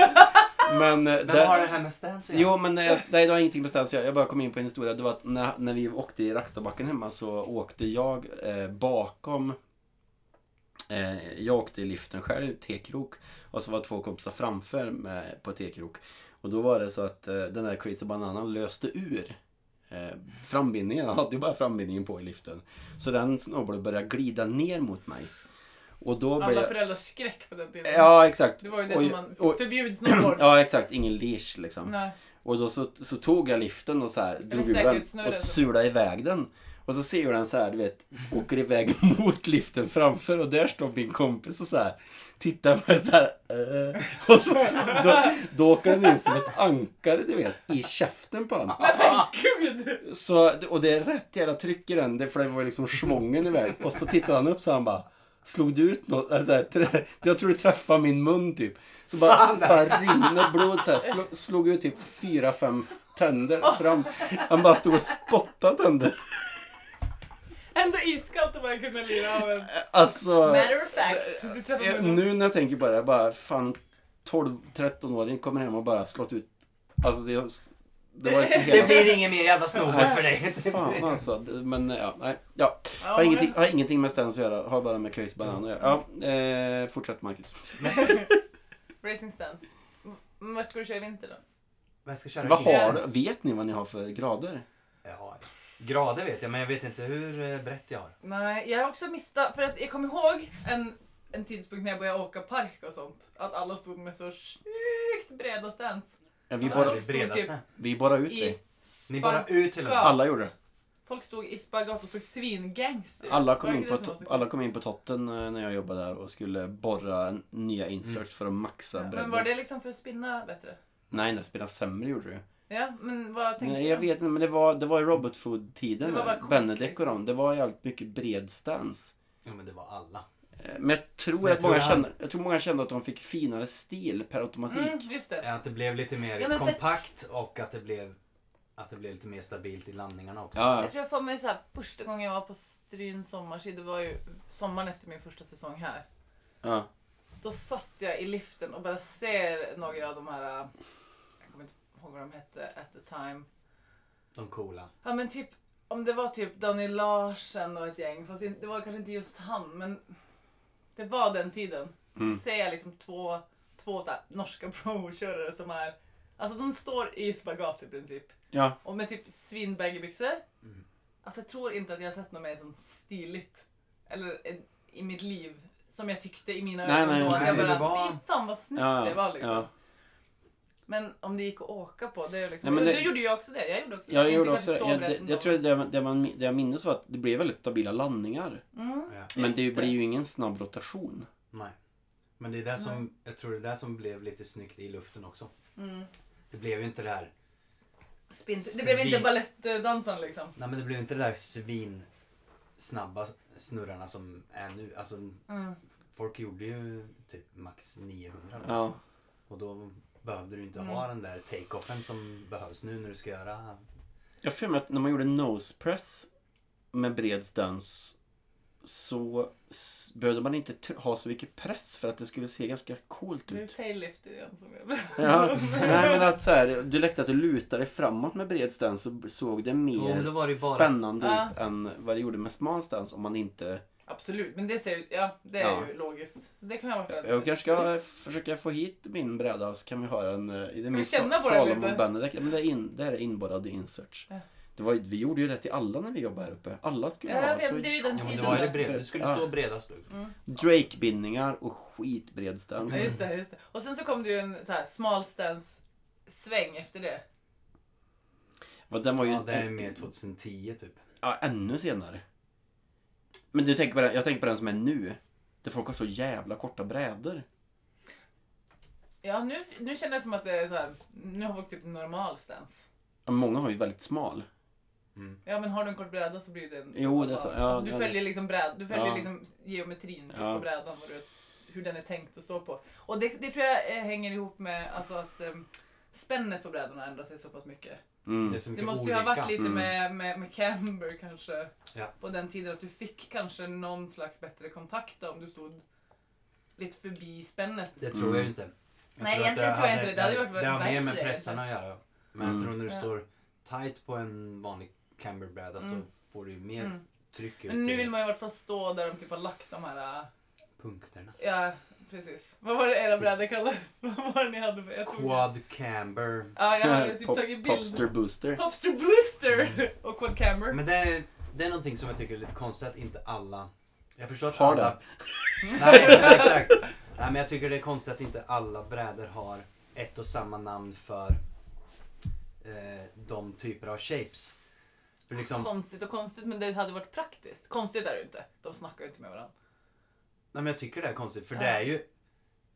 [SPEAKER 3] men, eh,
[SPEAKER 4] Men vad har det här med stance att göra?
[SPEAKER 3] Jo, men jag, nej, det har ingenting med stans. Jag jag bara kom in på en historia. Det var att när, när vi åkte i Rackstadbacken hemma så åkte jag eh, bakom... Eh, jag åkte i liften själv, T-krok. Och så var två kompisar framför med, på T-krok. Och då var det så att eh, den där Crazy Bananan löste ur eh, frambindningen. Han hade ju bara frambindningen på i liften. Så den snowboarden började glida ner mot mig. Och då blev
[SPEAKER 2] Alla
[SPEAKER 3] jag...
[SPEAKER 2] föräldrars skräck på den tiden.
[SPEAKER 3] Ja, exakt.
[SPEAKER 2] Det var ju det
[SPEAKER 3] Och-
[SPEAKER 2] som man...
[SPEAKER 3] och-
[SPEAKER 2] Förbjud snowboard.
[SPEAKER 3] Ja, exakt. Ingen leash liksom.
[SPEAKER 2] Nej.
[SPEAKER 3] Och då så, så tog jag liften och så här, drog ur den
[SPEAKER 2] säkerhetsnöden.
[SPEAKER 3] och sulade iväg den. Och så ser jag den så här, du vet, åker iväg mot liften framför och där står min kompis och så här tittar på mig så här. "Eh." Och så, då, då åker den in som ett ankare, du vet, i käften på honom.
[SPEAKER 2] Gud!
[SPEAKER 3] Så, och det är rätt jävla tryck i den, det- för det var liksom schvången iväg. Och så tittade han upp så han bara Slog du ut något? Eller så här, trä- jag tror du träffade min mun typ. Så bara,
[SPEAKER 4] Fan.
[SPEAKER 3] så bara rinner blod så här, slog, slog ut typ fyra, fem tänder fram. Han bara stod och spottade tänder.
[SPEAKER 2] Ändå iskallt att bara kunna lira av en.
[SPEAKER 3] Alltså,
[SPEAKER 2] Matter of fact. Du träffade
[SPEAKER 3] eh,
[SPEAKER 2] mig
[SPEAKER 3] nu när jag tänker på det, jag bara fan 12-13-åring kommer hem och bara slått ut. Alltså det, det var liksom
[SPEAKER 4] Det
[SPEAKER 3] hela...
[SPEAKER 4] blir ingen mer jävla snowboard för dig.
[SPEAKER 3] Fan alltså, det- men ja, nej, ja.
[SPEAKER 2] Ja,
[SPEAKER 3] Har
[SPEAKER 2] men-
[SPEAKER 3] ingenting, har ingenting med stens att göra, har bara med Crazy Banan att göra. Ja, eh, fortsätt Marcus.
[SPEAKER 2] Racing stance. Mm, Vad ska du köra i vinter då?
[SPEAKER 4] Vad ska jag köra?
[SPEAKER 3] Vad
[SPEAKER 4] gig?
[SPEAKER 3] har, vet ni vad ni har för grader?
[SPEAKER 4] Ja, grader vet jag, men jag vet inte hur eh, brett jag har.
[SPEAKER 2] Nej, jag har också missat, för att jag kommer ihåg en, en tidspunkt när jag började åka park och sånt. Att alla stod med så sjukt breda stans.
[SPEAKER 3] Ja, vi,
[SPEAKER 2] Ja,
[SPEAKER 3] bara,
[SPEAKER 4] det är bredaste.
[SPEAKER 3] vi bara ut
[SPEAKER 2] I
[SPEAKER 3] det.
[SPEAKER 4] Ni bara ut till och med.
[SPEAKER 2] Ja.
[SPEAKER 3] Alla gjorde det.
[SPEAKER 2] Folk stod i spagat och såg svingangst ut.
[SPEAKER 3] Alla
[SPEAKER 2] Var
[SPEAKER 3] kom, in
[SPEAKER 2] det
[SPEAKER 3] på,
[SPEAKER 2] det som var
[SPEAKER 3] to-
[SPEAKER 2] så kul?
[SPEAKER 3] alla kom in på totten eh, när jag jobbade där och skulle borra n- nya
[SPEAKER 4] Mm.
[SPEAKER 3] inserts för att maxa
[SPEAKER 2] Ja,
[SPEAKER 3] bredden.
[SPEAKER 2] Men var det liksom för att spinna bättre?
[SPEAKER 3] Nej, det spelade sämre gjorde du.
[SPEAKER 2] Ja, men vad tänkte
[SPEAKER 3] Nej, jag
[SPEAKER 2] du?
[SPEAKER 3] vet inte, men det var, det var i
[SPEAKER 2] Det
[SPEAKER 3] robotfood-tiden.
[SPEAKER 2] var bara
[SPEAKER 3] där.
[SPEAKER 2] kort,
[SPEAKER 3] Benedek och
[SPEAKER 2] liksom.
[SPEAKER 3] dem. Det var jävligt mycket bred stans.
[SPEAKER 4] Jo, men det var alla.
[SPEAKER 3] Eh, Men jag tror,
[SPEAKER 4] Men jag
[SPEAKER 3] att
[SPEAKER 4] tror
[SPEAKER 3] många
[SPEAKER 4] han-
[SPEAKER 3] kände, jag tror många kände att de fick finare stil per automatik.
[SPEAKER 2] Mm, just det.
[SPEAKER 4] Att det blev lite mer
[SPEAKER 2] Ja, men för-
[SPEAKER 4] kompakt och att det blev, att det blev lite mer stabilt i landningarna också.
[SPEAKER 3] Ja,
[SPEAKER 2] Jag tror jag får mig så här, första gången jag var på Stryn sommarski, det var ju sommaren efter min första säsong här.
[SPEAKER 3] ja.
[SPEAKER 2] Då satt jag i liften och bara ser några av de här, äh, jag kommer inte ihåg vad de hette at the time.
[SPEAKER 4] De coola.
[SPEAKER 2] Ja men typ, om det var typ Daniel Larsen och ett gäng, fast det var kanske inte just han, men det var den tiden.
[SPEAKER 3] Mm.
[SPEAKER 2] Så ser jag liksom två, två så här, norska pro-körare som är, alltså de står i spagat i princip.
[SPEAKER 3] ja.
[SPEAKER 2] Och med typ svinbaggybyxor.
[SPEAKER 3] Mm.
[SPEAKER 2] Alltså jag tror inte att jag har sett något mer sånt stiligt. Eller en- i mitt liv. Som jag tyckte i mina
[SPEAKER 3] Nej,
[SPEAKER 2] ögon
[SPEAKER 3] nej,
[SPEAKER 2] då. Att
[SPEAKER 4] precis.
[SPEAKER 2] jag
[SPEAKER 4] Det
[SPEAKER 2] bara,
[SPEAKER 4] var-
[SPEAKER 2] fy fan vad snyggt
[SPEAKER 3] ja,
[SPEAKER 2] det var liksom.
[SPEAKER 3] ja.
[SPEAKER 2] Men om det gick att åka på, det är liksom...
[SPEAKER 3] Nej, men
[SPEAKER 2] men
[SPEAKER 3] det-
[SPEAKER 2] Då gjorde jag också det. Jag gjorde också det.
[SPEAKER 3] Jag
[SPEAKER 2] Inte
[SPEAKER 3] gjorde
[SPEAKER 2] kanske
[SPEAKER 3] också
[SPEAKER 2] så
[SPEAKER 3] jag,
[SPEAKER 2] brett
[SPEAKER 3] det.
[SPEAKER 2] ändå.
[SPEAKER 3] Jag tror det, man- det, man, det jag minns var att det blev väldigt stabila landningar.
[SPEAKER 2] Mm.
[SPEAKER 4] Ja.
[SPEAKER 3] Men
[SPEAKER 2] Just
[SPEAKER 3] det
[SPEAKER 2] det.
[SPEAKER 3] blir ju ingen snabb rotation.
[SPEAKER 4] Nej. Men det är där som, jag tror det är där som blev lite snyggt i luften också.
[SPEAKER 2] Mm.
[SPEAKER 4] Det blev ju inte det här,
[SPEAKER 2] Spin... Det blev inte
[SPEAKER 4] Svin.
[SPEAKER 2] balettdansen liksom.
[SPEAKER 4] nej men det blev inte det där svin snabba snurrarna som är nu. Alltså
[SPEAKER 2] Mm.
[SPEAKER 4] folk gjorde ju typ max 900 då.
[SPEAKER 3] Ja.
[SPEAKER 4] och då behövde du inte
[SPEAKER 2] Mm.
[SPEAKER 4] ha den där take-offen som behövs nu när du ska göra
[SPEAKER 3] Jag har för mig att när man gjorde nose press med bred stans så s- behövde man inte t- ha så mycket press för att det skulle se ganska coolt
[SPEAKER 2] Nu
[SPEAKER 3] ut.
[SPEAKER 2] taillift igen som jag
[SPEAKER 3] Ja, nej men att så här, du läckte att du lutade framåt med bred stans så såg det
[SPEAKER 4] Jo, men
[SPEAKER 3] mer
[SPEAKER 4] då var det ju bara-
[SPEAKER 3] spännande
[SPEAKER 2] Ja.
[SPEAKER 3] ut än vad det gjorde med smal stans om man inte...
[SPEAKER 2] Absolut, men det ser ju... Ja, det är
[SPEAKER 3] Ja.
[SPEAKER 2] ju logiskt. Det kan jag ha varit
[SPEAKER 3] Jag kanske ska försöka få hit min bräda och så kan vi höra en... eh, Det är min
[SPEAKER 2] känna
[SPEAKER 3] Sa-
[SPEAKER 2] på den lite?
[SPEAKER 3] Salomon Benedek. Men det är, in, det här är inborrade inserts.
[SPEAKER 2] Ja.
[SPEAKER 3] Det var, ju- vi gjorde ju det till alla när vi jobbade här uppe. Alla skulle
[SPEAKER 2] Ja, jag
[SPEAKER 3] ha
[SPEAKER 2] vet,
[SPEAKER 3] så
[SPEAKER 2] det är ju den
[SPEAKER 4] Ja men
[SPEAKER 2] tiden
[SPEAKER 4] då var
[SPEAKER 2] där.
[SPEAKER 4] det bred, du skulle
[SPEAKER 3] Ja.
[SPEAKER 4] stå bredast du.
[SPEAKER 2] Mm.
[SPEAKER 3] Drake-bindningar och skitbred stans.
[SPEAKER 2] Ja, just det, just det. Och sen så kom det ju en så här smal stance sväng efter det.
[SPEAKER 3] Vad Den var ju
[SPEAKER 4] Ja, det är mer 2010 typ.
[SPEAKER 3] ja, ännu senare. Men du tänker på den, jag tänker på den som är nu. Där folk har så jävla korta brädor.
[SPEAKER 2] Ja, nu, nu känns det som att det är så här, nu har folk typ normal stance.
[SPEAKER 3] Ja, Många har ju väldigt smal.
[SPEAKER 4] Mm.
[SPEAKER 2] Ja men har du en kort bräda så blir det en
[SPEAKER 3] Jo, det är så. Ja,
[SPEAKER 2] alltså,
[SPEAKER 3] ja,
[SPEAKER 2] du
[SPEAKER 3] det-
[SPEAKER 2] följer liksom, bräd, du följer
[SPEAKER 3] Ja.
[SPEAKER 2] liksom geometrin typ,
[SPEAKER 3] Ja.
[SPEAKER 2] på brädan och du, hur den är tänkt att stå på. Och det, det tror jag eh, hänger ihop med alltså, att um, spännet på brädorna ändrar sig så pass mycket.
[SPEAKER 3] Mm.
[SPEAKER 4] Det är så
[SPEAKER 2] Det
[SPEAKER 4] mycket
[SPEAKER 2] måste ju
[SPEAKER 4] olika.
[SPEAKER 2] ha varit lite
[SPEAKER 3] Mm.
[SPEAKER 2] med, med, med camber kanske
[SPEAKER 4] Ja.
[SPEAKER 2] på den tiden att du fick kanske någon slags bättre kontakt då, om du stod lite förbi spännet.
[SPEAKER 4] Det tror jag
[SPEAKER 3] Mm.
[SPEAKER 4] ju inte. Jag
[SPEAKER 2] Nej,
[SPEAKER 4] tror att
[SPEAKER 2] egentligen tror jag
[SPEAKER 4] hade-
[SPEAKER 2] inte det. Det hade varit
[SPEAKER 4] Det har mer
[SPEAKER 2] värre
[SPEAKER 4] med
[SPEAKER 2] egentligen.
[SPEAKER 4] pressarna att göra. Men
[SPEAKER 3] Mm.
[SPEAKER 4] jag tror när du
[SPEAKER 2] Ja.
[SPEAKER 4] står tight på en vanlig camberbräda
[SPEAKER 2] Mm.
[SPEAKER 4] så får du ju mer
[SPEAKER 2] Mm.
[SPEAKER 4] tryck ut
[SPEAKER 2] Men nu
[SPEAKER 4] i
[SPEAKER 2] vill man ju i alla fall stå där de typ har lagt de här äh,
[SPEAKER 4] punkterna.
[SPEAKER 2] Ja, precis. Vad var det era brädor kallades? Vad var det ni hade? för- Jag tog-
[SPEAKER 4] Quad camber.
[SPEAKER 2] Ja, jag hade typ
[SPEAKER 3] Pop-
[SPEAKER 2] tagit bild.
[SPEAKER 3] Popster Booster.
[SPEAKER 2] Popster Booster! Och Quad Camber.
[SPEAKER 4] Men det är, det är någonting som jag tycker är lite konstigt att inte alla... Jag förstår att
[SPEAKER 3] Har
[SPEAKER 4] alla... Nej, exakt. Nej, men jag tycker det är konstigt att inte alla brädor har ett och samma namn för eh, de typer av shapes. För liksom...
[SPEAKER 2] Konstigt och konstigt, men det hade varit praktiskt. Konstigt är det ju inte. De snackar ju inte med varandra.
[SPEAKER 4] Nej men jag tycker det är konstigt för
[SPEAKER 2] Ja.
[SPEAKER 4] det är ju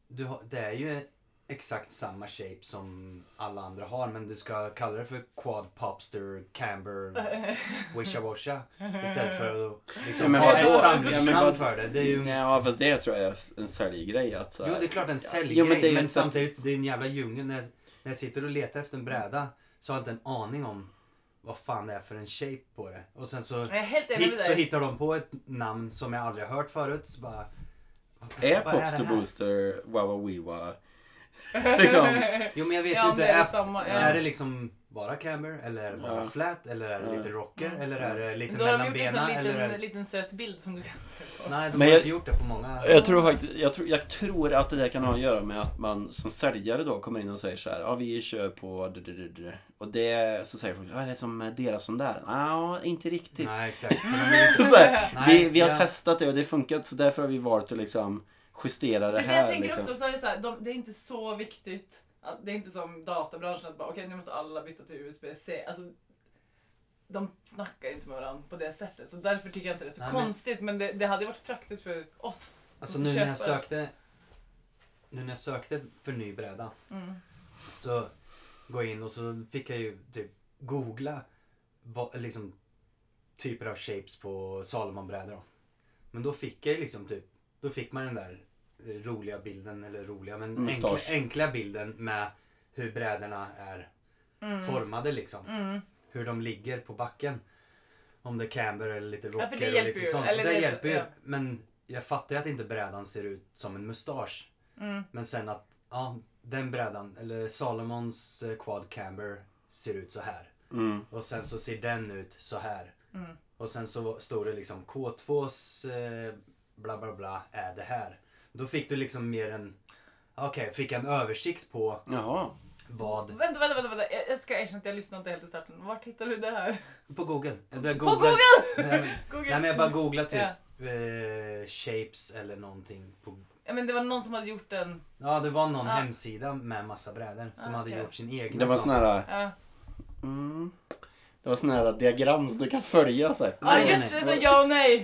[SPEAKER 4] du har, Det är ju exakt samma shape som alla andra har men du ska kalla det för quad popster camber wisha washa istället för att
[SPEAKER 3] Ja,
[SPEAKER 4] liksom
[SPEAKER 3] men
[SPEAKER 4] ha
[SPEAKER 2] vadå?
[SPEAKER 4] ett
[SPEAKER 3] Ja, men
[SPEAKER 4] samlingsnamn
[SPEAKER 3] vad-
[SPEAKER 4] för det. Det är ju
[SPEAKER 3] Ja, fast det tror jag är en säljgrej. Att, så här-
[SPEAKER 4] Jo det är klart en säljgrej
[SPEAKER 3] Jo,
[SPEAKER 4] men,
[SPEAKER 3] det är ju inte-
[SPEAKER 4] samtidigt det är en jävla djungel. När, jag- när jag sitter och letar efter en bräda så har jag inte en aning om vad fan det är för en shape på det. Och sen så,
[SPEAKER 2] Jag är helt enig med
[SPEAKER 4] hit, så
[SPEAKER 2] dig.
[SPEAKER 4] hittar de på ett namn som jag aldrig har hört förut så bara... vad-
[SPEAKER 3] Är
[SPEAKER 4] vad det här?
[SPEAKER 3] Popster Booster Wawa Wiwa liksom,
[SPEAKER 4] Jo men jag vet
[SPEAKER 2] Ja,
[SPEAKER 4] ju
[SPEAKER 2] om
[SPEAKER 4] inte.
[SPEAKER 2] det är
[SPEAKER 4] är,
[SPEAKER 2] samma, ja.
[SPEAKER 4] är det liksom bara camber eller är det bara
[SPEAKER 3] Ja.
[SPEAKER 4] flat eller är det
[SPEAKER 3] Ja.
[SPEAKER 4] lite rocker
[SPEAKER 2] Mm.
[SPEAKER 4] eller är det lite
[SPEAKER 2] Då har de
[SPEAKER 4] mellan
[SPEAKER 2] gjort en sån
[SPEAKER 4] benen? Eller är
[SPEAKER 2] liten,
[SPEAKER 4] det...
[SPEAKER 2] liten söt bild som du kan se på.
[SPEAKER 4] Nej, de
[SPEAKER 3] Men
[SPEAKER 4] har
[SPEAKER 3] jag-
[SPEAKER 4] inte gjort det på många.
[SPEAKER 3] jag, tror faktiskt, jag, tror, jag tror att det där kan ha att göra med att man som säljare då kommer in och säger så här, ja vi kör på d- d- d- d." och det, så säger folk, ja det är som deras som där. Ja, inte riktigt.
[SPEAKER 4] Nej exakt. För de är inte...
[SPEAKER 3] Så här,
[SPEAKER 4] Nej,
[SPEAKER 3] vi, vi har
[SPEAKER 4] ja.
[SPEAKER 3] testat det och det har funkat så därför har vi valt att liksom justera det
[SPEAKER 2] Det är det jag
[SPEAKER 3] här.
[SPEAKER 2] tänker
[SPEAKER 3] liksom.
[SPEAKER 2] också, så är det, så här, de, det är inte så viktigt. Att, det är inte som databranschen att bara okej nu måste alla byta till USB-C. Alltså, de snackar inte med varandra på det sättet. Så därför tycker jag inte det är så
[SPEAKER 4] Nej, men-
[SPEAKER 2] konstigt. Men det, det hade ju varit praktiskt för oss.
[SPEAKER 4] Alltså
[SPEAKER 2] som
[SPEAKER 4] nu när jag
[SPEAKER 2] köpare.
[SPEAKER 4] sökte Nu när jag sökte för ny bräda
[SPEAKER 2] Mm.
[SPEAKER 4] så går jag in och så fick jag ju typ googla vad, liksom typer av shapes på Salomonbrädor då. Men då fick jag ju liksom typ då fick man den där eh, roliga bilden eller roliga men enkla,
[SPEAKER 3] Mustasch.
[SPEAKER 4] enkla bilden med hur brädorna är formade liksom.
[SPEAKER 2] Mm.
[SPEAKER 4] Hur de ligger på backen. Om det är camber eller lite
[SPEAKER 2] för det
[SPEAKER 4] rocker och
[SPEAKER 2] hjälper
[SPEAKER 4] lite
[SPEAKER 2] ju.
[SPEAKER 4] sånt.
[SPEAKER 2] Eller
[SPEAKER 4] det,
[SPEAKER 2] det-
[SPEAKER 4] hjälper ju.
[SPEAKER 2] ja.
[SPEAKER 4] Men jag fattar ju att inte brädan ser ut som en mustasch.
[SPEAKER 2] Mm.
[SPEAKER 4] Men sen att, ja, den brädan, eller Salomons eh, quad camber ser ut så här.
[SPEAKER 3] Mm.
[SPEAKER 4] Och sen så ser den ut så här.
[SPEAKER 2] Mm.
[SPEAKER 4] Och sen så stod det liksom K2s eh, bla bla bla är det här. Då fick du liksom mer en, okej, fick en översikt på
[SPEAKER 3] Jaha.
[SPEAKER 4] vad,
[SPEAKER 2] Vänta, vänta, vänta, vänta. Jag jag ska erkänna att jag lyssnade inte helt i starten. Vart hittade du det här?
[SPEAKER 4] på google. Jag
[SPEAKER 2] På Google!
[SPEAKER 4] Nej, men-
[SPEAKER 2] Google.
[SPEAKER 4] Nej men jag bara googlade typ eh, shapes eller någonting. På...
[SPEAKER 2] Ja, men det var någon som hade gjort en...
[SPEAKER 4] Ja det var någon
[SPEAKER 2] Ah.
[SPEAKER 4] hemsida med massa brädor som
[SPEAKER 2] Ah,
[SPEAKER 4] hade
[SPEAKER 2] okej.
[SPEAKER 4] gjort sin egen.
[SPEAKER 3] Det var
[SPEAKER 4] sån.
[SPEAKER 3] sån här,
[SPEAKER 2] Ja,
[SPEAKER 3] mm, det var sån här diagram som du kan följa så här.
[SPEAKER 2] ah,
[SPEAKER 4] nej,
[SPEAKER 2] just det.
[SPEAKER 4] nej.
[SPEAKER 2] Så ja och nej.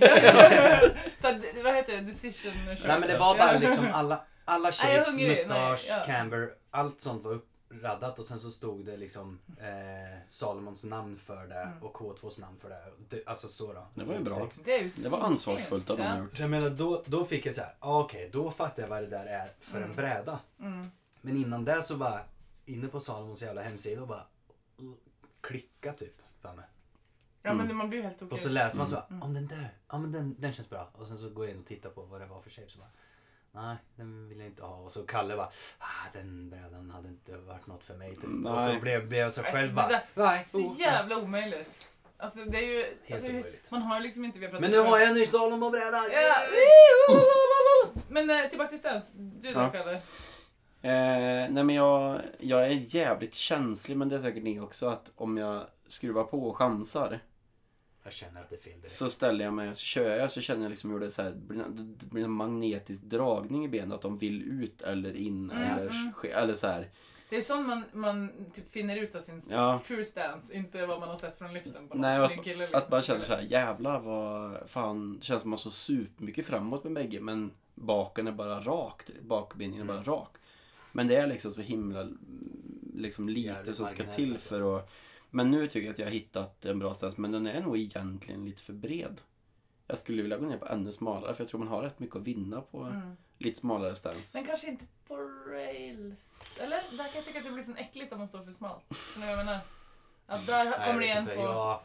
[SPEAKER 2] så att, vad heter det? Decision
[SPEAKER 4] Nej men det var bara
[SPEAKER 2] Ja.
[SPEAKER 4] liksom alla, alla
[SPEAKER 2] Nej, jag är
[SPEAKER 4] shapes,
[SPEAKER 2] hungrig.
[SPEAKER 4] mustasch,
[SPEAKER 2] Nej, ja.
[SPEAKER 4] camber, allt sånt var uppraddat och sen så stod det liksom eh, Salomons namn för det
[SPEAKER 2] Mm.
[SPEAKER 4] och K2s namn för det. Och det- Alltså så då.
[SPEAKER 3] Det var ju bra.
[SPEAKER 4] Text.
[SPEAKER 2] Det, är ju
[SPEAKER 3] Det var
[SPEAKER 2] så
[SPEAKER 3] ansvarsfullt
[SPEAKER 2] fint,
[SPEAKER 3] av dem
[SPEAKER 2] ja.
[SPEAKER 3] att ha gjort.
[SPEAKER 4] Så jag menar då, då fick jag så här, ah, okej då fattar jag vad det där är för en
[SPEAKER 2] Mm.
[SPEAKER 4] bräda.
[SPEAKER 2] Mm.
[SPEAKER 4] Men innan det så bara inne på Salomons jävla hemsida och bara uh, klicka typ. För mig.
[SPEAKER 2] Ja men
[SPEAKER 3] Mm.
[SPEAKER 2] det- man blir ju helt tokig.
[SPEAKER 4] Och så läser man så
[SPEAKER 3] Mm.
[SPEAKER 4] bara, om den där, ja men den, den känns bra. Och sen så går jag in och tittar på vad det var för shape. Så bara, nej den vill jag inte ha. Och så Kalle bara, ah, den brädan hade inte varit något för mig. Typ. Och så
[SPEAKER 3] Nej.
[SPEAKER 4] blev, blev jag så
[SPEAKER 2] Alltså,
[SPEAKER 4] själv
[SPEAKER 2] det
[SPEAKER 4] bara,
[SPEAKER 2] där-
[SPEAKER 4] nej.
[SPEAKER 2] Så
[SPEAKER 4] oh, nej."
[SPEAKER 2] jävla omöjligt. Alltså det är ju...
[SPEAKER 4] Helt
[SPEAKER 2] Alltså,
[SPEAKER 4] omöjligt.
[SPEAKER 2] man har ju liksom inte... Vi har pratat
[SPEAKER 4] Men nu har jag en ny slalombräda!
[SPEAKER 2] Ja. Men eh, tillbaka till Stens. Du då
[SPEAKER 3] Ja.
[SPEAKER 2] Kalle?
[SPEAKER 3] Eh, nej men jag, jag är jävligt känslig men det är säkert ni också att om jag skruvar på och chansar
[SPEAKER 4] Jag känner att det är fel direkt.
[SPEAKER 3] så ställer jag mig och så kör jag så känner jag liksom hur det, så här, blir- det blir en magnetisk dragning i benen att de vill ut eller in
[SPEAKER 2] Mm,
[SPEAKER 3] eller,
[SPEAKER 2] mm.
[SPEAKER 3] ske- eller så här.
[SPEAKER 2] Det är sånt man, man typ finner ut av sin
[SPEAKER 3] Ja.
[SPEAKER 2] true stance, inte vad man har sett från lyften på
[SPEAKER 3] Nej,
[SPEAKER 2] någon
[SPEAKER 3] att-
[SPEAKER 2] snygg kille. Liksom.
[SPEAKER 3] Att man känner så här jävlar vad fan det känns som man har så supermycket framåt med bägge men baken är bara rakt, bakbindningen är bara rak. Men det är liksom så himla mm, liksom lite
[SPEAKER 4] Jävligt
[SPEAKER 3] som ska
[SPEAKER 4] marginellt
[SPEAKER 3] till
[SPEAKER 4] alltså.
[SPEAKER 3] för att Men nu tycker jag att jag har hittat en bra sats, men den är nog egentligen lite för bred. Jag skulle vilja gå ner på ännu smalare, för jag tror man har rätt mycket att vinna på
[SPEAKER 2] Mm.
[SPEAKER 3] lite smalare stans.
[SPEAKER 2] Men kanske inte på rails. Eller? Där kan jag tycka att det blir så äckligt om man står för smalt. Förstår ni vad jag menar? Att där
[SPEAKER 4] Nej,
[SPEAKER 2] kommer det
[SPEAKER 4] jag vet
[SPEAKER 2] igen
[SPEAKER 4] inte.
[SPEAKER 2] på...
[SPEAKER 4] Jag,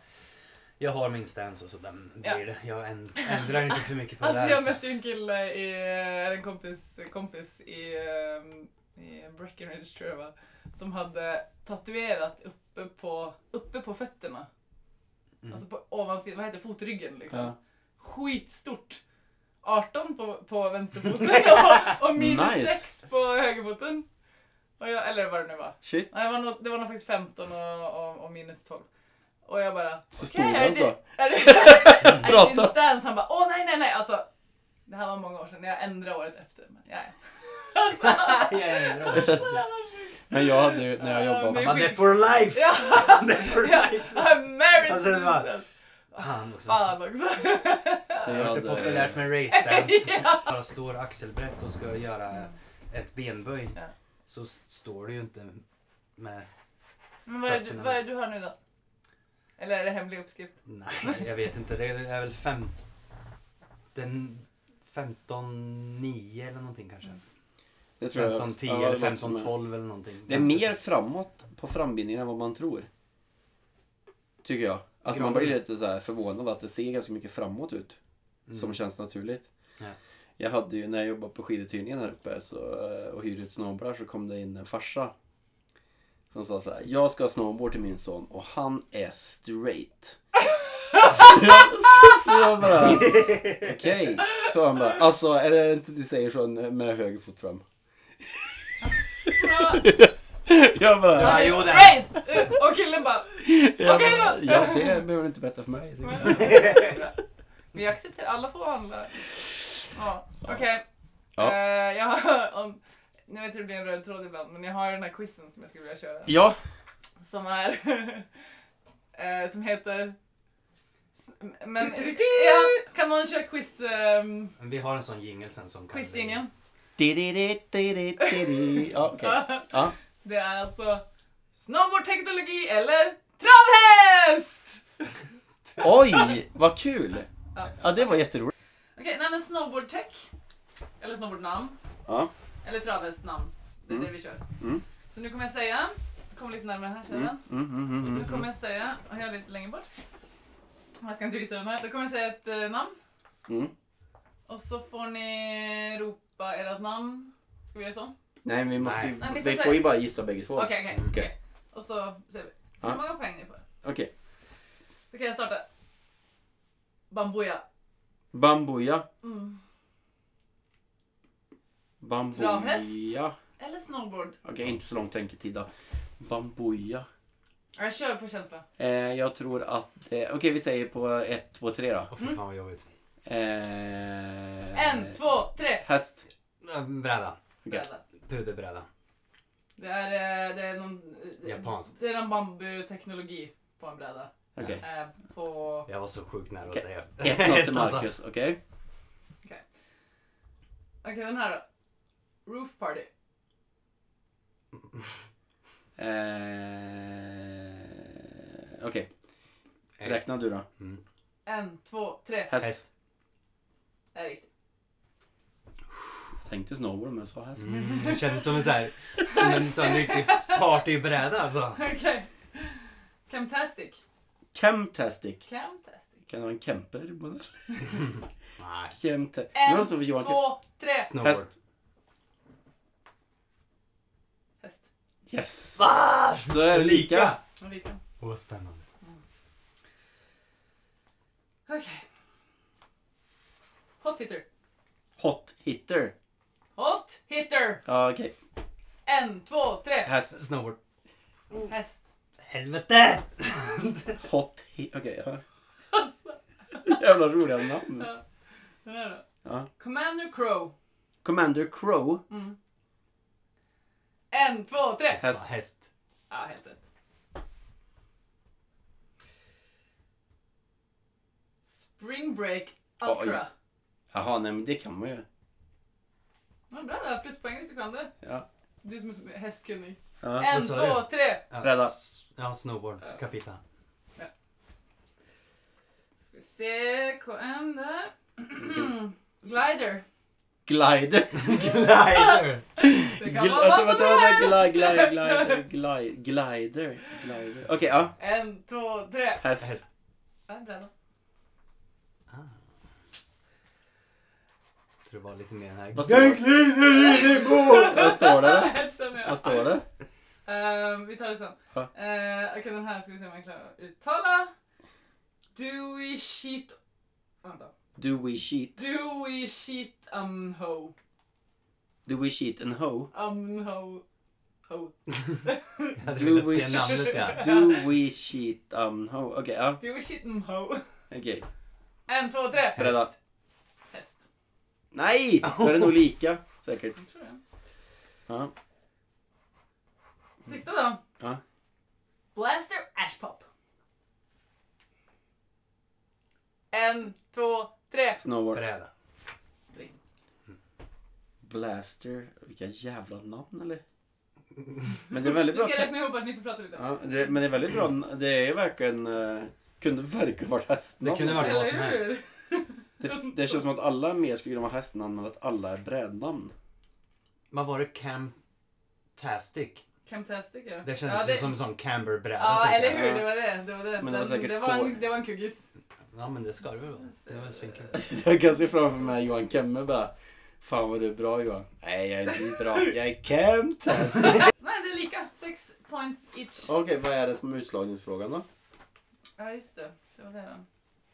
[SPEAKER 4] jag har min stance och så den
[SPEAKER 2] Ja.
[SPEAKER 4] blir det. Jag änd- ändrar inte för mycket på det
[SPEAKER 2] Alltså
[SPEAKER 4] här.
[SPEAKER 2] jag
[SPEAKER 4] så.
[SPEAKER 2] mötte ju en kille, i, eller en kompis, kompis i, ehm, i Breckenridge tror jag det var, som hade tatuerat uppe på, uppe på fötterna.
[SPEAKER 4] Mm.
[SPEAKER 2] Alltså på ovansidan, vad heter det, fotryggen liksom.
[SPEAKER 3] Ja.
[SPEAKER 2] Skitstort! 18 på, på vänsterfoten och, och minus
[SPEAKER 3] Nice.
[SPEAKER 2] 6 på högerfoten. Och jag, eller vad det nu var.
[SPEAKER 3] Shit!
[SPEAKER 2] Nej, det, var nog, det var nog faktiskt 15 och, och, och minus 12. Och jag bara...
[SPEAKER 3] Så
[SPEAKER 2] okej,
[SPEAKER 3] stod
[SPEAKER 2] är
[SPEAKER 3] han
[SPEAKER 2] det-
[SPEAKER 3] så.
[SPEAKER 2] Är det, är det din
[SPEAKER 3] Prata.
[SPEAKER 2] stance? Han bara åh nej nej nej. Alltså, det här var många år sedan. Jag ändrade året efter. Men, ja, ja.
[SPEAKER 4] jag ändrar.
[SPEAKER 3] Men jag hade ju, när jag
[SPEAKER 2] Ja,
[SPEAKER 3] jobbade...
[SPEAKER 2] men-
[SPEAKER 4] Man, det är for life!
[SPEAKER 2] Ja.
[SPEAKER 4] Det är for
[SPEAKER 2] Ja,
[SPEAKER 4] life!
[SPEAKER 2] I'm married
[SPEAKER 4] Och sen
[SPEAKER 2] to
[SPEAKER 4] så bara-
[SPEAKER 2] Jesus.
[SPEAKER 4] Fan också.
[SPEAKER 2] Fan också.
[SPEAKER 4] Jag har hört det
[SPEAKER 3] hade-
[SPEAKER 4] populärt med race dance.
[SPEAKER 2] Ja.
[SPEAKER 4] Bara står axelbrett och ska göra ett benböj.
[SPEAKER 2] Ja.
[SPEAKER 4] Så s- står du ju inte med...
[SPEAKER 2] Men vad är, du, vad är du har nu då? Eller är det hemlig uppskrift?
[SPEAKER 4] Nej, jag vet inte. Det är väl fem... Den... 15 9 eller någonting kanske.
[SPEAKER 3] Det tror jag-
[SPEAKER 4] 15 10
[SPEAKER 3] ja, det
[SPEAKER 4] eller
[SPEAKER 3] låter som
[SPEAKER 4] 15
[SPEAKER 3] en-
[SPEAKER 4] 12 eller någonting. Alltså, typ.
[SPEAKER 3] Det är mer framåt på frambindningen än vad man tror. Tycker jag. Att man
[SPEAKER 4] Grader.
[SPEAKER 3] blir lite så här förvånad att det ser ganska mycket framåt ut. Som känns naturligt.
[SPEAKER 4] Ja.
[SPEAKER 3] Jag hade ju, när jag jobbade på skiduthyrningen här uppe så, eh, och hyrde ut snowboardar så kom det in en farsa. Som sa så här, jag ska ha snowboard till min son och han är straight. så, jag, så, så jag bara, okej. Så han bara, alltså är det inte du säger så med höger fot fram?
[SPEAKER 2] Så,
[SPEAKER 3] Jag bara,
[SPEAKER 4] Ja,
[SPEAKER 2] han är
[SPEAKER 4] jo, det-
[SPEAKER 2] straight! Och killen bara
[SPEAKER 3] jag
[SPEAKER 2] Okej
[SPEAKER 3] bara,
[SPEAKER 2] då.
[SPEAKER 3] Ja, det behöver du inte berätta för mig.
[SPEAKER 2] Vi accepterar, alla får handla. Ja, okej.
[SPEAKER 3] Ja.
[SPEAKER 2] Eh, jag har, om, nu vet jag det blir en röd tråd ibland, men jag har ju den här quizen som jag skulle vilja köra.
[SPEAKER 3] Ja,
[SPEAKER 2] Som är... eh, som heter... s- Men,
[SPEAKER 4] Du, du, du.
[SPEAKER 2] ja, kan någon köra quiz... Um,
[SPEAKER 4] Men Vi har en sån jingel sen som kan...
[SPEAKER 2] Quizlinjen.
[SPEAKER 3] Di-di-di-di-di-di-di. Ja, okej. Ja.
[SPEAKER 2] Det är alltså snowboardteknologi eller travhäst!
[SPEAKER 3] Oj, vad kul!
[SPEAKER 2] Ja.
[SPEAKER 3] Ja, det var jätteroligt.
[SPEAKER 2] Okej, nej men snowboardtech. Eller snowboardnamn.
[SPEAKER 3] Ja.
[SPEAKER 2] Eller travhästnamn. Det är
[SPEAKER 3] Mm.
[SPEAKER 2] det vi kör.
[SPEAKER 3] Mm.
[SPEAKER 2] Så nu kommer jag säga, kom lite närmare här kärran.
[SPEAKER 3] Mm, mm, mm, mm,
[SPEAKER 2] Nu
[SPEAKER 3] mm.
[SPEAKER 2] kommer jag säga, och jag är lite längre bort. Jag ska inte visa den här. Då kommer jag säga ett eh, namn.
[SPEAKER 3] Mm.
[SPEAKER 2] Och så får ni ropa ert namn. Ska vi göra så?
[SPEAKER 3] Nej, men vi måste ju,
[SPEAKER 2] Nej, ni får
[SPEAKER 3] vi
[SPEAKER 2] säga-
[SPEAKER 3] får ju bara gissa bägge två.
[SPEAKER 2] Okej, okej.
[SPEAKER 3] Okej.
[SPEAKER 2] okej. Och så säger vi.
[SPEAKER 3] Ja.
[SPEAKER 2] Hur många poäng ni får?
[SPEAKER 3] Okej.
[SPEAKER 2] Då kan jag starta. Bambuja.
[SPEAKER 3] Bambuja.
[SPEAKER 2] Mm.
[SPEAKER 3] Bambuja.
[SPEAKER 2] Travhäst. Eller snowboard.
[SPEAKER 3] Okej, inte så lång tänketid då. Bambuja.
[SPEAKER 2] Jag kör på känsla.
[SPEAKER 3] Eh, jag tror att... Eh, Okej, vi säger på ett, två, tre då.
[SPEAKER 4] Åh fy fan vad jobbigt.
[SPEAKER 3] Eh,
[SPEAKER 2] En, två, tre.
[SPEAKER 3] Häst.
[SPEAKER 4] Äh, Bräda.
[SPEAKER 3] Okej.
[SPEAKER 4] Puderbräda.
[SPEAKER 2] Det är, eh, det är någon... eh,
[SPEAKER 4] Japanskt.
[SPEAKER 2] Det är någon bambuteknologi på en bräda.
[SPEAKER 3] Okej.
[SPEAKER 2] Eh, på...
[SPEAKER 4] Jag var så sjukt nära att
[SPEAKER 3] Okej.
[SPEAKER 4] säga
[SPEAKER 3] Ett noll till
[SPEAKER 4] alltså.
[SPEAKER 3] Marcus, okej?
[SPEAKER 2] Okej, den här då. Roof party.
[SPEAKER 3] Eh, Okej,
[SPEAKER 4] Eh,
[SPEAKER 3] räkna du då.
[SPEAKER 4] Mm.
[SPEAKER 2] En, två, tre.
[SPEAKER 3] Häst.
[SPEAKER 4] Häst.
[SPEAKER 2] Det är riktigt.
[SPEAKER 3] Jag tänkte snowboard men jag sa häst.
[SPEAKER 4] Mm, det kändes som en sån här... Som en sån riktig partybräda alltså.
[SPEAKER 2] Okej. Camtastic.
[SPEAKER 3] Camtastic.
[SPEAKER 2] Camtastic.
[SPEAKER 3] Kan det vara en camper? Både-
[SPEAKER 4] Nej.
[SPEAKER 3] Camta-
[SPEAKER 2] En,
[SPEAKER 3] Nu låter det som Johan-
[SPEAKER 2] Två, tre.
[SPEAKER 4] Snowboard.
[SPEAKER 3] Häst.
[SPEAKER 2] Häst.
[SPEAKER 3] Yes!
[SPEAKER 4] Ah!
[SPEAKER 3] Då är det lika.
[SPEAKER 2] Och lite.
[SPEAKER 4] Åh, spännande.
[SPEAKER 2] Okej. Hot hitter.
[SPEAKER 3] Hot hitter.
[SPEAKER 2] Hot hitter.
[SPEAKER 3] Ja okej.
[SPEAKER 2] En, två, tre.
[SPEAKER 3] Häst.
[SPEAKER 4] Snowboard.
[SPEAKER 3] Äh.
[SPEAKER 2] Häst.
[SPEAKER 4] Helvete!
[SPEAKER 3] Hot hit. Okej. ja. Jävla roliga namn.
[SPEAKER 2] Den här då.
[SPEAKER 3] Ja.
[SPEAKER 2] Commander Crow.
[SPEAKER 3] Commander Crow.
[SPEAKER 2] Mm. En, två, tre.
[SPEAKER 3] Häst.
[SPEAKER 4] Häst.
[SPEAKER 2] Ja, helt rätt. Spring Break Ultra.
[SPEAKER 3] Oj. Jaha, nej men det kan man ju.
[SPEAKER 2] Ja, bra där, pluspoäng hvis du kan det.
[SPEAKER 3] Ja.
[SPEAKER 2] Du som är så hästkunnig.
[SPEAKER 3] ja.
[SPEAKER 2] En,
[SPEAKER 4] vad sa
[SPEAKER 2] två, tre!
[SPEAKER 4] Ja,
[SPEAKER 3] Bräda.
[SPEAKER 4] s- Ja, snowboard. Capita.
[SPEAKER 2] Ska vi se, KM där. Glider.
[SPEAKER 3] Glider.
[SPEAKER 4] Glider!
[SPEAKER 2] Det
[SPEAKER 3] Gl-
[SPEAKER 2] kan vara vad
[SPEAKER 3] vänta,
[SPEAKER 2] som
[SPEAKER 3] vänta, vänta, gli-
[SPEAKER 2] helst.
[SPEAKER 3] gli- glider, gli- Glider. Glider. Okej, ja.
[SPEAKER 2] En, två, tre.
[SPEAKER 3] Häst.
[SPEAKER 4] Häst.
[SPEAKER 2] Fem brädor.
[SPEAKER 4] Jag tror det var lite mer den här...
[SPEAKER 3] Vad står det? Vad står det då?
[SPEAKER 2] Hästen ja.
[SPEAKER 3] Vad står det?
[SPEAKER 2] Ehm, vi tar det sen.
[SPEAKER 3] Ja.
[SPEAKER 2] Eh, Okej, den här ska vi se om jag klarar att uttala. Dewey shit... Vänta.
[SPEAKER 3] Do we cheat?
[SPEAKER 2] Dewey shit um, umho.
[SPEAKER 3] Do we cheat and hoe?
[SPEAKER 2] Umho. Um, Ho.
[SPEAKER 4] Jag hade
[SPEAKER 3] Blue
[SPEAKER 4] velat
[SPEAKER 3] Wish.
[SPEAKER 4] se namnet ja.
[SPEAKER 3] Do we cheat and hoe? Okej, ja.
[SPEAKER 2] Dewey shit um, umho.
[SPEAKER 3] Okej.
[SPEAKER 2] En, två, tre.
[SPEAKER 3] Beredda.
[SPEAKER 2] Häst.
[SPEAKER 3] Nej! Då är det nog lika. Säkert.
[SPEAKER 2] Jag tror det.
[SPEAKER 3] Ja.
[SPEAKER 2] Sista då.
[SPEAKER 3] Ja.
[SPEAKER 2] Blaster Ashpop. En, två, tre.
[SPEAKER 3] Snowboard.
[SPEAKER 4] Bräda.
[SPEAKER 3] Blaster. Vilka jävla namn eller? Men det är väldigt
[SPEAKER 2] Vi
[SPEAKER 3] bra.
[SPEAKER 2] ska räkna ihop att ni får prata lite.
[SPEAKER 3] Ja, det, men det är väldigt bra. Det är ju verkligen... eh, kunde verkligen varit hästnamn.
[SPEAKER 4] Det kunde varit vad som helst.
[SPEAKER 2] hur?
[SPEAKER 3] Det, det känns som att alla mer skulle kunna vara hästnamn men att alla är brädnamn.
[SPEAKER 4] Vad var det? Camtastic?
[SPEAKER 2] Camtastic ja.
[SPEAKER 4] Det
[SPEAKER 2] ja,
[SPEAKER 4] kändes ju
[SPEAKER 2] det,
[SPEAKER 4] som en sån camberbräda.
[SPEAKER 2] Ja,
[SPEAKER 4] tänkte jag.
[SPEAKER 2] eller hur. Det var det. Det var det.
[SPEAKER 3] Men det var
[SPEAKER 2] Den-
[SPEAKER 3] säkert
[SPEAKER 2] det, var
[SPEAKER 3] kår.
[SPEAKER 2] en, det var en kuggis.
[SPEAKER 4] Ja, men det ska det väl vara. Det var svinkul.
[SPEAKER 3] Jag kan se framför mig Johan Kemme bara. Fan vad du är bra Johan. Nej jag är inte bra. Jag är Kemtest.
[SPEAKER 2] Nej, det är lika. Sex points each.
[SPEAKER 3] Okej vad är det som är utslagningsfrågan då?
[SPEAKER 2] Ja, just det. Det var det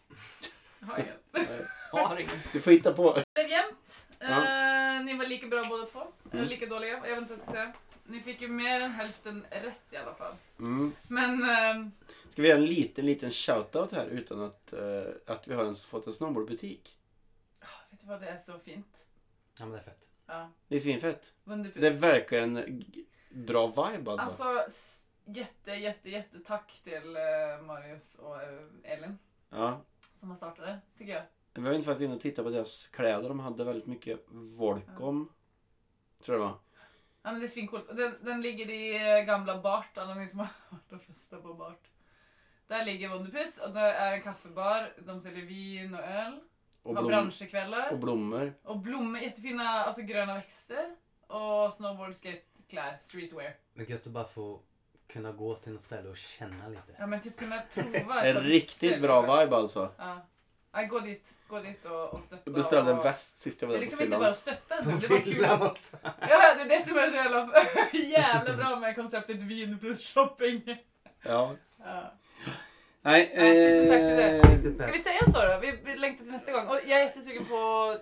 [SPEAKER 2] då. Jag har ingen.
[SPEAKER 4] Har ingen.
[SPEAKER 3] Du får hitta på.
[SPEAKER 2] Det blev jämnt.
[SPEAKER 3] Ja.
[SPEAKER 2] Eh, ni var lika bra båda två. Eller
[SPEAKER 3] Mm.
[SPEAKER 2] lika dåliga. Jag vet inte vad jag ska säga. Ni fick ju mer än hälften rätt i alla fall.
[SPEAKER 3] Mm.
[SPEAKER 2] Men eh,
[SPEAKER 3] Ska vi göra en liten liten shoutout här utan att, eh, att vi har ens fått en snowboardbutik?
[SPEAKER 2] ah, vet du vad det är så fint?
[SPEAKER 4] Ja, men det är fett.
[SPEAKER 2] Ja.
[SPEAKER 3] Det är svinfett.
[SPEAKER 2] Wunderpuss.
[SPEAKER 3] Det är verkligen g- bra vibe alltså.
[SPEAKER 2] Alltså, s- jätte, jätte, jätte tack till eh, Marius och eh, Elin
[SPEAKER 3] Ja.
[SPEAKER 2] som har startat det, tycker jag.
[SPEAKER 3] Vi var inte faktiskt inne och tittade på deras kläder. De hade väldigt mycket Volcom. Tror jag det var.
[SPEAKER 2] Ja men det är svincoolt. Och Den, den ligger i eh, gamla Bart, alla ni som har varit och festat på Bart. Där ligger Wunderpuss och det är en kaffebar. De säljer vin och öl.
[SPEAKER 3] Och,
[SPEAKER 2] har
[SPEAKER 3] blom-
[SPEAKER 2] branschkvällar.
[SPEAKER 3] och blommor.
[SPEAKER 2] Och blommor, jättefina alltså, gröna växter. Och snowboard, skatekläder, streetwear.
[SPEAKER 4] Men gött att bara få kunna gå till något ställe och känna lite.
[SPEAKER 2] Ja men typ kunna prova.
[SPEAKER 3] En
[SPEAKER 2] ett par
[SPEAKER 3] riktigt
[SPEAKER 2] byxor,
[SPEAKER 3] bra
[SPEAKER 2] liksom.
[SPEAKER 3] vibe alltså.
[SPEAKER 2] Ja. ja. Gå dit, gå dit och, och stötta.
[SPEAKER 3] Jag beställde en
[SPEAKER 2] och-
[SPEAKER 3] väst sist jag
[SPEAKER 2] Det
[SPEAKER 3] var
[SPEAKER 2] är
[SPEAKER 3] där på
[SPEAKER 2] liksom inte
[SPEAKER 3] fyllan.
[SPEAKER 2] bara att stötta,
[SPEAKER 4] På
[SPEAKER 2] alltså. det var kul.
[SPEAKER 4] fyllan också.
[SPEAKER 2] Ja, det är det som är så jävla, jävla bra med konceptet vin plus shopping.
[SPEAKER 3] Ja.
[SPEAKER 2] Ja.
[SPEAKER 3] Nej, eh,
[SPEAKER 2] Ja, tusen tack till
[SPEAKER 3] dig.
[SPEAKER 2] Ska vi säga så då? Vi, vi längtar till nästa gång. Och jag är jättesugen på,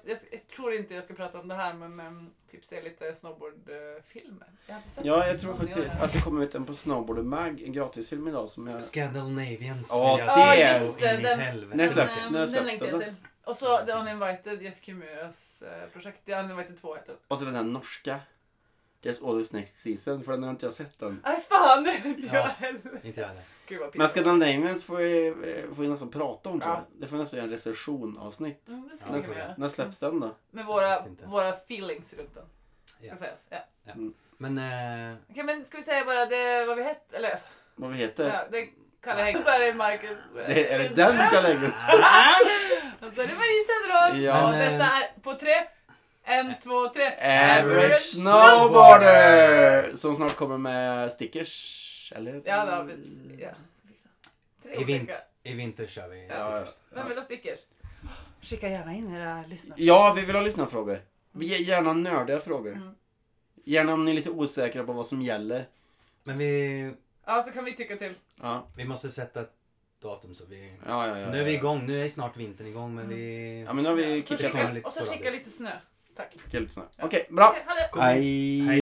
[SPEAKER 2] jag, s- jag tror inte jag ska prata om det här men um, typ se lite snowboardfilmer. Jag har inte sett
[SPEAKER 3] Ja,
[SPEAKER 2] någonting
[SPEAKER 3] jag tror
[SPEAKER 2] om
[SPEAKER 3] faktiskt
[SPEAKER 2] det.
[SPEAKER 3] att det kommer ut en på Snowboard and Mag, en gratisfilm idag som jag...
[SPEAKER 4] Scandinavians
[SPEAKER 3] Ja,
[SPEAKER 4] vill
[SPEAKER 3] det
[SPEAKER 4] jag se
[SPEAKER 3] är-
[SPEAKER 4] så
[SPEAKER 2] just det,
[SPEAKER 4] in i
[SPEAKER 2] den-
[SPEAKER 3] När
[SPEAKER 4] helvete.
[SPEAKER 3] släpp-
[SPEAKER 2] Den,
[SPEAKER 3] när
[SPEAKER 2] ehm,
[SPEAKER 3] släpps
[SPEAKER 2] den längtar
[SPEAKER 3] den
[SPEAKER 2] jag
[SPEAKER 3] då?
[SPEAKER 2] till. Och så The Uninvited, Jessica Muras eh, projekt. The Uninvited 2 heter den.
[SPEAKER 3] Och så den här norska. Guess always next season, för den har inte jag sett än.
[SPEAKER 2] Nej fan, det är inte jag
[SPEAKER 4] Ja.
[SPEAKER 2] heller.
[SPEAKER 4] Inte jag heller.
[SPEAKER 2] Gud vad
[SPEAKER 3] Men
[SPEAKER 2] pinsamt.
[SPEAKER 3] Scandinavians får vi, eh, får vi nästan prata om tror jag.
[SPEAKER 2] Ja.
[SPEAKER 3] Det får nästan göra en recensionavsnitt.
[SPEAKER 2] Mm, det skulle
[SPEAKER 4] Ja,
[SPEAKER 2] vi
[SPEAKER 4] det får
[SPEAKER 2] kunna göra. Mm.
[SPEAKER 3] När släpps den då?
[SPEAKER 2] Med
[SPEAKER 4] Jag
[SPEAKER 2] våra,
[SPEAKER 4] vet inte.
[SPEAKER 2] våra feelings runt den. Ska
[SPEAKER 4] Ja.
[SPEAKER 2] sägas. Ja.
[SPEAKER 4] Men eh,
[SPEAKER 2] Okej men ska vi säga bara det, vad vi hette? Eller alltså,
[SPEAKER 3] Vad vi heter?
[SPEAKER 2] ja, det kallar jag Så är det Marcus. eh,
[SPEAKER 3] Det, är det den som kan lägga upp?
[SPEAKER 2] Och så är det Marie Söderholm.
[SPEAKER 3] Ja. Eh,
[SPEAKER 2] Och
[SPEAKER 4] Men, eh,
[SPEAKER 2] detta är på tre. En, två, tre.
[SPEAKER 3] Average Snowboarder! Som snart kommer med stickers. Eller?
[SPEAKER 2] Ja, det har vi. Ja, ska fixa. Tre
[SPEAKER 4] I vin-
[SPEAKER 2] olika.
[SPEAKER 4] i vinter kör vi
[SPEAKER 3] Ja,
[SPEAKER 4] stickers.
[SPEAKER 2] Vem vill ha stickers? Skicka gärna in era lyssnare.
[SPEAKER 3] Ja, vi vill ha lyssnarfrågor. Ge- Gärna nördiga frågor.
[SPEAKER 2] Mm.
[SPEAKER 3] Gärna om ni är lite osäkra på vad som gäller.
[SPEAKER 4] Men vi,
[SPEAKER 2] Ja, så kan vi tycka till.
[SPEAKER 3] Ja,
[SPEAKER 4] vi måste sätta ett datum så vi...
[SPEAKER 3] ja, ja. ja
[SPEAKER 4] Nu är vi
[SPEAKER 3] ja.
[SPEAKER 4] igång, nu är snart vintern igång
[SPEAKER 2] Mm.
[SPEAKER 4] men vi...
[SPEAKER 3] Ja, men nu har vi
[SPEAKER 2] så
[SPEAKER 3] kickat igång
[SPEAKER 2] skicka,
[SPEAKER 4] lite
[SPEAKER 2] och så
[SPEAKER 4] sporadiskt.
[SPEAKER 2] skicka lite snö. Tack.
[SPEAKER 3] lite snabbt. Okej, bra.
[SPEAKER 2] Okej, ha det.
[SPEAKER 4] Kom hit. Hej.